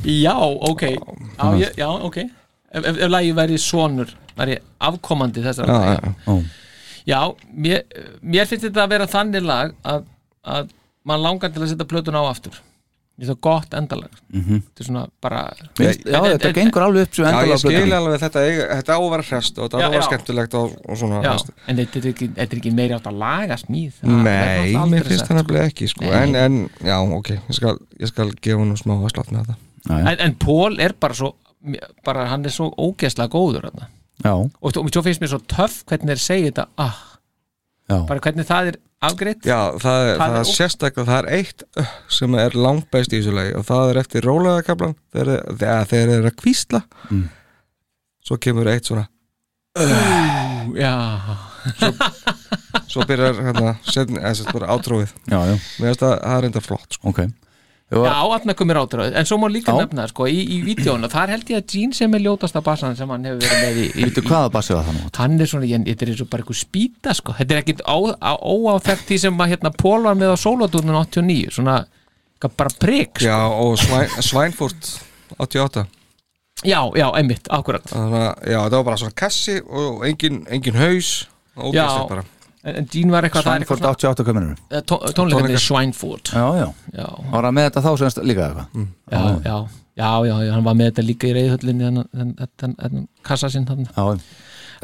Speaker 4: já, ok Já, ég, já ok Ef, ef, ef lagi væri sonur væri afkomandi þessar
Speaker 3: já, já, já.
Speaker 4: Já, mér, mér finnst þetta að vera þannig lag að, að mann langar til að setja plötun á aftur Mér finnst það gott endalag
Speaker 5: Mhm.
Speaker 4: -hmm. Þetta er svona bara
Speaker 5: Mér finnst- Já,
Speaker 4: En- en-
Speaker 5: þetta
Speaker 4: en-
Speaker 5: gengur alveg upp svo
Speaker 3: já
Speaker 5: endalega
Speaker 3: ég
Speaker 5: á
Speaker 3: skil
Speaker 5: plötunni.
Speaker 3: alveg þetta eiga- þetta á að vera hrest og þetta á
Speaker 4: Já,
Speaker 3: að vera
Speaker 4: já.
Speaker 3: skemmtilegt og, og svona
Speaker 4: Já,
Speaker 3: veist.
Speaker 4: en þetta er ekki, þetta er ekki meiri átt að laga smíð
Speaker 3: Nei, mér finnst það nefnilega ekki sko.
Speaker 4: Nei.
Speaker 3: en, en, já, ok, ég skal, ég skal gefa hún smá að slátt með þetta
Speaker 4: en, en Pól er bara svo bara, hann er svo ógeðslega góður þarna.
Speaker 5: Já,
Speaker 4: og þú- og svo finnst mér svo töff hvernig þeir segja þetta ah,
Speaker 5: já,
Speaker 4: bara hvernig það er afgreitt
Speaker 3: Já, það er,
Speaker 4: Það
Speaker 3: það
Speaker 4: er
Speaker 3: er
Speaker 4: ó-
Speaker 3: sérstaklega það er eitt uh, sem er langbæst í þessu lagi og það er eftir rólegaðakablan þegar þegar þeir eru að kvísla svo kemur eitt svona
Speaker 4: Já,
Speaker 3: svo byrjar hérna setn, eða, sett bara átróið
Speaker 5: já, já,
Speaker 3: mér finnst að það er enda flott sko.
Speaker 5: ok
Speaker 4: já aðna komir átröð en svo má líka
Speaker 5: Já.
Speaker 4: nefna sko, í, í vídjónu, þar held ég að Gene sem er ljótasta bassan sem hann hefur verið með í, í,
Speaker 5: Vittu
Speaker 4: í
Speaker 5: hvaða bassi var það nú?
Speaker 4: hann er svona, ég, þetta er eins og bara eitthvað spýta sko. þetta er ekkit á- á- óáþekkt því sem að hérna Pól var með á sólotúrnum 89 svona, eitthvað bara prik sko.
Speaker 3: Já, og Svæn, Svænfurt 88
Speaker 4: já, já, einmitt, akkurat
Speaker 3: Þannig að, já, það var bara svona kassi og engin, engin haus og
Speaker 4: Já.
Speaker 3: ógæstir bara
Speaker 4: en, en Gene var eitthvað, það er
Speaker 5: Svænford
Speaker 4: eitthvað
Speaker 5: 88 kamerunum
Speaker 4: svona- eh, tón- tónleikarnir Svænford
Speaker 5: Já, já,
Speaker 4: já,
Speaker 5: ára með þetta þá semst líka eitthvað
Speaker 4: já, já, já, já, já, hann var með þetta líka í reyðhöllinni þennan- þennan þennan- þennan kassa sinn þarna
Speaker 5: Já,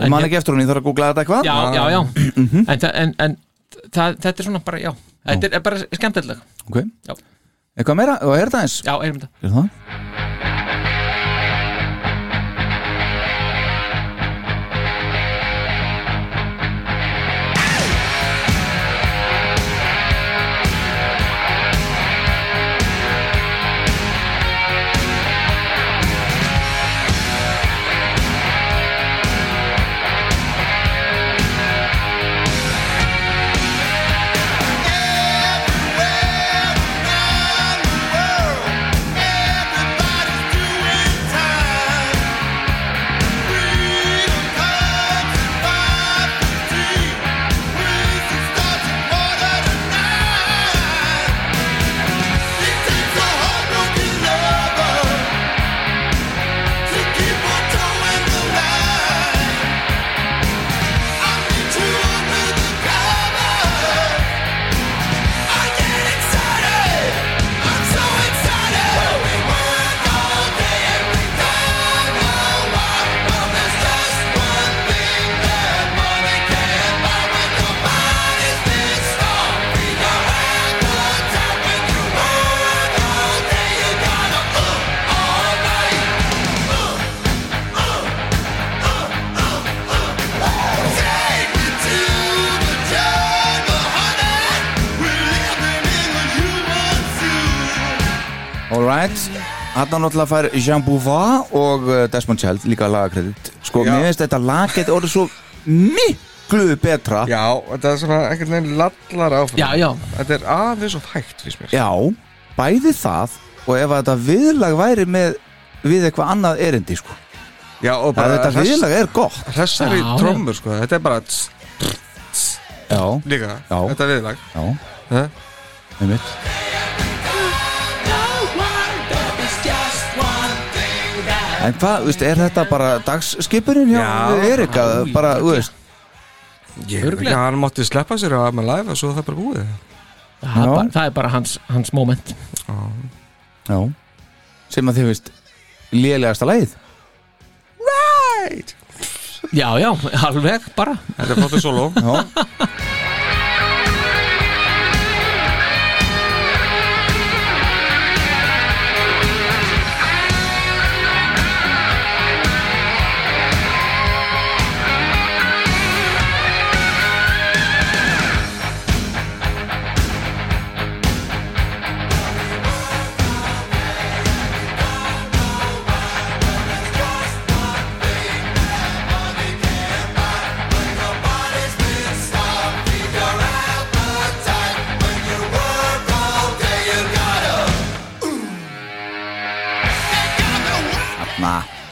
Speaker 5: en man ekki eftir hún, ég þarf að googla þetta eitthvað
Speaker 4: já, já, já
Speaker 3: [clears throat] Mhm.
Speaker 4: en, það- en, en það, þetta er svona bara, já þetta er, er bara skemmtileg
Speaker 5: Ok,
Speaker 4: Já.
Speaker 5: eitthvað meira, og er það eins?
Speaker 4: já, erum þetta
Speaker 5: Er það? All right, hann náttúrulega fær Jean Bouvard og uh, Desmond Child líka lagakredit Sko,
Speaker 3: Já.
Speaker 5: mér finnst þetta lag geti orðið svo miklu betra
Speaker 3: Já, þetta er svona einhvern veginn lallar áfram
Speaker 4: Já, já.
Speaker 3: Þetta er aðeins og hægt, finnst mér
Speaker 5: Já, bæði það og ef að þetta viðlag væri með við eitthvað annað erindi sko.
Speaker 3: Já, og
Speaker 5: að
Speaker 3: bara
Speaker 5: þetta
Speaker 3: hress-
Speaker 5: viðlag er gott
Speaker 3: hressari
Speaker 4: Já, já.
Speaker 3: trommur, sko, þetta er bara tss,
Speaker 5: Já,
Speaker 3: líka,
Speaker 5: Já.
Speaker 3: þetta er viðlag
Speaker 5: já,
Speaker 3: Hæ?
Speaker 5: einmitt En hvað, veist, er þetta bara dagsskipunin hjá
Speaker 3: Já.
Speaker 5: Erik að bara, þú veist
Speaker 3: Ég veit ekki, hann mátti sleppa sér á Amma Live og svo er það bara búið
Speaker 4: það, er
Speaker 5: Já.
Speaker 4: bara- það er bara hans, hans moment
Speaker 5: Já Sem að þið veist, lélegasta lagið
Speaker 4: já, já, alveg bara
Speaker 3: Þetta er flottur solo
Speaker 5: Já,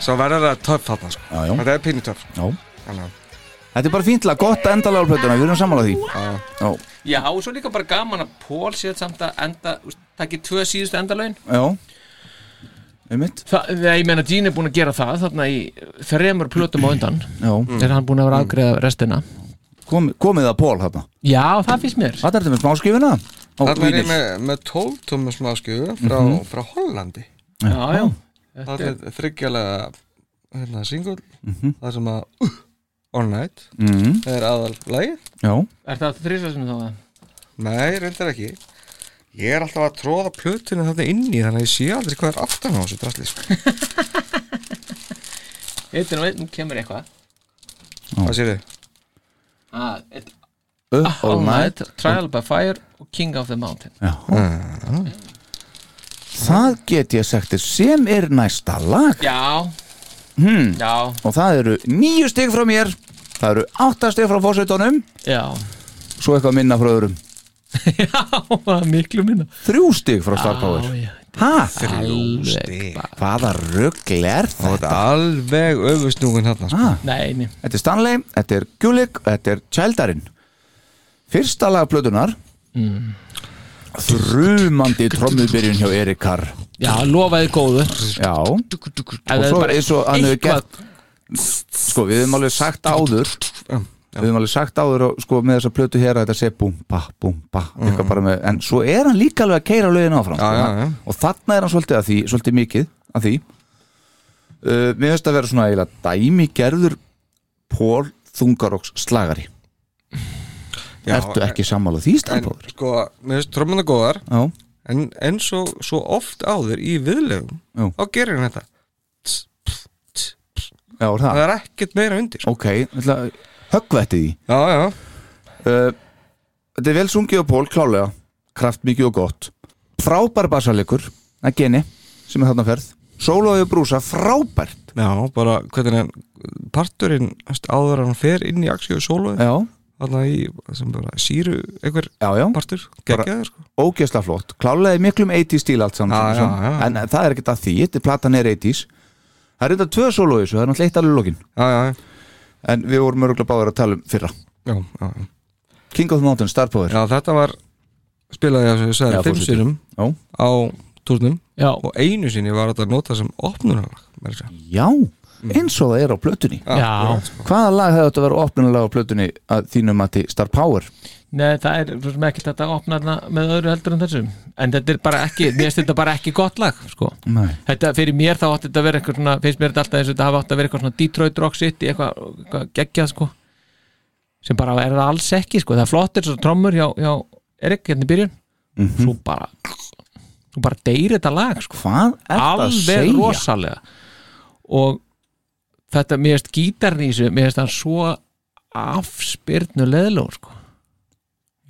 Speaker 2: Svo verður það töff þarna sko.
Speaker 4: Já, já.
Speaker 2: Þetta er pínu töff
Speaker 4: Já.
Speaker 2: Þannig að-
Speaker 4: Þetta er bara fíntla, gott endalega á plötuna, við erum sammála því Já,
Speaker 3: Já, og svo líka bara gaman að Pól séð samt að enda, úst, takk ég tvö síðustu endalaun
Speaker 4: já Einmitt,
Speaker 3: Þa, það, ég meina Gene er búin að gera það þarna í þremur plötum á undan
Speaker 4: já,
Speaker 3: er hann búin að vera afgreða restina
Speaker 4: Kom, komið að Pól þarna
Speaker 3: Já, það finnst mér
Speaker 4: Hvað er þetta með smáskifina? Ó,
Speaker 2: Þarna er ég
Speaker 4: vínil.
Speaker 2: með, með 12 tómmu smáskjöfu frá,
Speaker 4: Mhm.
Speaker 2: frá Hollandi
Speaker 3: Já, já,
Speaker 2: Það er þryggjalega hérna, single Það sem að uh, All Night
Speaker 4: Mhm,
Speaker 3: Mm.
Speaker 2: er aðal lagið
Speaker 4: Já,
Speaker 3: er það þrísar sem þá það?
Speaker 2: Nei, reyndar ekki Ég er alltaf að tróða plötinu þarna inni þannig að ég sé aldrei hvað er aftan á þessu drastli sko.
Speaker 3: Eitt er nú einn, nú kemur eitthvað
Speaker 2: Hvað sér þið?
Speaker 3: ah, eitt,
Speaker 4: Up All Night
Speaker 3: Trial by Fire og King of the Mountain
Speaker 4: Það get ég sagt þér sem er næsta lag
Speaker 3: Já,
Speaker 4: hmm.
Speaker 3: já,
Speaker 4: Og það eru nýju stig frá mér Það eru átta stig frá fósveitunum
Speaker 3: já [laughs]
Speaker 4: Svo eitthvað minna frá öðrum
Speaker 3: Já, það er miklu minna
Speaker 4: Þrjú stig frá Star Power
Speaker 3: Já, já,
Speaker 4: Hæ?
Speaker 3: alveg bara
Speaker 4: Hvaða rugl er
Speaker 2: Og
Speaker 4: þetta?
Speaker 2: þetta er alveg öfustnúin hérna sko.
Speaker 4: Ah,
Speaker 3: Nei, nei,
Speaker 4: þetta er Stanley, þetta er Gulik Þetta er Childarinn Fyrsta lag plötunar mm. Þrumandi trommubyrjun hjá Erik Carr
Speaker 3: já, lofaði góðu
Speaker 4: Já, og svo er eins og hann hefur gert Sko, við hefum alveg sagt áður Við hefum alveg sagt áður og, sko, með þessa plötu hér að þetta sé búm, ba, búm, ba eitthvað bara með, en svo er hann líka alveg að keira lögin áfram
Speaker 2: Mhm. Já,
Speaker 4: sko,
Speaker 2: já,
Speaker 4: hann-
Speaker 2: já.
Speaker 4: og þarna er hann svolítið að því, svolítið mikið að því uh, Mér finnst að vera svona eiginlega dæmigerður Pól Þungaroks slagari
Speaker 2: Já,
Speaker 4: Ertu ekki sammála því
Speaker 2: En
Speaker 4: stafbróður?
Speaker 2: sko, mér finnst trommuna góðar
Speaker 4: Já,
Speaker 2: en eins og svo oft áður í viðlegum
Speaker 4: Jú.
Speaker 2: þá gerir hann þetta
Speaker 4: já, er það
Speaker 2: það er ekkert meira undir
Speaker 4: Ok, höggvætti því
Speaker 2: já, já,
Speaker 4: Uh, Þetta er vel sungið á Pól, klálega Kraftmikið og gott Frábær basalegur, að geni sem er þarna ferð Sólóði og brúsa, frábært
Speaker 2: já, bara hvernig hann parturinn þú veist, áður en hann fer inn í Axio Solo
Speaker 4: Já,
Speaker 2: þarna í sem bara síru einhver
Speaker 4: já, já,
Speaker 2: partur geggjaður sko
Speaker 4: ógeðsla flott Klálega í miklum 80s stíl allt saman
Speaker 2: Já, já,
Speaker 4: saman.
Speaker 2: já.
Speaker 4: En eh, það er ekkert að því, þetta er platan er 80s Það er þetta tvö sólóði þessu, það er náttúrulega eitt alveg lokin
Speaker 2: já, já,
Speaker 4: En við vorum örgulega báður að tala um fyrra
Speaker 2: já, já, já.
Speaker 4: King of the Mountain, Star Power
Speaker 2: já þetta var spilaði að þessu
Speaker 4: Já,
Speaker 2: sagði fimm
Speaker 4: fórsetið.
Speaker 2: sinum
Speaker 4: Já,
Speaker 2: á túrnum
Speaker 3: Já,
Speaker 2: og einu sinni var þetta nota sem opnunarlag meira að segja.
Speaker 4: já
Speaker 2: Mm.
Speaker 4: eins og það er á plötunni
Speaker 3: já
Speaker 4: Hvaða lag hefði þetta að vera opnulega á plötunni að þínum að til Star Power?
Speaker 3: Nei, það er svo sem ekki þetta að opna þarna með öðru heldur en þessu En þetta er bara ekki, mér finnst þetta bara ekki gott lag sko.
Speaker 4: Nei
Speaker 3: Þetta fyrir mér þá átti þetta að vera eitthvað svona Finnst mér þetta alltaf eins og þetta hafa átti að vera eitthvað svona Detroit Rock City, eitthvað, eitthvað geggjað sko. Sem bara er það alls ekki sko. Það er flottir svo trommur hjá, hjá Erik hérna í byrjun
Speaker 4: Mhm.
Speaker 3: Svo bara Svo bara deyr þetta lag sko.
Speaker 4: Hvað er það að
Speaker 3: Alveg
Speaker 4: segja?
Speaker 3: rosalega Og þetta, mér finnst gítarn í þessu Mér finnst hann svo afspyrnu leðlóð sko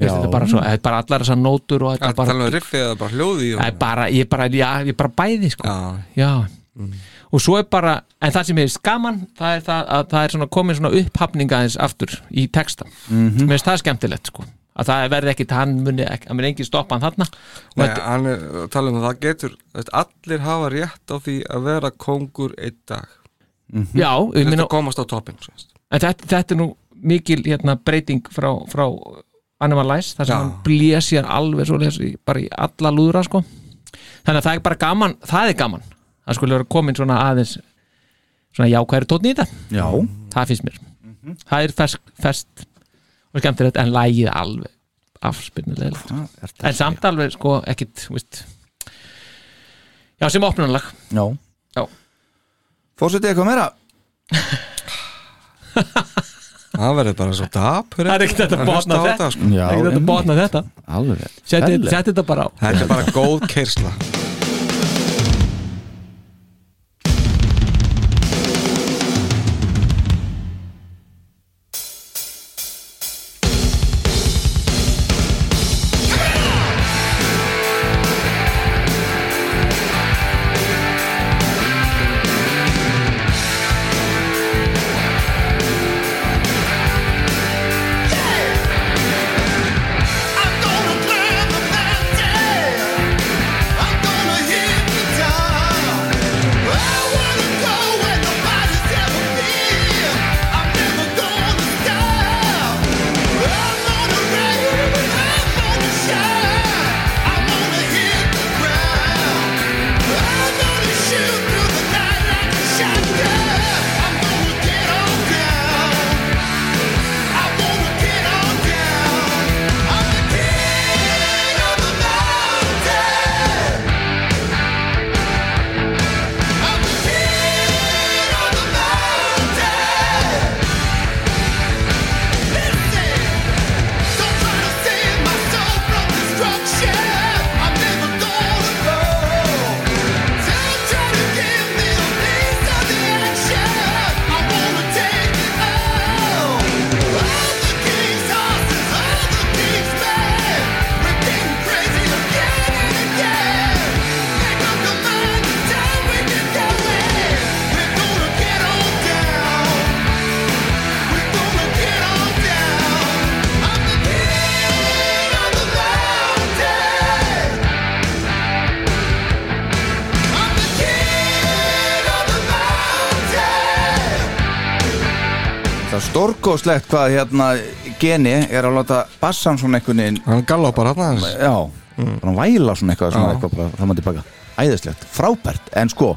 Speaker 3: Veist, þetta er bara, svo, þetta er bara allar þessar nótur og þetta
Speaker 2: Já,
Speaker 3: er bara,
Speaker 2: tala um riffið eða bara hljóði í
Speaker 3: það er
Speaker 2: honum.
Speaker 3: bara, ég, er bara já, ég er bara bæði sko.
Speaker 2: já,
Speaker 3: já.
Speaker 2: Mm.
Speaker 3: og svo er bara en það sem er skaman það er það að það er svona komin svona upphafninga aðeins aftur í texta
Speaker 2: Mhm.
Speaker 3: mér finnst það skemmtilegt sko. að það verði ekkit hann muni ekki, að mér engin stoppa hann þarna og
Speaker 2: Nei,
Speaker 3: þetta,
Speaker 2: hann er að tala um að það getur veist, allir hafa rétt á því að vera kóngur einn dag
Speaker 3: já, ég
Speaker 2: Mhm. þetta
Speaker 3: meina,
Speaker 2: komast á toppin
Speaker 3: en þetta, þetta er nú mikil hérna, breyting frá, frá Animalize, þar sem
Speaker 2: Já.
Speaker 3: hann blés sér alveg svo lesi, bara í alla lúðra sko. þannig að það er bara gaman það er gaman, það skulle vera komin svona aðeins svona jákværi tótt í þetta
Speaker 4: Já,
Speaker 3: það finnst mér, það er fersk, fest og skemmtilegt en lægið alveg afspyrnilega
Speaker 4: það er
Speaker 3: en samt alveg sko ekkit þú veist, já sem opnunarlag
Speaker 4: Já,
Speaker 3: Já.
Speaker 4: Fórsetið eitthvað meira?
Speaker 2: það verður bara svo dapur
Speaker 3: Það er ekkert hægt að botna
Speaker 2: hlusta á
Speaker 3: þetta.
Speaker 2: sko.
Speaker 4: Já,
Speaker 3: ekki þetta botna þetta,
Speaker 4: Alveg
Speaker 3: setja
Speaker 4: Ferlegt.
Speaker 3: þetta bara á
Speaker 2: þetta er bara góð keirsla
Speaker 8: I'm gonna play the band, I'm gonna
Speaker 4: stórkoslegt hvað hérna geni er að láta bassan svona einhvern veginn
Speaker 2: Hann gallopar hann aðeins
Speaker 4: já,
Speaker 3: Mm.
Speaker 4: hann væla svona eitthvað, svona
Speaker 2: Já.
Speaker 4: eitthvað bara, það maður tilbaka, æðislegt, frábært en sko,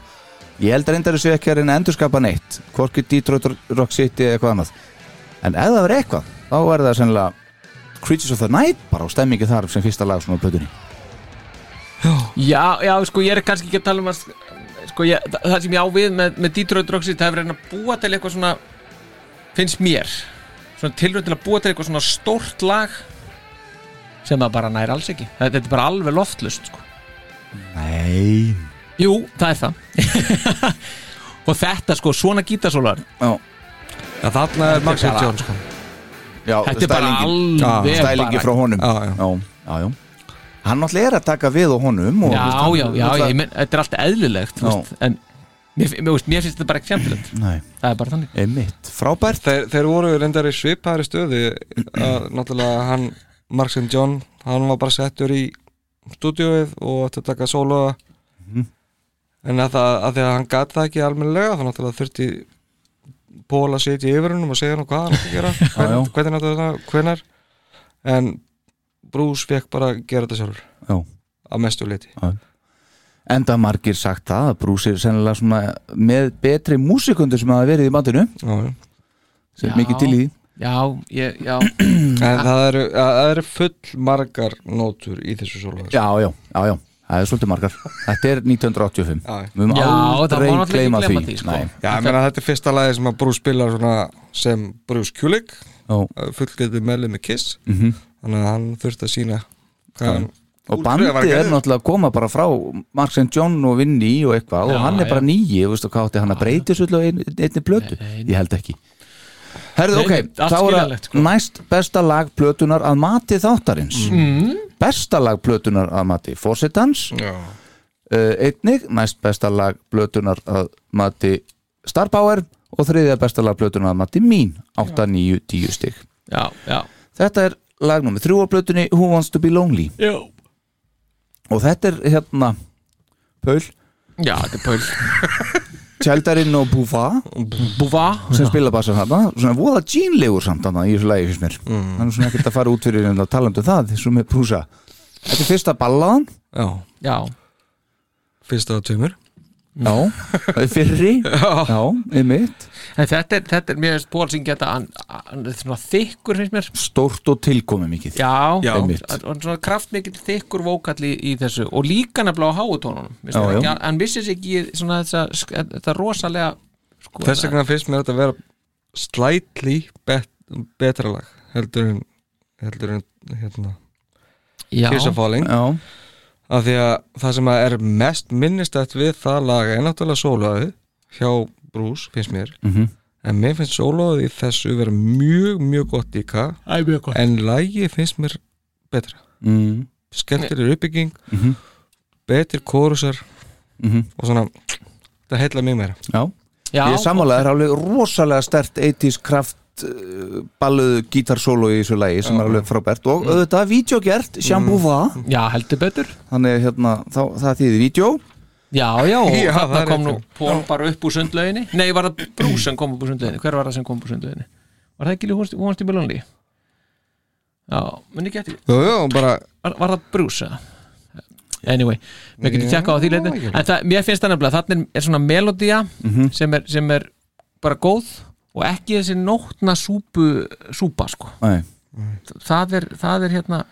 Speaker 4: ég held að reyndar þessu ekki að reyna að endurskapa neitt, hvorki Detroit Rock City eða eitthvað annað en ef það verður eitthvað, þá verður það sennilega Creatures of the Night bara og stemmingi þar sem fyrsta lag svona á plötunni
Speaker 3: Já, já, sko, ég er kannski ekki að tala um að sko, ég, þa- það sem ég á við með, með Detroit Rock City, það hefur reyna að búa til eitthvað svona finnst mér svona tilrönd til að búa til eitthvað svona stórt lag sem það bara nær alls ekki þetta, þetta er bara alveg loftlust sko.
Speaker 4: Nei
Speaker 3: Jú, það er það [laughs] og þetta sko, svona gítasólar
Speaker 4: Já,
Speaker 2: Já, þarna er Maxi
Speaker 3: bara-
Speaker 2: Jones sko.
Speaker 4: já
Speaker 3: þetta er bara
Speaker 4: stælingin.
Speaker 3: alveg
Speaker 4: stælingi frá
Speaker 3: bara
Speaker 4: honum
Speaker 2: Já, já.
Speaker 4: já, já. hann náttúrulega er að taka við á honum og,
Speaker 3: Já,
Speaker 4: þú
Speaker 3: já,
Speaker 4: veist,
Speaker 3: já,
Speaker 4: hann-
Speaker 3: ég menn, þetta er allt eðlilegt þú
Speaker 4: Já.
Speaker 3: veist, en mér, mér, mér, mér finnst þetta bara ekki fjandilegt
Speaker 4: Nei,
Speaker 3: það er bara þannig
Speaker 4: einmitt, frábært
Speaker 2: þeir, þeir voru reyndar í svipæri stöði að náttúrulega hann Marks and John, hann var bara settur í stúdíóið og átti að taka sóloða en að, það, að því að hann gat það ekki almennilega þá náttúrulega þurfti Pól að sitja yfir hennum og segja hann hvað hann átti að gera
Speaker 4: já.
Speaker 2: hvern, hvernig átti það, hvenar en Bruce fekk bara að gera þetta sjálfur
Speaker 4: já.
Speaker 2: að mestu liti
Speaker 4: enda margir sagt það að Bruce er sennilega svona með betri músikundur sem hafa verið í bandinu
Speaker 2: já, já.
Speaker 4: sem
Speaker 3: Já.
Speaker 4: er mikið til í því
Speaker 3: Já, ég, já,
Speaker 2: en það eru, það eru full margar nótur í þessu sóloða
Speaker 4: já, já, já, já, það er svolítið margar þetta er 1985
Speaker 2: Já.
Speaker 4: við höfum
Speaker 3: Já, það má
Speaker 4: aldrei
Speaker 3: náttúrulega ekki
Speaker 4: gleyma því,
Speaker 3: gleyma því, sko.
Speaker 4: Nei.
Speaker 2: Já, ég meina þetta er fyrsta lagi sem að Bruce spilar svona sem Bruce Kulick
Speaker 4: Já.
Speaker 2: fullgetur meðlið með Kiss
Speaker 4: Mhm.
Speaker 2: þannig að hann þurfti að sína hvað hann
Speaker 4: og
Speaker 2: Úlfur var
Speaker 4: bandið
Speaker 2: að
Speaker 4: er
Speaker 2: gera.
Speaker 4: náttúrulega að koma bara frá Marks and John og Vinny og eitthvað og
Speaker 3: Já,
Speaker 4: hann er bara
Speaker 3: já.
Speaker 4: nýji, veistu hvað átti hann að breyti svolítið á ein, einni blötu,
Speaker 3: Nei, nei.
Speaker 4: ég held ekki Herðu,
Speaker 3: Nei,
Speaker 4: ok,
Speaker 3: nei, allt
Speaker 4: þá er það
Speaker 3: skiljanlegt, sko.
Speaker 4: næst besta lag plötunar að mati þáttarins
Speaker 3: Mm.
Speaker 4: besta lag plötunar að mati Fósitans
Speaker 2: Já.
Speaker 4: uh, einnig, næst besta lag blötunar að mati Star Power og þriðja besta lag blötunar að mati mín, 8, 9, 10 stygg
Speaker 3: já, já
Speaker 4: þetta er lag nummer þrjú á blötunni Who Wants to be Lonely
Speaker 3: Já,
Speaker 4: og þetta er hérna Paul,
Speaker 3: þetta er pöl
Speaker 4: Tjaldarinn og Búfa
Speaker 3: Búva
Speaker 4: sem spila bassan hana, svona voða gínlegur samt hana í þessu lagi fyrst mér hann er svona ekkert að fara út fyrir en að tala um það sem er brúsa þetta er fyrsta ballaðan
Speaker 2: Já,
Speaker 3: Já,
Speaker 2: fyrsta af tveimur
Speaker 4: já, það er fyrri já, einmitt
Speaker 3: en þetta er, þetta er mér veist Pól syngja þetta hann, hann er svona þykkur finnst mér
Speaker 4: stórt og tilkomi mikið
Speaker 3: Já,
Speaker 4: Já.
Speaker 3: hann
Speaker 4: Einmitt.
Speaker 3: hann er svona kraftmikill þykkur vókall í, í þessu og líka nefnilega á háutónunum Mér
Speaker 4: Já,
Speaker 3: finnst
Speaker 4: já.
Speaker 3: ekki- hann vissi sér ekki í svona þessa, þetta rosalega sko,
Speaker 2: þess vegna finnst mér þetta að vera slightly bet, betra lag heldur en, heldur en hérna,
Speaker 3: já,
Speaker 2: Kiss of Falling
Speaker 4: já,
Speaker 2: af því að það sem að er mest minnistætt við það lag er náttúrulega sóloðið hjá Bruce finnst mér
Speaker 4: mhm
Speaker 2: en mér finnst sóloðið í þessu vera mjög mjög gott í hvað
Speaker 3: Æ, mjög gott
Speaker 2: en lagi finnst mér betra
Speaker 4: mm
Speaker 2: skemmtilegur uppbygging
Speaker 4: Mhm.
Speaker 2: betur kórusar
Speaker 4: Mhm.
Speaker 2: og svona það heilla mig meira
Speaker 4: Já,
Speaker 3: Já,
Speaker 4: ég er sammála, það er alveg rosalega stert 80s kraft uh, balluðu gítarsólu í þessu lagi sem er alveg frábært og auðvitað vídeogert, sjambúfa
Speaker 3: já, heldur betur
Speaker 4: þannig hérna, þá, það þýði vídeo
Speaker 3: Já, já, og
Speaker 2: Já, það
Speaker 3: þarna
Speaker 2: er
Speaker 3: kom nú
Speaker 2: rétt.
Speaker 3: Pól bara upp úr sundlauginni Nei, var það Brús sem kom upp úr sundlauginni Hver var það sem kom upp úr sundlauginni? Var það ekki Ljóhunst í Bölunli? Já, menn ekki eftir
Speaker 2: Jú, jú, bara
Speaker 3: var, var það brúsa anyway, mér getur
Speaker 2: Já,
Speaker 3: tjekka á því leitin
Speaker 2: ég- Mhm.
Speaker 3: en það, mér finnst það nefnilega, þannig er svona melodía sem, er, sem er bara góð og ekki þessi nótna súpu súpa sko,
Speaker 4: Nei.
Speaker 3: það er, það er hérna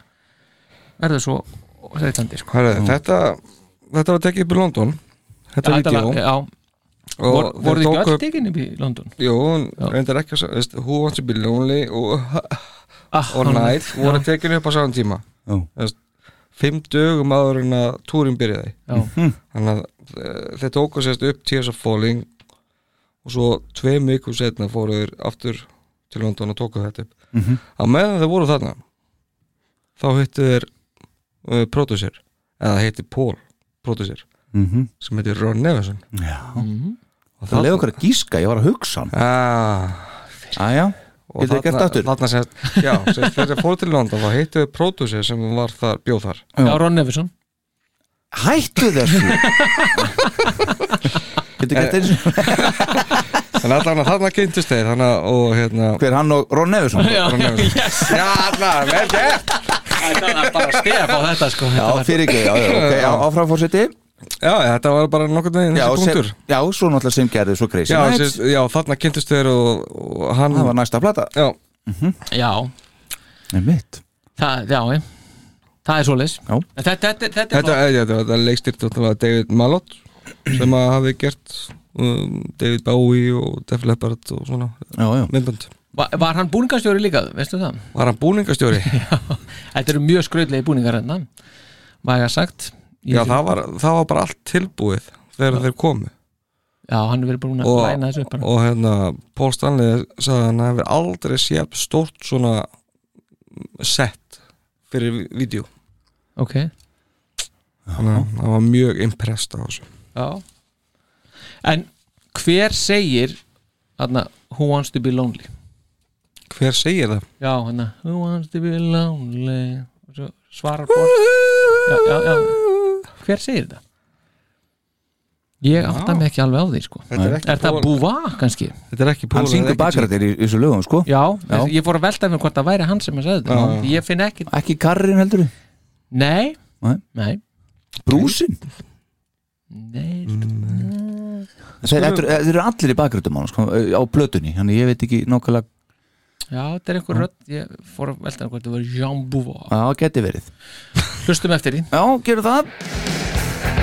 Speaker 3: verður svo reytandi sko
Speaker 2: hvað er það, þetta þetta var tekið upp í London þetta
Speaker 3: Já, þetta
Speaker 2: vídeo
Speaker 3: var- já,
Speaker 2: og
Speaker 3: vor,
Speaker 2: þeir
Speaker 3: voru þið
Speaker 2: tóku
Speaker 3: ekki öll
Speaker 2: upp-
Speaker 3: tekin upp í London
Speaker 2: jú, hún
Speaker 3: Já.
Speaker 2: reyndar ekki að veist, Who Wants to be Lonely og,
Speaker 3: ah,
Speaker 2: og Night voru
Speaker 3: já,
Speaker 2: tekinu upp á saman tíma
Speaker 4: Já.
Speaker 2: Veist, fimm dögum áður en að túrin byrjaði
Speaker 3: já,
Speaker 2: þannig að eh, þeir tóku sérst upp Tears of Falling og svo tveim vikum setna fóru þeir aftur til London og tóku þetta upp að meðan þeir voru þarna þá hittu þeir uh, producer, eða hitti Paul producer,
Speaker 4: mm -hmm.
Speaker 2: sem heitir Ron Neveson og
Speaker 4: Það leiði okkur að gíska, ég var að hugsa hann
Speaker 2: ah,
Speaker 4: Æja,
Speaker 2: og
Speaker 4: Getur þið gert aftur?
Speaker 2: þarna sérst, já, sérst, þegar þeir fóru til London þá hittu þeir producer sem var þar, bjóð þar
Speaker 3: já, Ron Nevison
Speaker 2: Eh,
Speaker 4: hættu þessu Getur gert eins og
Speaker 3: en allan að þarna kynntust þeir þannig að, og hérna
Speaker 2: Hver hann og Ron Neversson
Speaker 4: Já, yes.
Speaker 3: já, allan, vel gert
Speaker 4: Það var bara stef á þetta sko
Speaker 2: Já, fyrir ekki, já, já, ok, já, áfram fórseti
Speaker 3: já, þetta var bara nokkurn veginn
Speaker 2: Já,
Speaker 3: þessi
Speaker 2: sem,
Speaker 3: punktur
Speaker 2: já, svo náttúrulega sem gerði svo crazy
Speaker 3: já,
Speaker 2: nights
Speaker 3: sérst, já, þarna kynntust þeir og, og hann
Speaker 2: Það var næsta plata
Speaker 3: já,
Speaker 4: Já,
Speaker 2: Nei, mitt
Speaker 4: það, já ég. Það er svoleiðis
Speaker 2: Já.
Speaker 4: En Þetta, þetta, þetta,
Speaker 3: þetta,
Speaker 4: er
Speaker 3: eh, já, þetta var leikstýrt náttúrulega David Malott sem að hafi gert um, David Bowie og Def Leppard og svona
Speaker 2: Já, já
Speaker 3: myndbönd
Speaker 4: var, var hann búningastjóri líka, veistu það?
Speaker 3: var hann búningastjóri?
Speaker 4: Já, þetta eru mjög skröðlegi búningar hérna Væga sagt Í
Speaker 3: já,
Speaker 4: þessu-
Speaker 3: það var, það var bara allt tilbúið þegar þeir komu
Speaker 4: já, hann er verið búin að
Speaker 3: og,
Speaker 4: læna þessu upp bara.
Speaker 3: og hérna, Paul Stanley sagði að hann hefði aldrei séð stórt svona sett fyrir vi- vídeo
Speaker 4: Ok,
Speaker 3: þannig að hann var mjög impressed á þessu
Speaker 4: já En hver segir þarna, Who wants to be lonely?
Speaker 3: hver segir það?
Speaker 4: Já, hérna Who wants to be lonely Og svo Svarar bort já, já, já. Hver segir þetta? Ég átta mig ekki alveg á því sko
Speaker 3: þetta er
Speaker 4: Er það
Speaker 3: Paul-
Speaker 4: búva kannski?
Speaker 3: þetta er ekki Paul
Speaker 2: Hann syngur
Speaker 3: þetta er ekki
Speaker 2: bakrættir í, í þessu lögum, sko
Speaker 4: Já,
Speaker 2: Já.
Speaker 4: ég fór að velta mér hvort það væri hann sem að segja þetta
Speaker 3: Já.
Speaker 4: Því Ég finn ekki
Speaker 2: Ekki karrin heldur
Speaker 4: Nei,
Speaker 2: Nei.
Speaker 4: nei,
Speaker 2: Brúsin
Speaker 4: nei.
Speaker 2: Mm,
Speaker 4: sko.
Speaker 2: Þeir þetta- þetta eru allir í bakrættum á, sko, á blötunni Þannig ég veit ekki nákvæmlega
Speaker 4: Já, þetta er einhver rödd Ég fór að velta mér hvort það var Jean Bouvard
Speaker 2: Já, geti verið
Speaker 4: Hlustum eftir því
Speaker 2: Já, gerðu það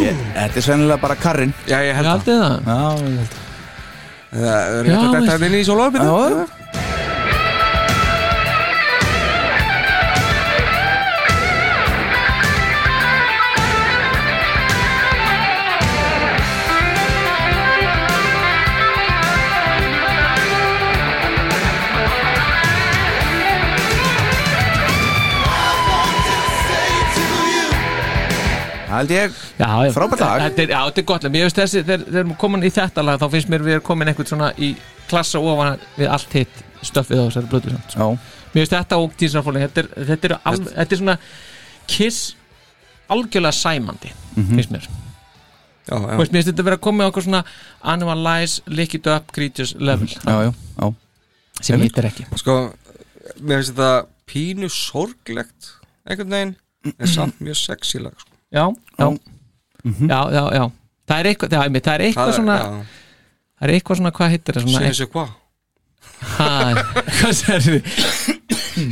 Speaker 2: Ég- Þetta er sennilega bara karrin
Speaker 3: já, ég
Speaker 4: Ég
Speaker 3: held
Speaker 4: haldið það
Speaker 2: Já, ég held
Speaker 3: það er rétt
Speaker 4: Já,
Speaker 3: að
Speaker 4: veist.
Speaker 3: þetta er inn í sólarbyttu
Speaker 2: Já. Það held ég
Speaker 4: Já, já
Speaker 2: Frábært lag.
Speaker 4: Þetta er, Já, þetta er gott lag Mér veist þessi Þegar þegar við erum komin í þetta lag Þá finnst mér við erum komin einhvern svona Í klassa ofan Við allt hitt Stöffið á þessari blötu samt. sko.
Speaker 2: Já,
Speaker 4: Mér veist þetta og tísarfólin Þetta er, þetta er, al, þetta er svona Kiss Algjörlega sæmandi Finnst mér
Speaker 3: já, já.
Speaker 4: Þú veist, Mér finnst þetta verið að koma Í okkur svona Animalize Lick it up Creatures level
Speaker 2: já, já, já.
Speaker 4: Sem hittir ekki
Speaker 3: sko, mér finnst þetta pínu sorglegt einhvern veginn er samt mjög sexy lag sko.
Speaker 4: já, já. já, já, já það er eitthvað, það er, einmitt, það er eitthvað svona
Speaker 3: já,
Speaker 4: það er eitthvað svona, hvað heitir það
Speaker 3: sé
Speaker 4: svona
Speaker 3: þessi hvað
Speaker 4: ha, hvað [coughs] sérðu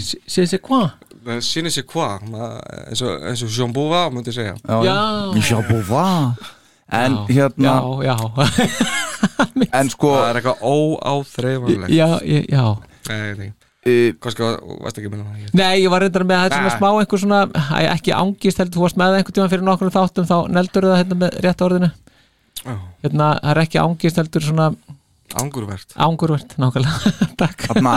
Speaker 4: sér sér hvað
Speaker 3: Sýnir sér hvað, ma- eins og, eins og Jean Bouva myndi segja
Speaker 4: já,
Speaker 5: Já, búva En hérna,
Speaker 4: já, já [laughs]
Speaker 5: en sko
Speaker 3: Það er eitthvað óáþreifanlegt
Speaker 4: já, já, já
Speaker 3: Nei,
Speaker 5: uh,
Speaker 3: kannski varst ekki að minna það
Speaker 4: Nei, ég var reyndar með þetta svona
Speaker 3: Nei.
Speaker 4: smá einhver svona, æ, ekki ángist heldur, þú varst með það einhvern tíma fyrir nokkur þáttum þá neldur það hérna með rétt orðinu
Speaker 3: Já.
Speaker 4: hérna, það er ekki ángist heldur svona
Speaker 3: Angurvert
Speaker 4: ángurvert, nákvæmlega [laughs] takk,
Speaker 5: Þarna,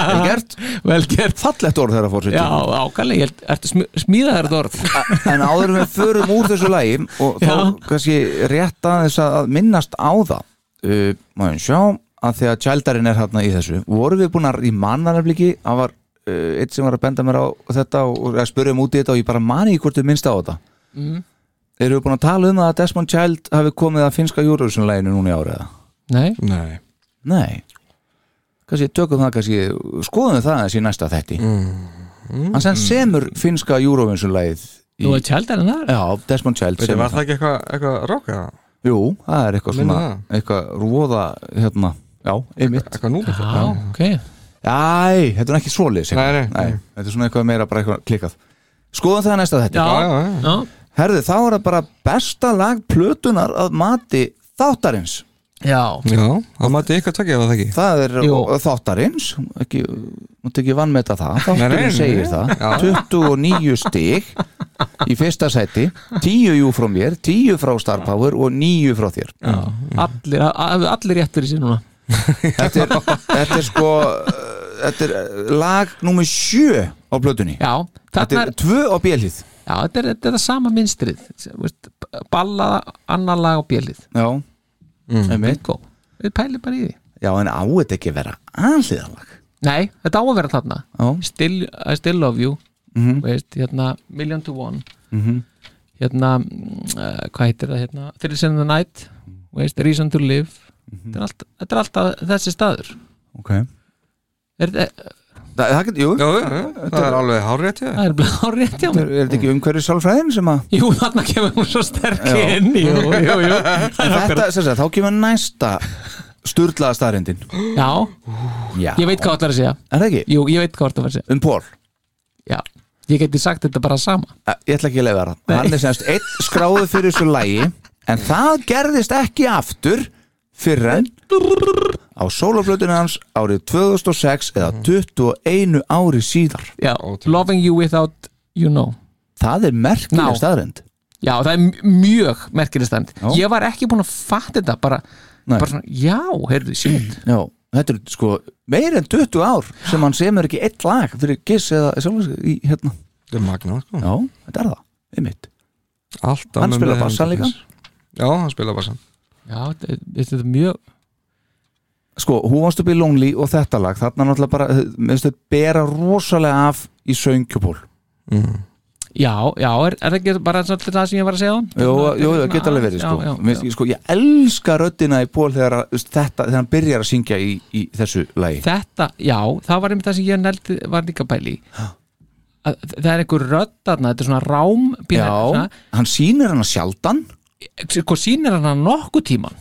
Speaker 5: er gert
Speaker 4: vel gert
Speaker 5: fallegt orð þeirra fórseti
Speaker 4: Já, ákvæmlega, ég held, ertu smi- smíðað þetta orð
Speaker 5: En áður en við förum úr þessu lægi og þá
Speaker 4: Já.
Speaker 5: kannski rétt aðeins að að minnast á það uh, maður sjá að þegar tjældarinn er hérna í þessu, vorum við búin að í mannarnafliki, það var uh, eitt sem var að benda mér á þetta og, og að spurja um út í þetta og ég bara mani í hvort þið minnst á þetta mm.
Speaker 4: Mhm.
Speaker 5: Erum við búin að tala um það að Desmond Child hafi komið að finska Eurovision-læginu núna í áriða?
Speaker 4: Nei,
Speaker 3: Nei
Speaker 5: Nei kannski tökum það, kannski skoðum við það aðeins í næsta þetti mm. Hann
Speaker 4: Mm.
Speaker 5: sem semur finska Eurovision-lægið
Speaker 4: nú er tjaldar en það
Speaker 5: Já, Desmond Child
Speaker 3: Veitir,
Speaker 5: semur
Speaker 3: var það ekki eitthvað eitthva ráka?
Speaker 5: Jú, það er eitthvað
Speaker 3: Minna
Speaker 5: svona eitthvað rúða hérna, já, einmitt
Speaker 3: Eitthvað núna?
Speaker 4: Já, ok,
Speaker 5: Æ, þetta er ekki svoleiðis
Speaker 3: Nei, nei,
Speaker 5: nei,
Speaker 3: nei.
Speaker 5: þetta er svona eitthvað meira bara eitthvað klikkað Skoðum það næsta þetta
Speaker 4: já,
Speaker 3: Já, já, já.
Speaker 4: já,
Speaker 5: Herðu, þá er það bara besta lag plötunar að mati þáttarins
Speaker 4: já,
Speaker 3: Já, það mæti ykkar tvekja ef það ekki
Speaker 5: Það er
Speaker 4: Jú.
Speaker 5: þáttarins ekki, mátti ekki vannmeta það
Speaker 3: Nei, nei,
Speaker 5: Þátturinn
Speaker 3: nei.
Speaker 5: segir það 29 stig í fyrsta sæti 10 jú frá mér, 10 frá Star Power og 9 frá þér
Speaker 4: já. Allir, a- a- allir rétt fyrir sér núna
Speaker 5: þetta er, þetta er sko uh, þetta er eh, lag nummer sjö á plötunni
Speaker 4: Já,
Speaker 5: þetta
Speaker 4: þarna
Speaker 5: er
Speaker 4: er,
Speaker 5: tvö á bjelið
Speaker 4: já, þetta er, þetta er það sama minnstrið sem, veist, ballaða, annar lag og bjölið
Speaker 5: já, einmitt.
Speaker 4: Bingo, við pælum bara í því
Speaker 5: já, en á þetta ekki að vera aðliðalag
Speaker 4: Nei, þetta á að vera þarna
Speaker 5: Já.
Speaker 4: still, I still love you
Speaker 5: Mhm.
Speaker 4: veist, hérna, Million to One hérna uh, hvað heitir það hérna, Thrills in the Night veist, Reason to Live
Speaker 5: Mhm.
Speaker 4: þetta, er allt, þetta er alltaf þessi staður
Speaker 5: ok
Speaker 4: er, er,
Speaker 5: Þa, það getur, jú,
Speaker 3: Já, já, já, það er alveg hárétt ég
Speaker 4: það er bara [laughs] rétt hjá
Speaker 5: er,
Speaker 4: mér
Speaker 5: er þetta ekki umhverju sálfræðin sem að
Speaker 4: Jú, þarna kemur hún svo sterk
Speaker 5: Já.
Speaker 4: inn Jú, jú, jú
Speaker 5: [laughs] en þetta, sem sagt, þá kemur næsta sturlaða staðrindin
Speaker 4: Já,
Speaker 5: já,
Speaker 4: ég veit hvað það er að segja
Speaker 5: er það ekki,
Speaker 4: Jú, ég veit hvað það er að segja
Speaker 5: um Pól
Speaker 4: Já, ég geti sagt þetta bara sama
Speaker 5: Eh, ég ætla ekki að leiða það hann er semst einn skráðu fyrir þessu lægi en það gerðist ekki aftur fyrir en á sóloplötunni hans árið 2006 eða
Speaker 4: Mhm.
Speaker 5: 21 ári síðar
Speaker 4: Já,
Speaker 3: Ótrúlegt.
Speaker 4: Loving you without you know
Speaker 5: það er merkileg
Speaker 4: Ná.
Speaker 5: staðrend
Speaker 4: Já, það er m- mjög merkilegstæmt
Speaker 5: Já.
Speaker 4: Ég var ekki búin að fatta þetta bara,
Speaker 5: Nei.
Speaker 4: bara svona, já, heyrðu, shit
Speaker 5: Já, þetta er sko meir en 20 ár sem hann semur ekki eitt lag fyrir giss eða sjálfsveg í hérna
Speaker 3: Það er magna, sko
Speaker 5: já, þetta er það, einmitt
Speaker 3: Alltaf
Speaker 5: Hann
Speaker 3: með
Speaker 5: spilar
Speaker 3: meðan
Speaker 5: bassann
Speaker 3: til
Speaker 5: líka.
Speaker 3: þess. Já, hann spila bassan
Speaker 4: Já, þetta er- þetta er mjög
Speaker 5: sko, Who Wants to be Lonely og þetta lag þarna náttúrulega bara, eh, mér finnst þetta bera rosalega af í söngjupól
Speaker 4: Já, já, er, er það ekki bara svolítið það sem ég var að segja á?
Speaker 5: Jú, jú, það geta alveg verið
Speaker 4: já,
Speaker 5: sko.
Speaker 4: já,
Speaker 5: Mér,
Speaker 4: já.
Speaker 5: sko Ég elska röddina í Pól þegar, að- þetta, þegar hann byrjar að syngja í, í þessu lagi
Speaker 4: Þetta, já, það var einmitt það sem ég neldi var líka pæli í. að Það er einhver rödd þarna, þetta er svona rám pínu,
Speaker 5: Já, hann sýnir hana sjaldan
Speaker 4: svona, Hvað sko, sýnir hann hann nokkuð tíman?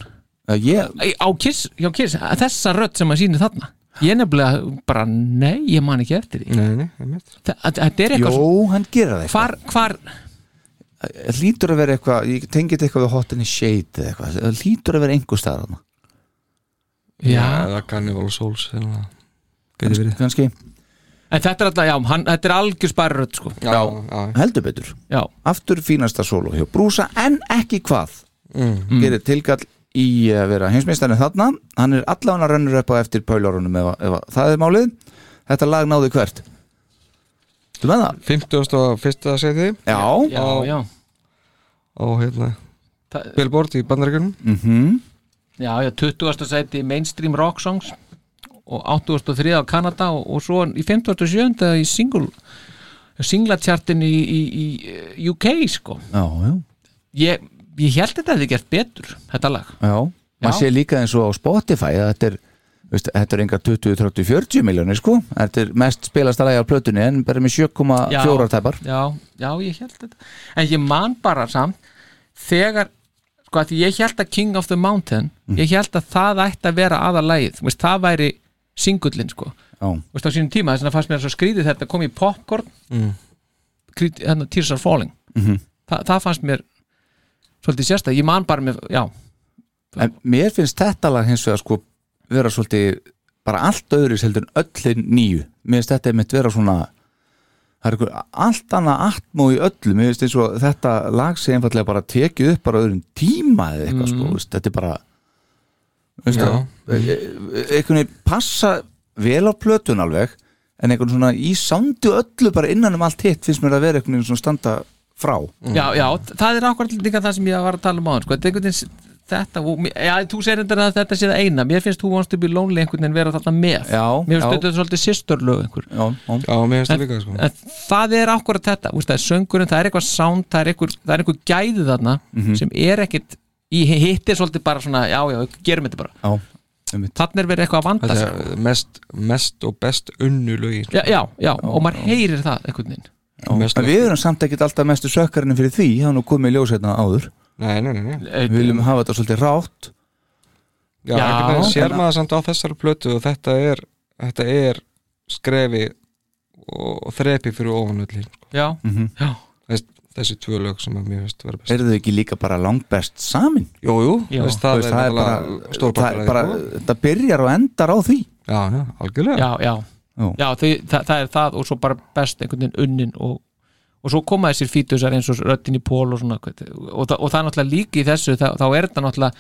Speaker 5: Eh, ég,
Speaker 4: Á kiss, já, kiss, þessa rödd sem hann sýnir þarna Ég nefnilega bara, nei, ég man ekki eftir því
Speaker 3: Nei, nei, einmitt
Speaker 4: Þa- Þetta er eitthvað
Speaker 5: Jó, hann gerir það
Speaker 4: hvar,
Speaker 5: eitthvað
Speaker 4: hvar
Speaker 5: Það Lítur að vera eitthvað, ég tengi þetta eitthvað við hot in the shade eða eitthvað Það Lítur að vera einhver staðar hana
Speaker 4: já.
Speaker 3: Það kannu vel sóls hérna. Geti verið
Speaker 5: Kannski,
Speaker 4: en þetta er alltaf, já, hann, þetta er algjör spærrödd sko.
Speaker 3: Já, já,
Speaker 5: heldur betur
Speaker 4: já,
Speaker 5: Aftur fínasta solo hjá Brúsa en ekki hvað
Speaker 3: Mm.
Speaker 5: Gerir tilkall í að vera heimsmeistarinn þarna Hann er allan að rönnur upp á eftir Pölarunum ef, ef það er málið Þetta lag náði hvert Þú með það?
Speaker 3: 51. seti
Speaker 5: Já,
Speaker 4: já, já,
Speaker 3: á hérna
Speaker 4: Það-
Speaker 3: Billboard í bandaríkunum
Speaker 4: já, já 20. sæti í mainstream rock songs og 83. á Kanada og, og svo í 57. í single singlatjartin í, í, í eh, UK sko.
Speaker 5: já, já,
Speaker 4: ég, ég held þetta hefði gert betur þetta lag
Speaker 5: já. Maður
Speaker 4: Já.
Speaker 5: sé líka eins og á Spotify að þetta er Veist, þetta er engar 20, 30, 40 miljónir sko Þetta er mest spilasta lagi á plötunni en bara með 7,4 tæpar
Speaker 4: já, já, ég held þetta en ég man bara samt þegar, sko að því ég held að King of the Mountain,
Speaker 5: Mm.
Speaker 4: ég held að það ætti að vera aðalægið, veist, það væri singullin, sko,
Speaker 5: Já,
Speaker 4: veist, á sínum tíma þess vegna fannst mér svo skrítið þetta kom í popcorn krít, hérna, Tears are Falling
Speaker 5: Mhm.
Speaker 4: Þa, það fannst mér svolítið sérstæð, ég man bara með, já,
Speaker 5: en mér finnst þetta lag hins vegar sko vera svolítið bara allt öðru heldur en öllin nýju Mér finnst þetta einmitt vera svona það er einhver allt annað atmó í öllu Mér finnst eins og þetta lag sé einfallega bara tekið upp bara á öðrum tíma eða eitthvað sko veist, Þetta er bara veist það, e- e- einhvern veginn passa vel á plötun alveg en einhvern svona í sándu öllu bara innan um allt hitt finnst mér að vera einhvern veginn svona standa frá
Speaker 4: já, já, það er akkurat líka það sem ég var að tala um á hann, sko, þetta er einhvern veginn þetta, og mér- já, þú segir endur að þetta sé það eina mér finnst þú vannst upp í lonely einhvern veginn vera þarna með
Speaker 5: Já,
Speaker 4: mér
Speaker 5: já.
Speaker 4: finnst þetta svolítið sýsturlög einhver
Speaker 5: Já, já.
Speaker 3: Já, mér finnst það líka sko
Speaker 4: en það er akkurat þetta, úst, það er söngurinn það er eitthvað sound, það er eitthvað, það er eitthvað gæði þarna
Speaker 5: Mhm.
Speaker 4: sem er ekkit í hittir svolítið bara svona, já, já, gerum þetta bara
Speaker 5: Já, einmitt.
Speaker 4: þannig er verið eitthvað að vanda
Speaker 3: Þetta
Speaker 4: sig sko.
Speaker 3: er mest, mest og best unnu lögi
Speaker 4: já, já, já, og maður heyrir það einhvern veginn
Speaker 3: Mest
Speaker 5: En við erum samt ekkert alltaf mestu sökkarinn fyrir því, það er nú komið í ljós hérna áður
Speaker 3: Nei, nei, nei, nei.
Speaker 5: Við viljum hafa þetta svolítið rátt
Speaker 3: Já,
Speaker 4: Já.
Speaker 3: einhvern veginn sér maður samt á þessari plötu og þetta er, þetta er skrefi og þrepi fyrir ofanullin
Speaker 4: já,
Speaker 5: Mhm.
Speaker 4: já,
Speaker 3: Þess, þessi tvö lög sem að mér finnst vera best
Speaker 5: Er þau ekki líka bara langbest samin?
Speaker 3: Eh, Jú, jú,
Speaker 4: Já.
Speaker 3: Veist, það,
Speaker 5: Þú
Speaker 3: er
Speaker 5: það,
Speaker 3: náttúrulega
Speaker 5: bara, það,
Speaker 3: stórpartur
Speaker 5: er
Speaker 3: af
Speaker 5: bara,
Speaker 3: því, sko.
Speaker 5: það byrjar og endar á því
Speaker 3: Já, já, algjörlega
Speaker 4: já, já,
Speaker 5: Já.
Speaker 4: já því, það, það er það og svo bara best einhvern veginn unnin og, og svo koma þessir fítusar eins og röddin í pól og svona hvað- og, það- og það er náttúrulega líka í þessu þá, þá er þetta náttúrulega,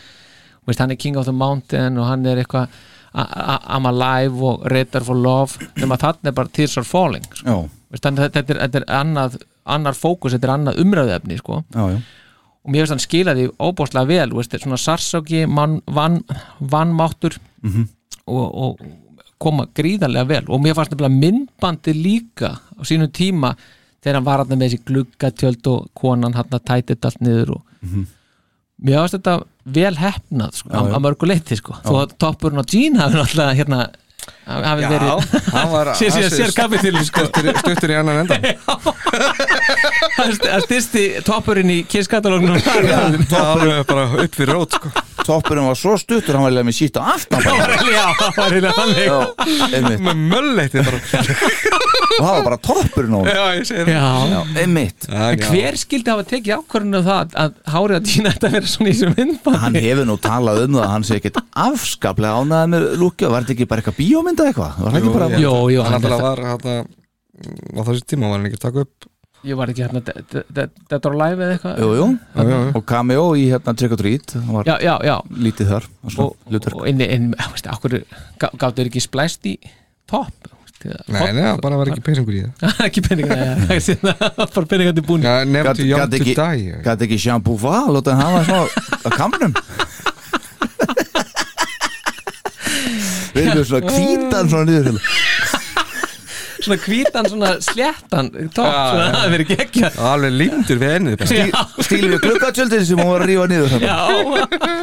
Speaker 4: þú veist, hann er King of the Mountain og hann er eitthvað a- a- I'm Alive og Radar for Love nema þannig er bara Tears are Falling sko.
Speaker 5: Já,
Speaker 4: Veist, þannig að þetta er, þetta er annað, annar fókus, þetta er annað umræðefni sko.
Speaker 5: já, já,
Speaker 4: og mér finnst hann skila því óbóðslega vel þú veist, svona sarsáki, mann, vann, vannmáttur
Speaker 3: Mhm.
Speaker 4: og, og koma gríðarlega vel og mér fannst nefnilega myndbandi líka á sínum tíma þegar hann var hann með þessi gluggatjöld og konan hann að tæti þetta allt niður og
Speaker 3: Mhm.
Speaker 4: mér fannst þetta vel hefnað sko, já, að mörgu leyti sko þó að toppurinn á Jean hafi náttúrulega hérna hafi verið
Speaker 3: hann var
Speaker 4: [laughs] sér sér, sér
Speaker 3: hann
Speaker 4: kapitílu
Speaker 3: [laughs]
Speaker 4: sko
Speaker 3: stuttur, stuttur í annan endan
Speaker 4: það st- það styrsti toppurinn í kisskatalógnum
Speaker 3: [laughs] [laughs] Það er bara upp fyrir rót sko.
Speaker 5: Toppurinn var svo stuttur, hann var eiginlega með sítt á aftan bara.
Speaker 4: já, það var hérna þannig
Speaker 5: Já, einmitt.
Speaker 3: með mölleiti bara
Speaker 5: Og það var bara toppurinn á honum.
Speaker 3: Já, ég segi það
Speaker 4: já,
Speaker 5: Já, einmitt
Speaker 4: En hver skildi hafa tekið ákvörðinu það að hárið að týna þetta að vera svona í þessu myndbandi?
Speaker 5: Hann hefur nú talað um það, að hann sé ekkert afskaplega ánæði með lúkja og var þetta ekki bara eitthvað bíómynda eitthvað? Var það ekki bara...
Speaker 4: Jó, jó,
Speaker 3: hann
Speaker 4: hann er
Speaker 3: náttúrulega var hann að á þessu tíma var hann ekki að taka upp
Speaker 4: Ég var ekki hérna, de- de- de- Dead or Alive eða eitthvað?
Speaker 5: Jú, jú,
Speaker 3: já, já, já.
Speaker 5: og cameo í hérna Trick or Treat, hann var
Speaker 4: Já, já, já
Speaker 5: lítið þar og
Speaker 4: Og,
Speaker 5: svona hlutverk.
Speaker 4: og inni, inn, veist, akkur gáttu ekki splæst í topp [laughs]
Speaker 3: nei, nei, það bara var ekki peningur í það
Speaker 4: ekki peninga, já, ekki sinna [laughs] bara peninga til búin
Speaker 3: ja, nefn
Speaker 5: Gat-
Speaker 3: til Young
Speaker 5: gat
Speaker 3: to
Speaker 5: ekki-
Speaker 3: Die
Speaker 5: Gat ekki Jean Bouval og hann var svona á kamnum Við erum með svona kvítan svona niður hérna. til
Speaker 4: svona hvítan, svona sléttan topp,
Speaker 3: Já,
Speaker 4: svona
Speaker 3: já.
Speaker 4: það verið gekkja
Speaker 3: alveg lindur við ennið bara.
Speaker 4: Já,
Speaker 5: Stíl við gluggatjöldin sem hún var að rífa niður þarna.
Speaker 4: já,
Speaker 5: hérna,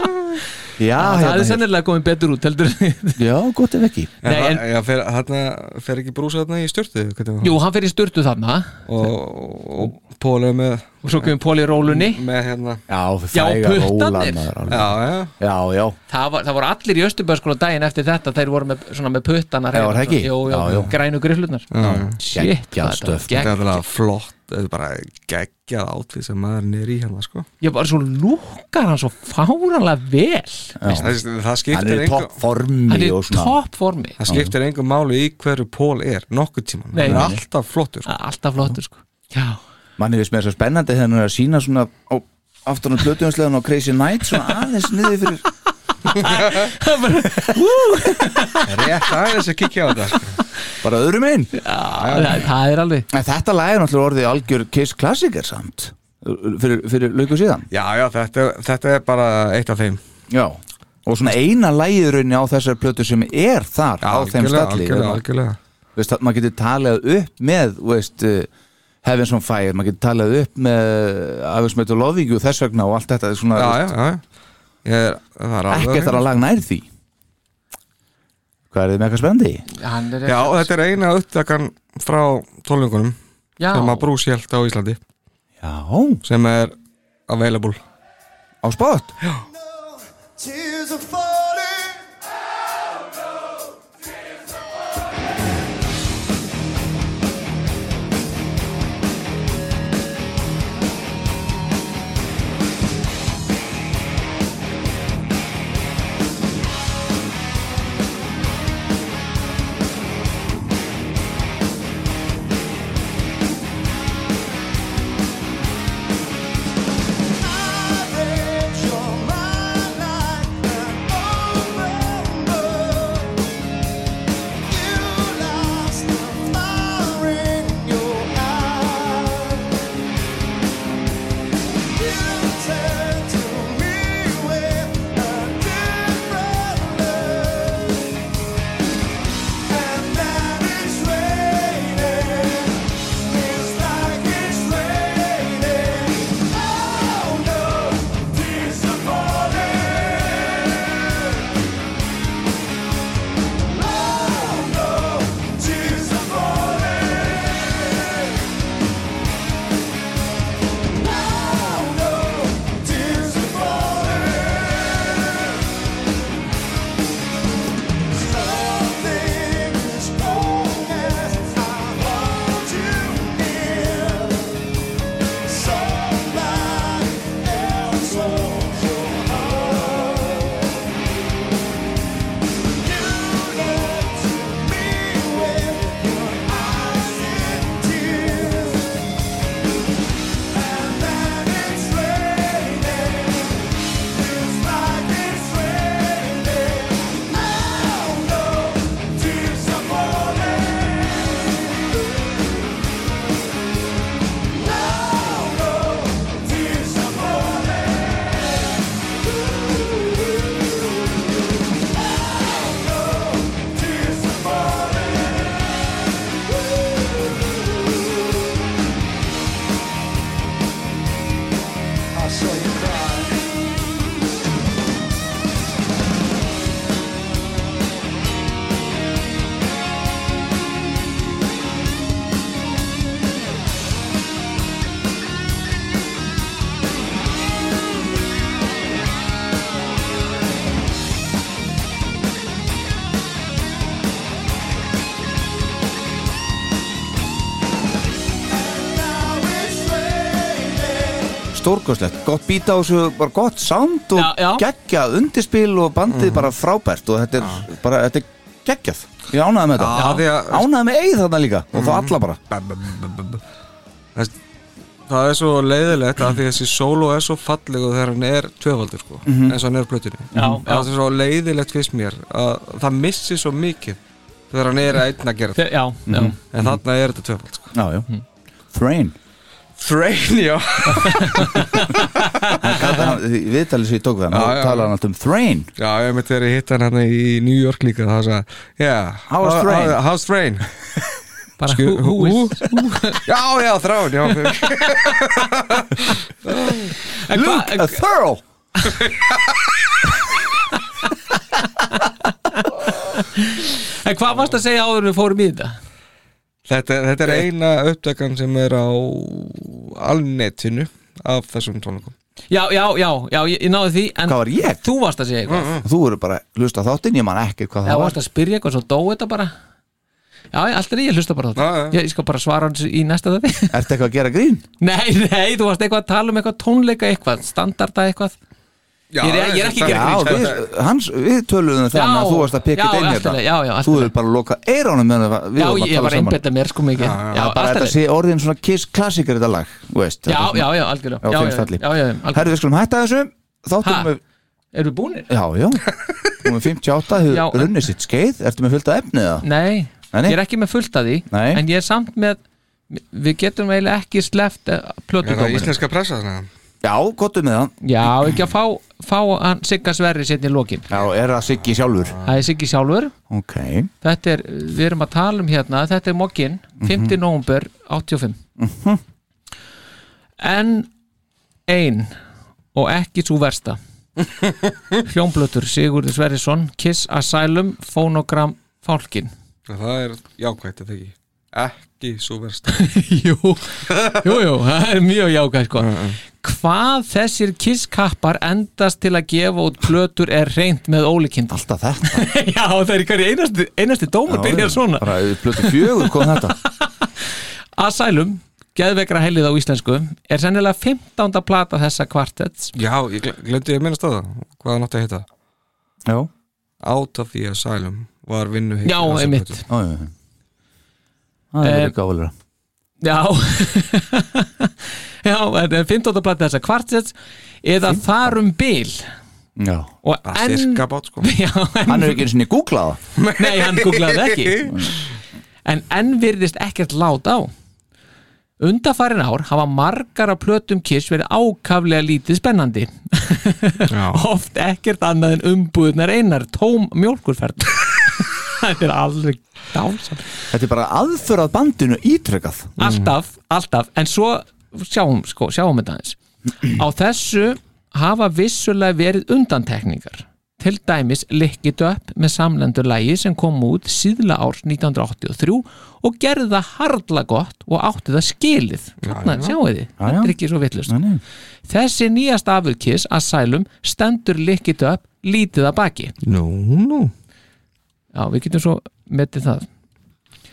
Speaker 5: Já,
Speaker 4: það
Speaker 5: hérna,
Speaker 4: er
Speaker 5: hérna.
Speaker 4: sennilega komið betur út heldur en-
Speaker 5: Já, gott ef ekki
Speaker 3: En
Speaker 4: Nei,
Speaker 3: það-
Speaker 4: en-
Speaker 3: já, fer, þarna, fer ekki brúsa þarna í stjórtu
Speaker 4: Jú, hann fer í sturtu þarna
Speaker 3: og, og Póla með,
Speaker 4: og svo kemur Póli í rólunni
Speaker 3: með hérna
Speaker 5: Já,
Speaker 4: Já,
Speaker 5: fræga
Speaker 4: puttarnir.
Speaker 5: rólan, maður, alveg.
Speaker 3: já, já,
Speaker 5: Já, já,
Speaker 4: Það, var, það voru allir í Östurbæðarskóla daginn eftir þetta þeir voru með, svona, með puttana
Speaker 5: Já, var það ekki?
Speaker 4: Jó, já,
Speaker 5: Já, já.
Speaker 4: grænu griflunar
Speaker 3: já.
Speaker 4: Shit,
Speaker 5: Geggjað
Speaker 4: hvað þetta var
Speaker 5: stöf.
Speaker 3: þetta er
Speaker 4: gegg-
Speaker 3: alveg flott þetta er bara geggjað átvið sem maðurinn er í hérna sko.
Speaker 4: Ég var svo lúkar hann svo fáranlega vel
Speaker 5: já.
Speaker 3: það, það
Speaker 5: Hann
Speaker 3: skiptir
Speaker 5: er í
Speaker 3: engu
Speaker 5: topp formi
Speaker 4: Hann er
Speaker 5: og
Speaker 4: í
Speaker 5: svona
Speaker 4: topp formi
Speaker 3: það skiptir engu máli í hverju Pól er nokkuð tíma,
Speaker 4: Nei,
Speaker 3: hann er
Speaker 4: nei.
Speaker 3: alltaf flottur sko.
Speaker 4: Alltaf flottur sko Já,
Speaker 5: Manni finnst með þess að spennandi þegar hann er að sína svona á aftan á plötuðanslegan og Crazy Night svona aðeins niður fyrir
Speaker 3: rétt aðeins að kíkja á þetta sko.
Speaker 5: bara öðrum einn
Speaker 4: það, það er alveg
Speaker 5: En þetta lag er náttúrulega orðið algjör Kiss klassiker samt fyrir, fyrir lauku síðan
Speaker 3: Já, já, þetta, þetta er bara eitt af þeim
Speaker 5: Já Og svona eina lagið í rauninni á þessar plötu sem er þar á þeim stalli
Speaker 3: algjörlega, algjörlega.
Speaker 5: Veist, það- maður getur talað upp með þú veist, uh, Heavens on Fire maður getur talað upp með eh, Afins Metal Loving You þess vegna og allt þetta svona,
Speaker 3: Já, já,
Speaker 5: þú
Speaker 3: já Ég er, það er
Speaker 5: veist,
Speaker 3: alveg
Speaker 5: ekkert þar að lag nær því Hvað er þið með eitthvað spennandi?
Speaker 4: Hann er
Speaker 3: Já, þetta er eina upptakan frá tónlingunum
Speaker 4: já,
Speaker 3: sem að Bruce held á Íslandi
Speaker 5: Já,
Speaker 3: sem er available
Speaker 5: á spott Já,
Speaker 2: Tears are falling.
Speaker 5: stórkoslegt, gott bít á þessu bara gott sound og
Speaker 4: Já, já.
Speaker 5: geggjað undirspil og
Speaker 3: Mhm.
Speaker 5: bandið bara frábært og þetta er bara, þetta er geggjað ég ánaði með
Speaker 3: Já, af því
Speaker 5: þetta,
Speaker 3: að- Mhm.
Speaker 5: ánaði með eigið þarna líka og þá alla bara
Speaker 3: Þess- Það er svo leiðilegt að því þessi solo er svo falleg og þegar hann er tvöfaldur sko, eins og hann er á plötunni
Speaker 4: Mhm.
Speaker 3: Það
Speaker 4: Já, já.
Speaker 3: er svo leiðilegt fyrst mér að það missi svo mikið þegar hann er einn að gera þetta
Speaker 4: Þe- já, já.
Speaker 5: Mhm.
Speaker 3: en þarna er þetta tvöfald sko.
Speaker 5: já, já. Thrain
Speaker 3: Thrain, já
Speaker 5: viðtalið sem ég tók við hann,
Speaker 3: Já,
Speaker 5: þá
Speaker 3: já.
Speaker 5: talaði hann alltaf um Thrain
Speaker 3: Já, ég mitt verið hitt hann hann í New York líka það sagði, yeah,
Speaker 5: How was Thrain?
Speaker 3: how- How's Thrain?
Speaker 4: bara
Speaker 3: Skil-
Speaker 4: who, who
Speaker 3: who-
Speaker 4: is
Speaker 3: já, já, þrán, já fyrir-
Speaker 4: En hva-
Speaker 5: Look, a thurl
Speaker 4: En hvað varst að segja áður en við fórum í þetta?
Speaker 3: þetta, þetta er eina uppdagan sem er á alnetinu af þessum tónleikum
Speaker 4: Já, já, já, já, ég, ég náði því En
Speaker 5: Hvað var ég?
Speaker 4: þú varst að segja eitthvað
Speaker 5: þú eru bara hlusta á þáttinn, ég man ekki hvað
Speaker 4: Það
Speaker 5: það
Speaker 4: varst
Speaker 5: var
Speaker 4: að spyrja eitthvað, svo dó þetta bara Já, já, allt er í, ég hlusta bara á þetta
Speaker 3: Já, já.
Speaker 4: Ég, ég skal bara svara hans í næsta þetta
Speaker 5: ertu eitthvað að gera grín?
Speaker 4: [laughs] Nei, nei, þú varst eitthvað að tala um eitthvað tónleika eitthvað Standarda eitthvað
Speaker 3: Já,
Speaker 4: Ég er- ég er ekki að
Speaker 5: Já,
Speaker 4: gera
Speaker 5: við, hans, við töluðum um það
Speaker 4: Já,
Speaker 5: að þú varst að pikka
Speaker 4: já,
Speaker 5: þetta inn
Speaker 4: allt í
Speaker 5: hérna
Speaker 4: lagi, já, já, allt
Speaker 5: þú
Speaker 4: í
Speaker 5: hefur bara lokað eirónum meðan við
Speaker 4: Já,
Speaker 5: vorum
Speaker 4: ég
Speaker 5: að tala
Speaker 4: var
Speaker 5: saman.
Speaker 4: einbetta mér sko mikið Já, já,
Speaker 5: bara
Speaker 4: allt
Speaker 5: þetta
Speaker 4: er-
Speaker 5: sé orðin svona kiss klassiker þetta lag þú veist,
Speaker 4: já,
Speaker 5: þetta er
Speaker 4: já,
Speaker 5: svona-
Speaker 4: já, algjörlega
Speaker 5: á
Speaker 4: Já,
Speaker 5: þeim
Speaker 4: já,
Speaker 5: stalli.
Speaker 4: já, já, algjörlega
Speaker 5: Herðu, við skulum hætta þessu
Speaker 4: Ha?
Speaker 5: Þáttum við,
Speaker 4: Erum við búinir?
Speaker 5: já, já Númer
Speaker 4: Já,
Speaker 5: 58
Speaker 4: en-
Speaker 5: hefur runnið sitt skeið Ertu með fullt af efni það?
Speaker 4: Nei,
Speaker 5: Nei, nei.
Speaker 4: ég er ekki með fullt að því
Speaker 5: Nei.
Speaker 4: En ég er samt með Við getum eiginlega ekki eh, sleft
Speaker 3: Er það
Speaker 4: plötudómur
Speaker 3: íslenska pressa þannig?
Speaker 5: Já, um gottum með það
Speaker 4: Já, ekki að fá, fá hann Sigga Sverri setni í lokin
Speaker 5: Já, er það Siggi sjálfur
Speaker 4: Það er Siggi sjálfur
Speaker 5: Ok,
Speaker 4: Þetta er, við erum að tala um hérna Þetta er mokkin, 5. november 85 Mhm. En ein og ekki svo [laughs] versta Hljómblötur Sigurður Sverrisson Kiss Asylum Phonogram fálkin
Speaker 3: það er jákvæmt þetta ekki ekki svo verst
Speaker 4: [laughs] jú, jú, jú, það er mjög jákvæð sko. hvað þessir kisskappar endast til að gefa út plötur er reynd með ólíkind
Speaker 5: Alltaf þetta
Speaker 4: [laughs] já, það er í hverju einasti, einasti dómur byrjar svona
Speaker 5: Bara í Plötu fjögur kom þetta
Speaker 4: Asylum, geðvekra heilið á íslensku er sennilega 15. plata þessa kvartets
Speaker 3: [laughs] já, ég gle- glemdi ég að minna staða hvað hann átti að heita
Speaker 5: Já,
Speaker 3: Out of the Asylum var vinnu
Speaker 4: Já, einmitt.
Speaker 5: á, já, já Það er
Speaker 4: Eh,
Speaker 5: líka álega
Speaker 4: já [laughs] já, þetta er 15. plata þessa kvartets eða þar um bil
Speaker 5: Já
Speaker 4: og
Speaker 3: bara
Speaker 4: enn
Speaker 3: cirka bát sko
Speaker 4: já, en,
Speaker 5: Hann er ekki einu sinni googlað það.
Speaker 4: [laughs] nei, hann googlaði það ekki en enn virðist ekkert lát á Undarfærin ár hafa margar af plötum kiss verið ákaflega lítið spennandi
Speaker 3: Já.
Speaker 4: oft ekkert annað en umbúðnar einar tóm mjólkurferð [laughs] þetta er alveg dálsam
Speaker 5: Þetta er bara aðför að bandinu ítrekað
Speaker 4: alltaf, alltaf, en svo sjáum, sko, sjáum þetta aðeins á þessu hafa vissulega verið undantekningar til dæmis likkið upp með samlendur lægi sem kom út síðla árs 1983 og gerði það harla gott og átti það skilið þarna, sjáu þið, þetta er ekki svo villust
Speaker 5: Nei, nei.
Speaker 4: þessi nýjast afurkis Asylum stendur likkið upp lítið að baki
Speaker 3: nú, nú
Speaker 4: já, við getum svo metið það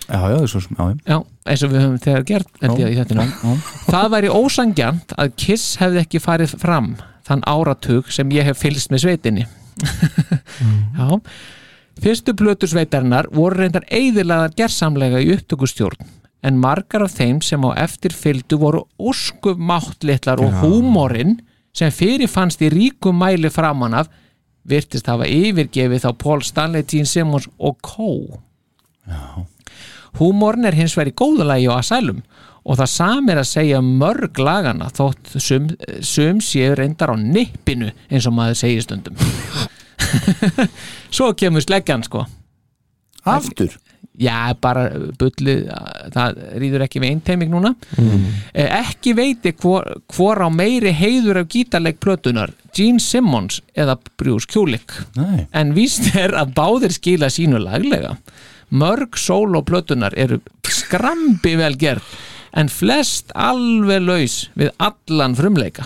Speaker 5: Já, já, þessu sem, já,
Speaker 4: Já, eins og við höfum þegar gert held ég í þetta
Speaker 5: já
Speaker 4: Það væri ósangjant að Kiss hefði ekki farið fram þann áratug sem ég hef fylgst með sveitinni
Speaker 5: Mm.
Speaker 4: Já Fyrstu plötu sveitarinnar voru reyndar eiðilaðar gersamlega í upptökustjórn en margar af þeim sem á eftir fylgdu voru óskum máttlitlar og húmorinn sem fyrir fannst í ríkum mæli framan af virtist hafa yfirgefið þá Paul Stanley, Gene Simmons og Co. Húmorn er hins vegar í góðu lagi á Asylum og það sam er að segja um mörg lagana þótt sum, sum séu reyndar á nippinu eins og maður segir stundum [laughs] Svo kemur sleggjan sko
Speaker 5: Aftur
Speaker 4: Já, bara bullið það rýður ekki við einteiming núna Eh, Ekki veiti hvor, hvor á meiri heiður af gítarleik plötunar Gene Simmons eða Bruce Kulick
Speaker 5: Nei
Speaker 4: en víst er að báðir skila sínu laglega mörg sól og plötunar eru skrambi vel gerð en flest alveg laus við allan frumleika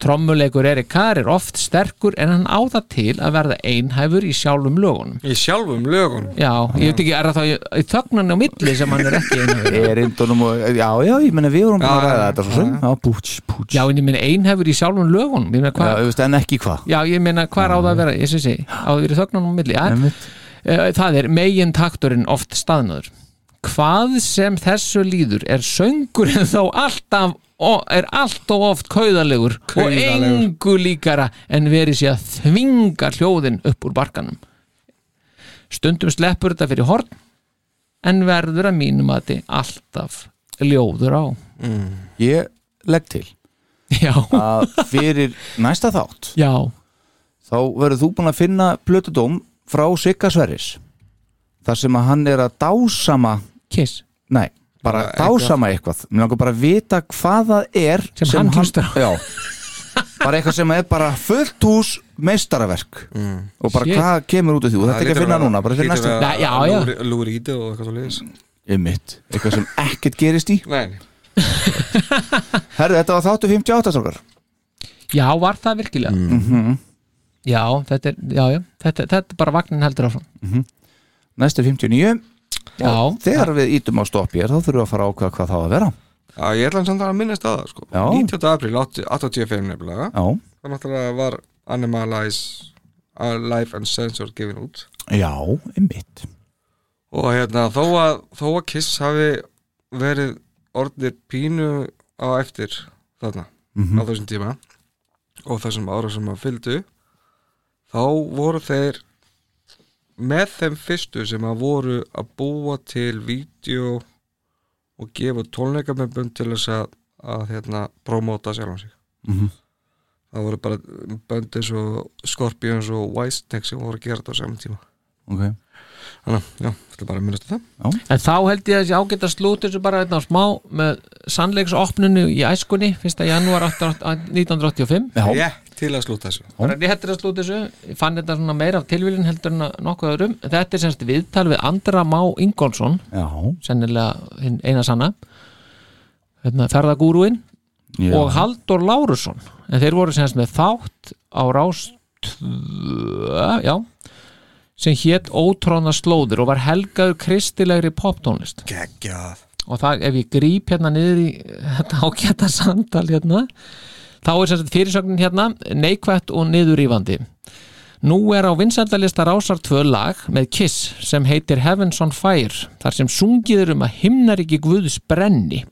Speaker 4: trommuleikur Erik Kar er oft sterkur en hann á það til að verða einhæfur í sjálfum lögunum
Speaker 3: í sjálfum lögun
Speaker 4: já, ég veit ekki, er það þá í, í þögnan á milli sem hann er ekki
Speaker 5: [laughs]
Speaker 4: einhæfur
Speaker 5: Erindunum og, já, já, ég meina við vorum búin að
Speaker 3: Já,
Speaker 5: ræða
Speaker 3: já,
Speaker 5: þetta svo sem Já, búts, búts
Speaker 4: já, en ég meina einhæfur í sjálfum lögunum ég meina
Speaker 5: já
Speaker 4: hvað
Speaker 5: auðvitað, en ekki hvað
Speaker 4: Já, ég meina, hvað á það að vera, ég sé sé, á því þögnum á milli, ja,
Speaker 5: Einmitt.
Speaker 4: Eh, það er megin takturinn oft staðnaður hvað sem þessu líður er söngurinn [laughs] þá alltaf og er allt og oft kauðalegur og
Speaker 3: Kauðalegur.
Speaker 4: engu líkara en verið sé að þvinga hljóðin upp úr barkanum stundum sleppur þetta fyrir horn en verður að mínum að þið alltaf ljóður á
Speaker 5: Ég legg til
Speaker 4: [laughs] já,
Speaker 5: að [laughs] fyrir næsta þátt
Speaker 4: já,
Speaker 5: þá verður þú búin að finna plötudóm frá Sigga Sverris þar sem að hann er að dásama
Speaker 4: kiss
Speaker 5: nei, bara dásama eitthvað mér langar bara að vita hvað það er
Speaker 4: Sem hann hlustar á.
Speaker 5: já, bara eitthvað sem er bara fullt hús meistaraverk og bara
Speaker 4: Shit.
Speaker 5: hvað kemur út af því og þetta er ekki að finna núna, bara fyrir næsta
Speaker 4: Nei, já, já.
Speaker 3: lúri í og eitthvað svo liðis
Speaker 5: ymmit, eitthvað sem ekkert gerist í
Speaker 3: nei,
Speaker 5: herðu, þetta var þáttu 58 strákar
Speaker 4: já, var það virkilega
Speaker 3: Mhm.
Speaker 4: já, þetta er, já, já þetta, þetta er bara vagnin heldur áfram
Speaker 5: næstu 59
Speaker 4: já,
Speaker 5: þegar við ítum á stopp hér þá þurfum við að fara að ákveða hvað það á að vera
Speaker 3: já, ég ætla samt að minnast að það sko
Speaker 5: Já.
Speaker 3: 19. apríl 85 nefnilega
Speaker 5: já,
Speaker 3: það náttúrulega var Animalize Alive and Sensor gefin út
Speaker 5: já, ymmit
Speaker 3: og hérna þó að, þó að Kiss hafi verið orðnir pínu á eftir þarna á þessum tíma og þessum ára sem að fylgdu þá voru þeir með þeim fyrstu sem að voru að búa til vídeo og gefa tónleikamömbum til þess að, að hérna, promóta sjálfan sig
Speaker 5: Mhm.
Speaker 3: það voru bara bönd eins og Scorpions og Wistek sem voru að gera þetta á saman tíma
Speaker 5: okay.
Speaker 3: þannig, að, já, þetta er bara að minnast á það
Speaker 4: En þá held ég að þessi ágæta slúti þessu bara einna á smá með sannleiksopnunu í æskunni 1. janúar 1985
Speaker 5: já,
Speaker 3: Rétt til að slúta þessu
Speaker 4: bara réttir að slúta þessu ég fann þetta svona meira af tilvílun heldur en að nokkuð öðrum þetta er semst viðtal við Andra Má Ingolson
Speaker 5: Já,
Speaker 4: sennilega hinn eina sanna hérna, ferðagúruinn
Speaker 5: já.
Speaker 4: og Haldur Lárusson en þeir voru semst með þátt á rás tvö, já sem hétt Ótróna slóðir og var helgaður kristilegri poptónlist
Speaker 3: geggjað
Speaker 4: og það, ef ég gríp hérna niður í þetta ágæta samtal hérna þá er sem sagt fyrirsögnin hérna neikvætt og niðurýfandi Nú er á vinsældalista rásar tvö lag með Kiss sem heitir Heavens on Fire þar sem sungið er um að himnaríki Guðs brenni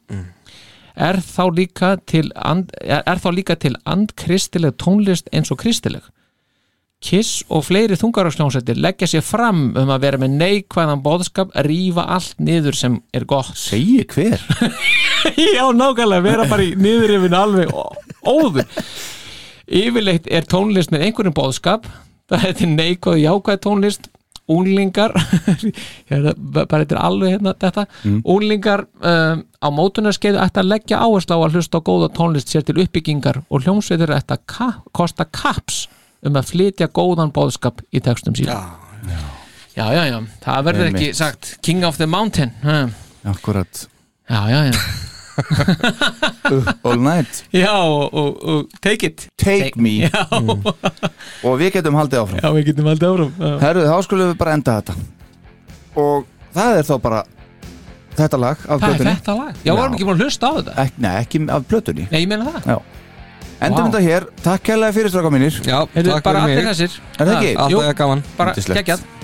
Speaker 4: er, þá líka til and, er, er þá líka til andkristileg tónlist eins og kristileg Kiss og fleiri þungaráskljónsættir leggja sér fram um að vera með neikvæðan bóðskap að rífa allt niður sem er gott
Speaker 5: Segji hver?
Speaker 4: Já, nákvæmlega, vera bara í niðurifin alveg ó- óður Yfirleitt er tónlist með einhverjum bóðskap það er til neikvæð jákvæð tónlist úlingar [laughs] hérna, b- bara þetta er alveg hérna þetta úlingar um, á mótunarskeið ætti að leggja áherslu á að hlusta á góða tónlist sér til uppbyggingar og hljómsveitir ætti að ka kosta kaps um að flytja góðan bóðskap í textum síðan já, já, já, það verður ekki
Speaker 5: Einmitt.
Speaker 4: sagt King of the Mountain ha.
Speaker 5: Akkurat
Speaker 4: já, já, já
Speaker 5: All night
Speaker 4: Já, og, og, og take it
Speaker 5: Take me [laughs] Já Og við getum haldið áfram
Speaker 4: Já, við getum haldið áfram Já,
Speaker 5: Herruð, þá skulum við bara enda þetta Og það er þá bara Þetta lag af
Speaker 4: Það er
Speaker 5: plötunni
Speaker 4: þetta lag Já, varum
Speaker 5: Já.
Speaker 4: ekki búin að hlusta á þetta
Speaker 5: Ek, Nei, ekki af plötunni
Speaker 4: Nei, ég meina það
Speaker 5: Já Endum
Speaker 4: Vá.
Speaker 5: þetta hér Takk kærlega fyrir stráka mínir
Speaker 3: já,
Speaker 4: Heyrðu,
Speaker 3: takk
Speaker 4: bara
Speaker 3: fyrir
Speaker 4: allir
Speaker 3: mig
Speaker 4: þessir
Speaker 5: Er það ekki?
Speaker 4: Jú,
Speaker 3: alltaf er gaman
Speaker 4: bara
Speaker 5: Yndislegt.
Speaker 2: Oh, Oh,
Speaker 4: geggjað
Speaker 2: Oh, Oh, Oh,